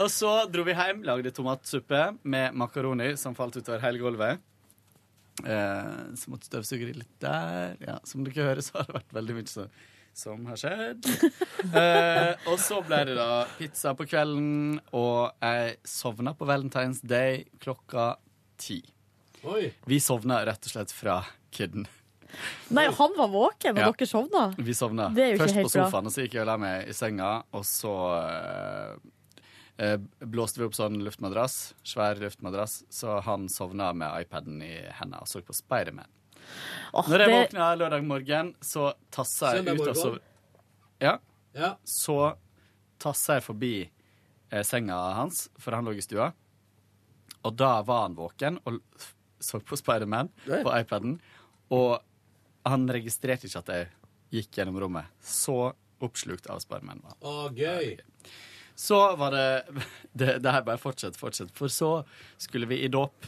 S10: Og så dro vi hjem, lagde tomatsuppe med makaroni som falt utover hele gulvet. Eh, så måtte støvsugere litt der. Ja, som dere hører, så har det vært veldig mye så, som har skjedd. Eh, og så ble det da pizza på kvelden, og jeg sovna på Valentine's Day klokka ti.
S4: Oi.
S10: Vi sovna rett og slett fra kidden.
S2: Nei, han var våken, og
S10: Ja.
S2: dere sovna.
S10: Vi sovna
S2: Det er jo ikke
S10: først på
S2: helt bra.
S10: sofaen, og så gikk jeg og la meg i senga, og så eh, eh, blåste vi opp sånn luftmadrass, svær luftmadrass, så han sovna med iPaden i henda og så på Spiderman.
S2: Åh,
S10: Når jeg
S2: det,
S10: våkna lørdag morgen, så tassa jeg
S4: Søndag
S10: ut og
S4: morgen?
S10: sov... Ja,
S4: Ja.
S10: så tassa jeg forbi eh, senga hans, for han lå i stua, og da var han våken og l- så på Spiderman på iPaden, og han registrerte ikke at jeg gikk gjennom rommet. Så oppslukt av Spiderman var han.
S4: Å, gøy.
S10: Så var det Det, det her bare fortsett, fortsett. For så skulle vi i dåp.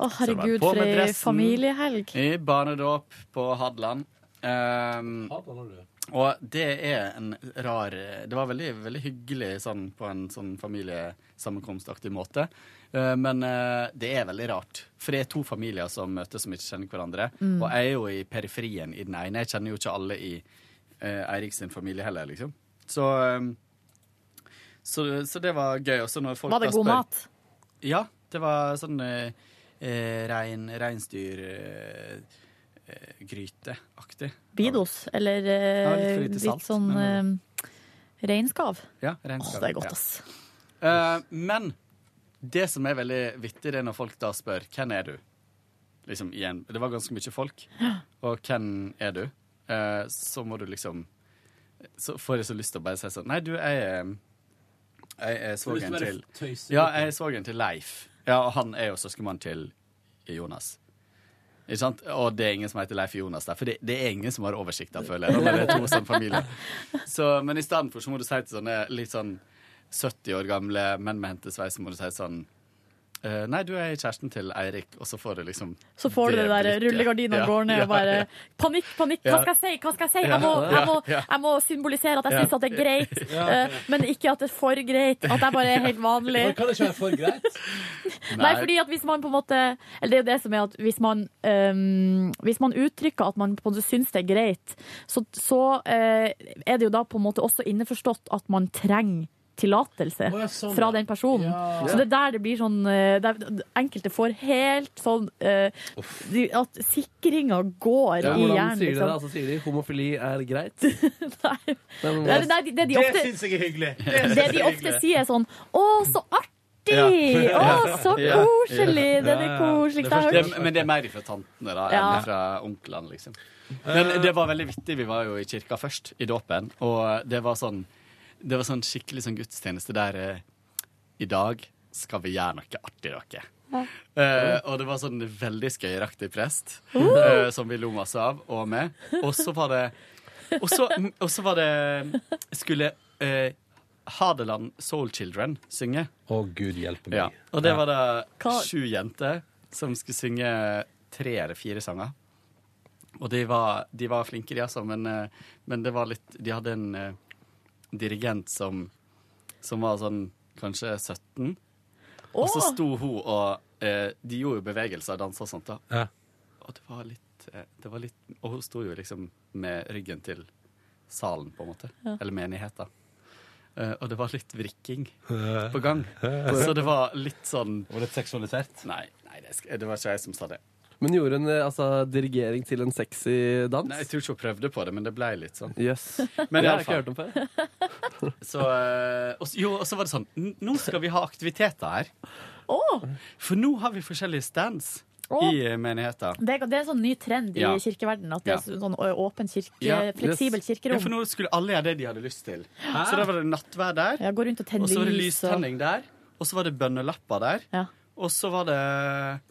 S2: å, herregud,
S10: På
S2: for
S10: med
S2: ei
S10: dressen.
S2: familiehelg.
S10: I barnedåp på Hadeland. Ehm, og det er en rar Det var veldig, veldig hyggelig sånn, på en sånn familiesammenkomstaktig måte. Eh, Men eh, det er veldig rart. For det er to familier som møtes som ikke kjenner hverandre.
S2: Mm.
S10: Og jeg er jo i periferien i den ene. Jeg kjenner jo ikke alle i eh, Eirik sin familie heller, liksom. Så, eh, så, så det var gøy. Også når folk
S2: Var det
S10: da
S2: god
S10: spør-
S2: mat?
S10: ja, det var sånn eh, eh, rein, reinsdyrgryteaktig. Eh, eh, gryteaktig.
S2: Bidos, eller eh,
S10: Ja, litt for lite
S2: litt,
S10: salt,
S2: sånn
S10: men-
S2: eh, reinskav.
S10: Ja,
S2: Åh,
S10: reinskap.
S2: det er godt, ass.
S10: Ja. Eh, men det som er veldig vittig, det er når folk da spør 'Hvem er du?' Liksom igjen. Det var ganske mye folk. Og 'Hvem er du?' Eh, så må du liksom Så får jeg så lyst til å bare si sånn Nei, du, jeg er Jeg er svogeren til Ja, jeg så den til Leif. Ja, og han er jo søskenmann til Jonas. Ikke sant? Og det er ingen som heter Leif Jonas der, for det, det er ingen som har oversikt der, føler jeg. Når det er to som familie. Så, men i stedet for så må du si til sånne litt sånn 70 år gamle menn med hentesveis, så må du si sånn eh, Nei, du er kjæresten til Eirik, og så får du liksom
S2: Så får du det der
S10: blikket.
S2: rullegardina
S10: Ja,
S2: går ned og
S10: ja,
S2: bare
S10: ja.
S2: Panikk, panikk, hva
S10: Ja.
S2: skal jeg si? Hva skal jeg si?
S10: Ja,
S2: Jeg må, jeg må,
S10: ja, ja.
S2: jeg må symbolisere at jeg syns at det er greit, eh, men ikke at det er for greit. At jeg bare er helt vanlig.
S4: Kan det ikke være for greit?
S2: Nei, fordi at hvis man på en måte Eller det er jo det som er at hvis man øhm, Hvis man uttrykker at man på en måte syns det er greit, så, så øh, er det jo da på en måte også innforstått at man trenger tillatelse
S4: Å, ja, sånn,
S2: fra
S4: ja.
S2: den personen. Så det er der det blir sånn øh, der Enkelte får helt sånn øh, de- At sikringa går i
S3: Ja, hvordan
S2: hjernen,
S3: sier de det?
S2: liksom.
S3: Altså, sier de homofili er greit?
S2: Nei.
S3: Men,
S2: Nei, men det, er- det, de ofte,
S4: syns jeg er hyggelig.
S2: det de ofte sier, er sånn Å, så artig! Å, så
S10: Ja.
S2: koselig! Den er koselig. Det har jeg
S10: Det,
S2: hørt.
S10: men det er mer fra tantene da,
S2: Ja.
S10: enn fra onklene, liksom. Men det var veldig vittig. Vi var jo i kirka først, i dåpen, og det var sånn Det var sånn skikkelig sånn gudstjeneste der eh, I dag skal vi gjøre noe artig, dere. Eh, og det var sånn veldig skøyeraktig prest
S2: Uh.
S10: eh, som vi lo masse av, og med. Og så var det Og så og så var det Skulle eh, Hadeland Soul Children synge.
S4: Å, gud hjelpe meg.
S10: Ja. Og det var da
S2: Hva-
S10: sju jenter som skulle synge tre eller fire sanger. Og de var, de var flinke, de altså, men, eh, men det var litt De hadde en eh, dirigent som, som var sånn kanskje 17, og så sto hun og eh, De gjorde jo bevegelser, dansa og sånt, da.
S1: Ja.
S10: Og det var litt, eh, det var litt Og hun sto jo liksom med ryggen til salen, på en måte. Eller menigheten. Eh, og det var litt vrikking på gang. Så det var litt sånn
S1: Og litt seksualisert.
S10: Nei, nei det, sk- det var ikke jeg som sa det.
S3: Men gjorde hun eh, altså, dirigering til en sexy dans?
S10: Nei, Jeg tror ikke hun prøvde på det, men det ble litt sånn.
S3: Jøss.
S10: Men
S3: Det
S10: i
S3: har jeg
S10: alle
S3: ikke
S10: fall,
S3: hørt om før.
S10: så, eh, og, s- jo, og så var det sånn "N- Nå skal vi ha aktiviteter her. For nå har vi forskjellige stands
S2: Å.
S10: i eh, menigheten.
S2: Det, er- det er en sånn ny trend i
S10: Ja.
S2: kirkeverdenen. At det er
S10: Ja.
S2: sånn å- åpen kirke,
S10: Ja, yes.
S2: fleksibelt
S10: Ja, for
S2: kirkerom.
S10: nå skulle alle gjøre det de hadde lyst til. Så da var det nattverd der,
S2: Ja, gå rundt og tenne
S10: og så var det
S2: lys. og-
S10: lystenning der, og så var det bønnelapper der,
S2: Ja.
S10: og så var det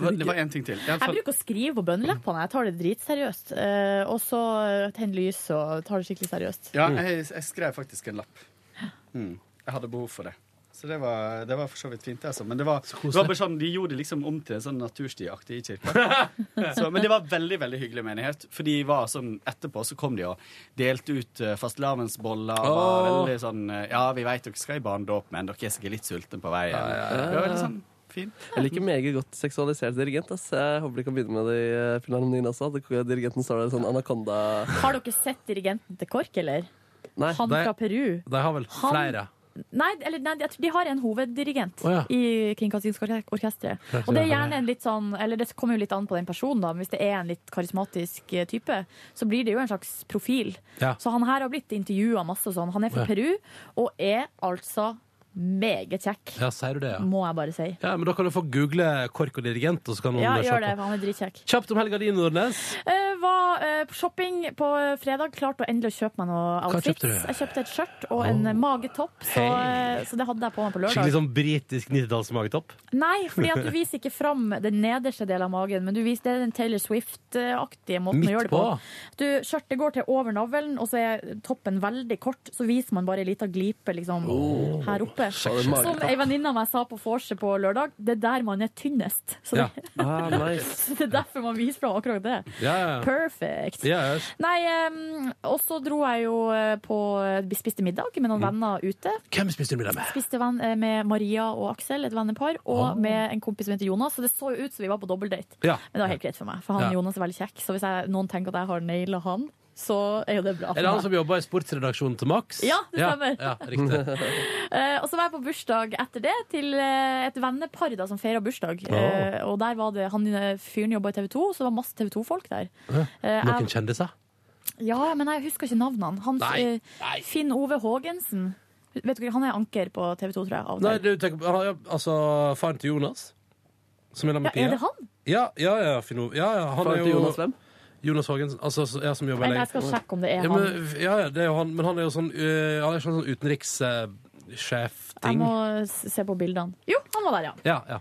S10: Det var én ting til. I alle
S2: Jeg
S10: fall-
S2: bruker å skrive på bønnelappene. Jeg tar det dritseriøst. Eh, og så eh, tenne lys og tar det skikkelig seriøst.
S10: Ja, jeg, jeg skrev faktisk en lapp. Mm. Jeg hadde behov for det. Så det var, det var for så vidt fint, altså. Men det var, det var bare sånn, de gjorde det liksom om til en sånn naturstiaktig i kirka. Så, men det var veldig veldig hyggelig menighet. For de var sånn, etterpå så kom de og delte ut eh, fastelavnsboller. og var veldig sånn eh, Ja, vi veit dere skal i barnedåp, men dere er sikkert litt sultne på veien. Det var veldig sånn fint.
S3: Jeg liker meget godt seksualisert dirigent. Ass. Jeg håper de kan begynne med det i eh, filharmonien også. At dirigenten står der i sånn anakonda
S2: Har dere sett dirigenten til KORK, eller?
S3: Nei.
S2: Han
S1: Nei.
S2: fra Peru.
S1: De har vel
S2: Han-
S1: flere.
S2: Nei, eller, nei, jeg tror de har en hoveddirigent
S1: Å, ja.
S2: i Kringkastingsorkesteret. Og det er gjerne en litt sånn Eller det kommer jo litt an på den personen, da. Men hvis det er en litt karismatisk eh, type, så blir det jo en slags profil.
S1: Ja.
S2: Så han her har blitt intervjua masse og sånn. Han er fra
S1: Ja.
S2: Peru og er altså meget kjekk,
S1: Ja, sier du det, ja.
S2: må jeg bare si.
S1: ja. Men da kan du få google KORK og dirigent, og så kan noen
S2: Ja,
S1: eh, se
S2: gjør det,
S1: på.
S2: for han er dritkjekk.
S1: Kjapt om helga di, Nordnes.
S2: Eh, var eh, på shopping på eh, fredag, klarte å endelig å kjøpe meg noe outfits.
S1: kjøpte du?
S2: Jeg kjøpte et skjørt og en eh, magetopp, så, eh, så det hadde jeg på meg på lørdag.
S1: Skikkelig sånn britisk nittidallsmagetopp.
S2: Nei, fordi at du viser ikke fram den nederste delen av magen, men du viser det er den Taylor Swift-aktige måten
S1: Midt
S2: å gjøre det på.
S1: på.
S2: Du, skjørtet går til over navlen, og så er toppen veldig kort, så viser man bare en liten glipe liksom, her oppe.
S3: det er
S2: Som ei venninne av meg sa på vorset på lørdag, det er der man er tynnest. Så det,
S1: Ja.
S3: Ah, nice.
S2: det er derfor man viser fram akkurat det.
S1: Ja, ja.
S2: Perfect.
S1: ja. ja.
S2: Nei, um, og så dro jeg jo eh, på eh, spiste middag med
S1: Mm.
S2: noen venner ute.
S1: Hvem spiste du middag med?
S2: Spiste venn, eh, med Maria og Aksel, et vennepar, og
S1: Ah.
S2: med en kompis som heter Jonas. Så det så jo ut som vi var på dobbeltdate.
S1: Ja.
S2: Men det var helt greit for meg, for han
S1: Ja.
S2: Jonas er veldig kjekk. Så hvis jeg, noen tenker at jeg har naila han, så er jo det bra.
S1: Er det han
S2: For meg.
S1: som jobber i sportsredaksjonen til Max?
S2: Ja, det stemmer.
S1: Ja, ja, riktig.
S2: Eh, og så var jeg på bursdag etter det, til eh, et vennepar da, som feira bursdag.
S1: Ah.
S2: Eh, og der var det, han eh, fyren jobba i TV 2, så det var masse TV 2-folk der. Eh, jeg-
S1: Noen kjendiser?
S2: Ja, men jeg husker ikke navnene. Han,
S1: Nei,
S2: eh, Finn Ove Haagensen. Vet dere, Han er anker på TV 2, tror jeg. Av og
S1: Nei,
S2: til.
S1: du tenker på han har jo- Altså, faren til Jonas? Som er sammen med
S2: ja, er
S1: Pia?
S2: det han?
S1: Ja, ja, ja, Finn Ove. Ja, ja, han
S3: Faren
S1: er
S3: til
S1: jo
S3: Jonas hvem?
S1: Jonas Hågen, altså, så- ja, som jobber
S2: Eller
S1: lenge.
S2: jeg skal sjekke om det er
S1: Ja,
S2: han.
S1: men, ja, ja, det er jo han, men han er jo sånn, øh, han er sånn, sånn
S2: Jeg
S1: utenrikssjef-ting.
S2: må s- se på bildene. Jo, han var der, ja.
S1: ja, ja.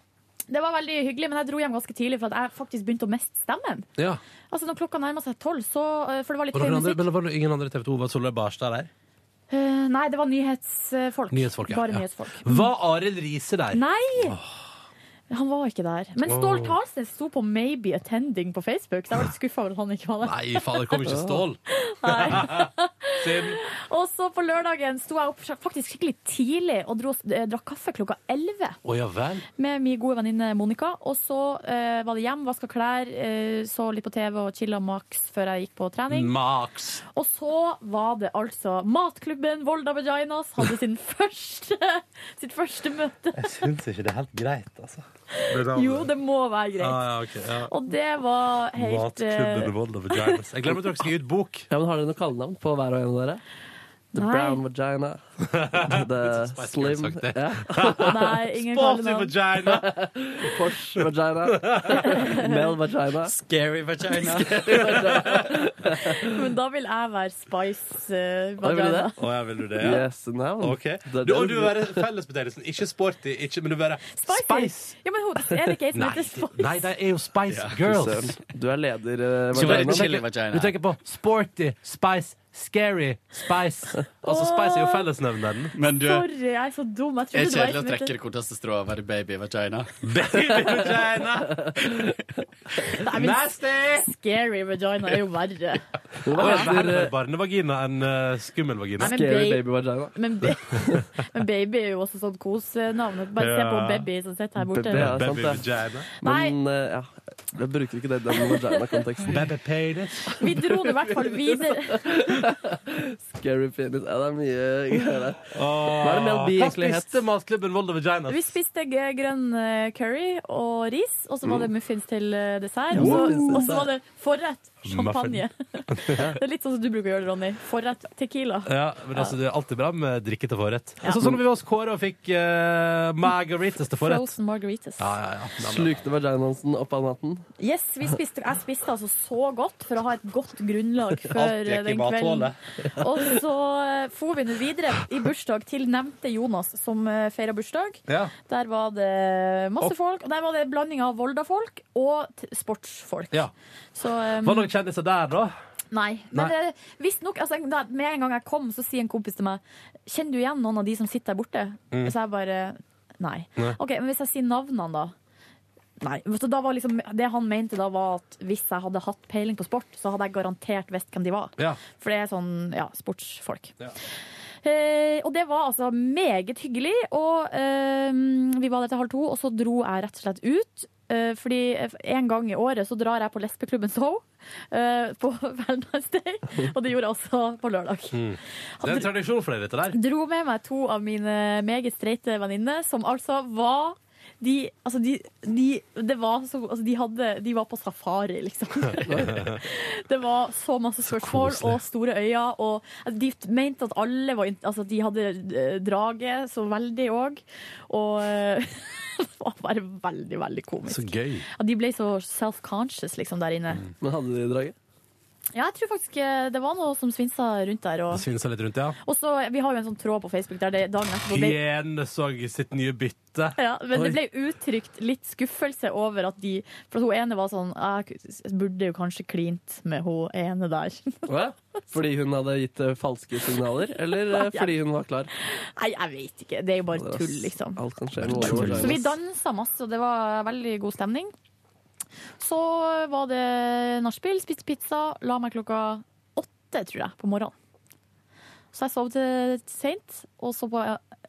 S2: Det var veldig hyggelig, men jeg dro hjem ganske tidlig, for at jeg faktisk begynte å miste stemmen.
S1: ja.
S2: Altså, når klokka nærma seg tolv, så eh, For det var litt
S1: Og
S2: høy
S1: noen andre,
S2: musikk.
S1: men det var ingen andre TV 2, bare Solveig Barstad der?
S2: Eh, nei, det var nyhetsfolk.
S1: Nyhetsfolk, ja,
S2: Bare
S1: ja.
S2: nyhetsfolk.
S1: Var Arild Riise der?
S2: Nei! Han var ikke der. Men Stål Talsnes sto på 'Maybe Attending' på Facebook, så jeg var litt skuffa over at han ikke var der.
S1: Nei, fader, kom ikke stål. Synd.
S2: Og så på lørdagen sto jeg opp faktisk skikkelig tidlig og dro, eh, drakk kaffe klokka 11
S1: Å ja vel.
S2: med min gode venninne Monica. Og så eh, var det hjem, vaska klær, eh, så litt på TV og chilla maks før jeg gikk på trening.
S1: Max.
S2: Og så var det altså Matklubben Volda Vaginas hadde sin første, sitt første møte.
S1: Jeg syns ikke det er helt greit, altså.
S2: Jo, det må være greit.
S1: Ah, ja, ok, ja.
S2: Og det var helt eh,
S1: Matklubben Volda Vaginas. Jeg glemmer at dere skal gi ut bok.
S3: Ja, men Har dere noe kallenavn på hver og en av dere? The
S2: Nei.
S3: Brown Vagina. The
S1: Spice Girls
S3: Slim
S1: sagt det.
S3: ja,
S2: Nei, ingen
S1: Sporty
S2: kaller navn.
S1: vagina.
S3: Porsche Vagina. Mel Vagina.
S10: Scary vagina.
S2: Men da vil jeg være Spice eh,
S3: Oi, vil du
S2: Vagina.
S3: det?
S1: Å ja, vil du det? Ja.
S3: Yes, navn.
S1: Ok.
S3: Det-
S1: Du, og du vil være fellesbetegnelsen. Ikke sporty, ikke, men du vil være
S2: Spicy. Ja, men hun- er det ikke ei som
S1: Nei,
S2: heter Spice?
S1: nei, de er jo Spice
S3: Søren,
S1: Girls.
S3: Du er leder, eh,
S1: Så
S3: Vagina.
S1: du tenker-
S10: Chili vagina.
S1: Du tenker på sporty, spice, scary, spice. Altså, spice er jo søvnen.
S10: Men du,
S2: Sorry, jeg er så dum. Jeg
S10: er
S2: trodde det var
S10: kjedelig å
S2: et
S10: trekke
S2: minutt.
S10: det korteste strået og være baby vagina.
S2: Nei, men Scary vagina er jo verre.
S1: Det var verre barnevagina enn eh, skummel vagina.
S2: Nei, men
S3: Scary
S2: ba-
S3: baby vagina.
S2: Men, ba- men baby er jo også sånn kosenavn. Bare se på
S1: Ja.
S2: baby som sitter her borte.
S3: Baby, ja. sant
S1: Baby
S3: det.
S1: vagina.
S3: Men eh, ja, jeg bruker ikke det i den vagina-konteksten.
S1: Baby penis.
S2: Vi dro det i hvert fall videre.
S3: Scary penis. Ja, det er mye greier der.
S1: Hva
S3: er det Mel B egentlig het?
S1: spiste matklubben Volda Vaginas?
S2: Vi spiste g- grønn eh, curry og ris, og så var
S1: Mm.
S2: det muffins til eh, dessert. Og så,
S3: muffins til
S2: og så var det forrett champagne.
S1: Muffin.
S2: Det er litt sånn som du bruker å gjøre, Ronny. Forrett tequila.
S1: Ja, men altså, Det er alltid bra med drikke til forrett.
S2: Ja.
S1: Sånn som vi var hos Kåre og fikk eh, margaritas til forrett.
S2: Frozen margaritas.
S1: Ja, ja, ja. Nei, men-
S3: Slukte vaginaen opp av natten.
S2: Yes, vi spiste, jeg spiste altså så godt for å ha et godt grunnlag
S10: Alt
S2: før eh,
S10: gikk i
S2: den kvelden.
S10: bathålet.
S2: Og så eh, for vi nå videre i bursdag til nevnte Jonas, som eh, feira bursdag.
S1: Ja.
S2: Der var det masse folk. Og der var det en blanding av Volda-folk og t sportsfolk.
S1: Ja.
S2: Så eh,
S1: Var det noen kjendiser der, da?
S2: nei. Men eh, visstnok altså, da- Med en gang jeg kom, så sier en kompis til meg Kjenner du igjen noen av de som sitter der borte? Så jeg bare Nei.
S1: Nei.
S2: Ok, Men hvis jeg sier navnene, da? Nei. Så da var liksom, det han mente da, var at hvis jeg hadde hatt peiling på sport, så hadde jeg garantert visst hvem de var.
S1: Ja.
S2: For det er sånn, ja, sportsfolk.
S1: Ja.
S2: Eh, og det var altså meget hyggelig, og eh, vi var der til halv to, og så dro jeg rett og slett ut. Eh, fordi en gang i året så drar jeg på lesbeklubben Soho eh, på Valentine's Day, og det gjorde jeg også på lørdag.
S1: Det er en tradisjon for deg, dette der.
S2: Dro med meg to av mine meget streite venninner, som altså var de, altså de, de, det var så, altså de, hadde, de var på safari, liksom. det var så masse spørsmål
S1: koselig.
S2: og store øyne. Og altså, de mente at alle var in- Altså, de hadde eh, draget så veldig òg. Og eh, det var bare veldig, veldig komisk.
S1: Så gøy.
S2: Ja, de ble så self-conscious liksom der inne.
S3: Men hadde de draget?
S2: Ja, jeg tror faktisk eh, det var noe som svinsa rundt der. Og,
S1: Svinsa litt rundt, ja.
S2: og så, Vi har jo en sånn tråd på Facebook der det dagen etterpå ble
S1: Hyene så sitt nye bytte.
S2: Ja, men det ble uttrykt litt skuffelse over at de For at hun ene var sånn Jeg burde jo kanskje klint med hun ene der.
S3: Hva? Fordi hun hadde gitt eh, falske signaler, eller eh, fordi hun var klar?
S2: Nei, jeg vet ikke. Det er jo bare tull, liksom.
S3: Alt kan skje. med
S10: Tull.
S2: Så vi
S3: vaginaen.
S2: dansa masse, og det var veldig god stemning. Så var det nachspiel, spiste pizza, la meg klokka åtte, tror jeg, på morgenen. Så jeg sov til seint, og så på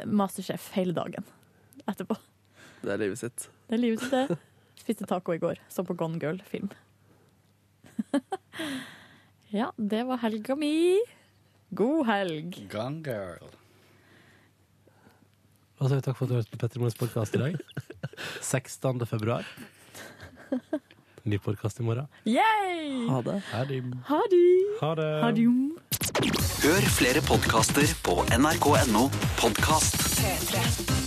S2: Masterchef hele dagen etterpå.
S3: Det er livet sitt.
S2: Det er livet sitt, det. Spiste taco i går, så på Gone Girl-film. ja, det var helga mi. God helg.
S10: Gone girl.
S1: Og så vil jeg takke for at du hørte på Petter Morgens podkast i dag. 16. februar. Ny podkast i morgen.
S2: Yay!
S3: Ha det.
S2: Ha det!
S1: Ha det.
S2: Ha det.
S11: Hør flere podkaster på nrk.no podkast.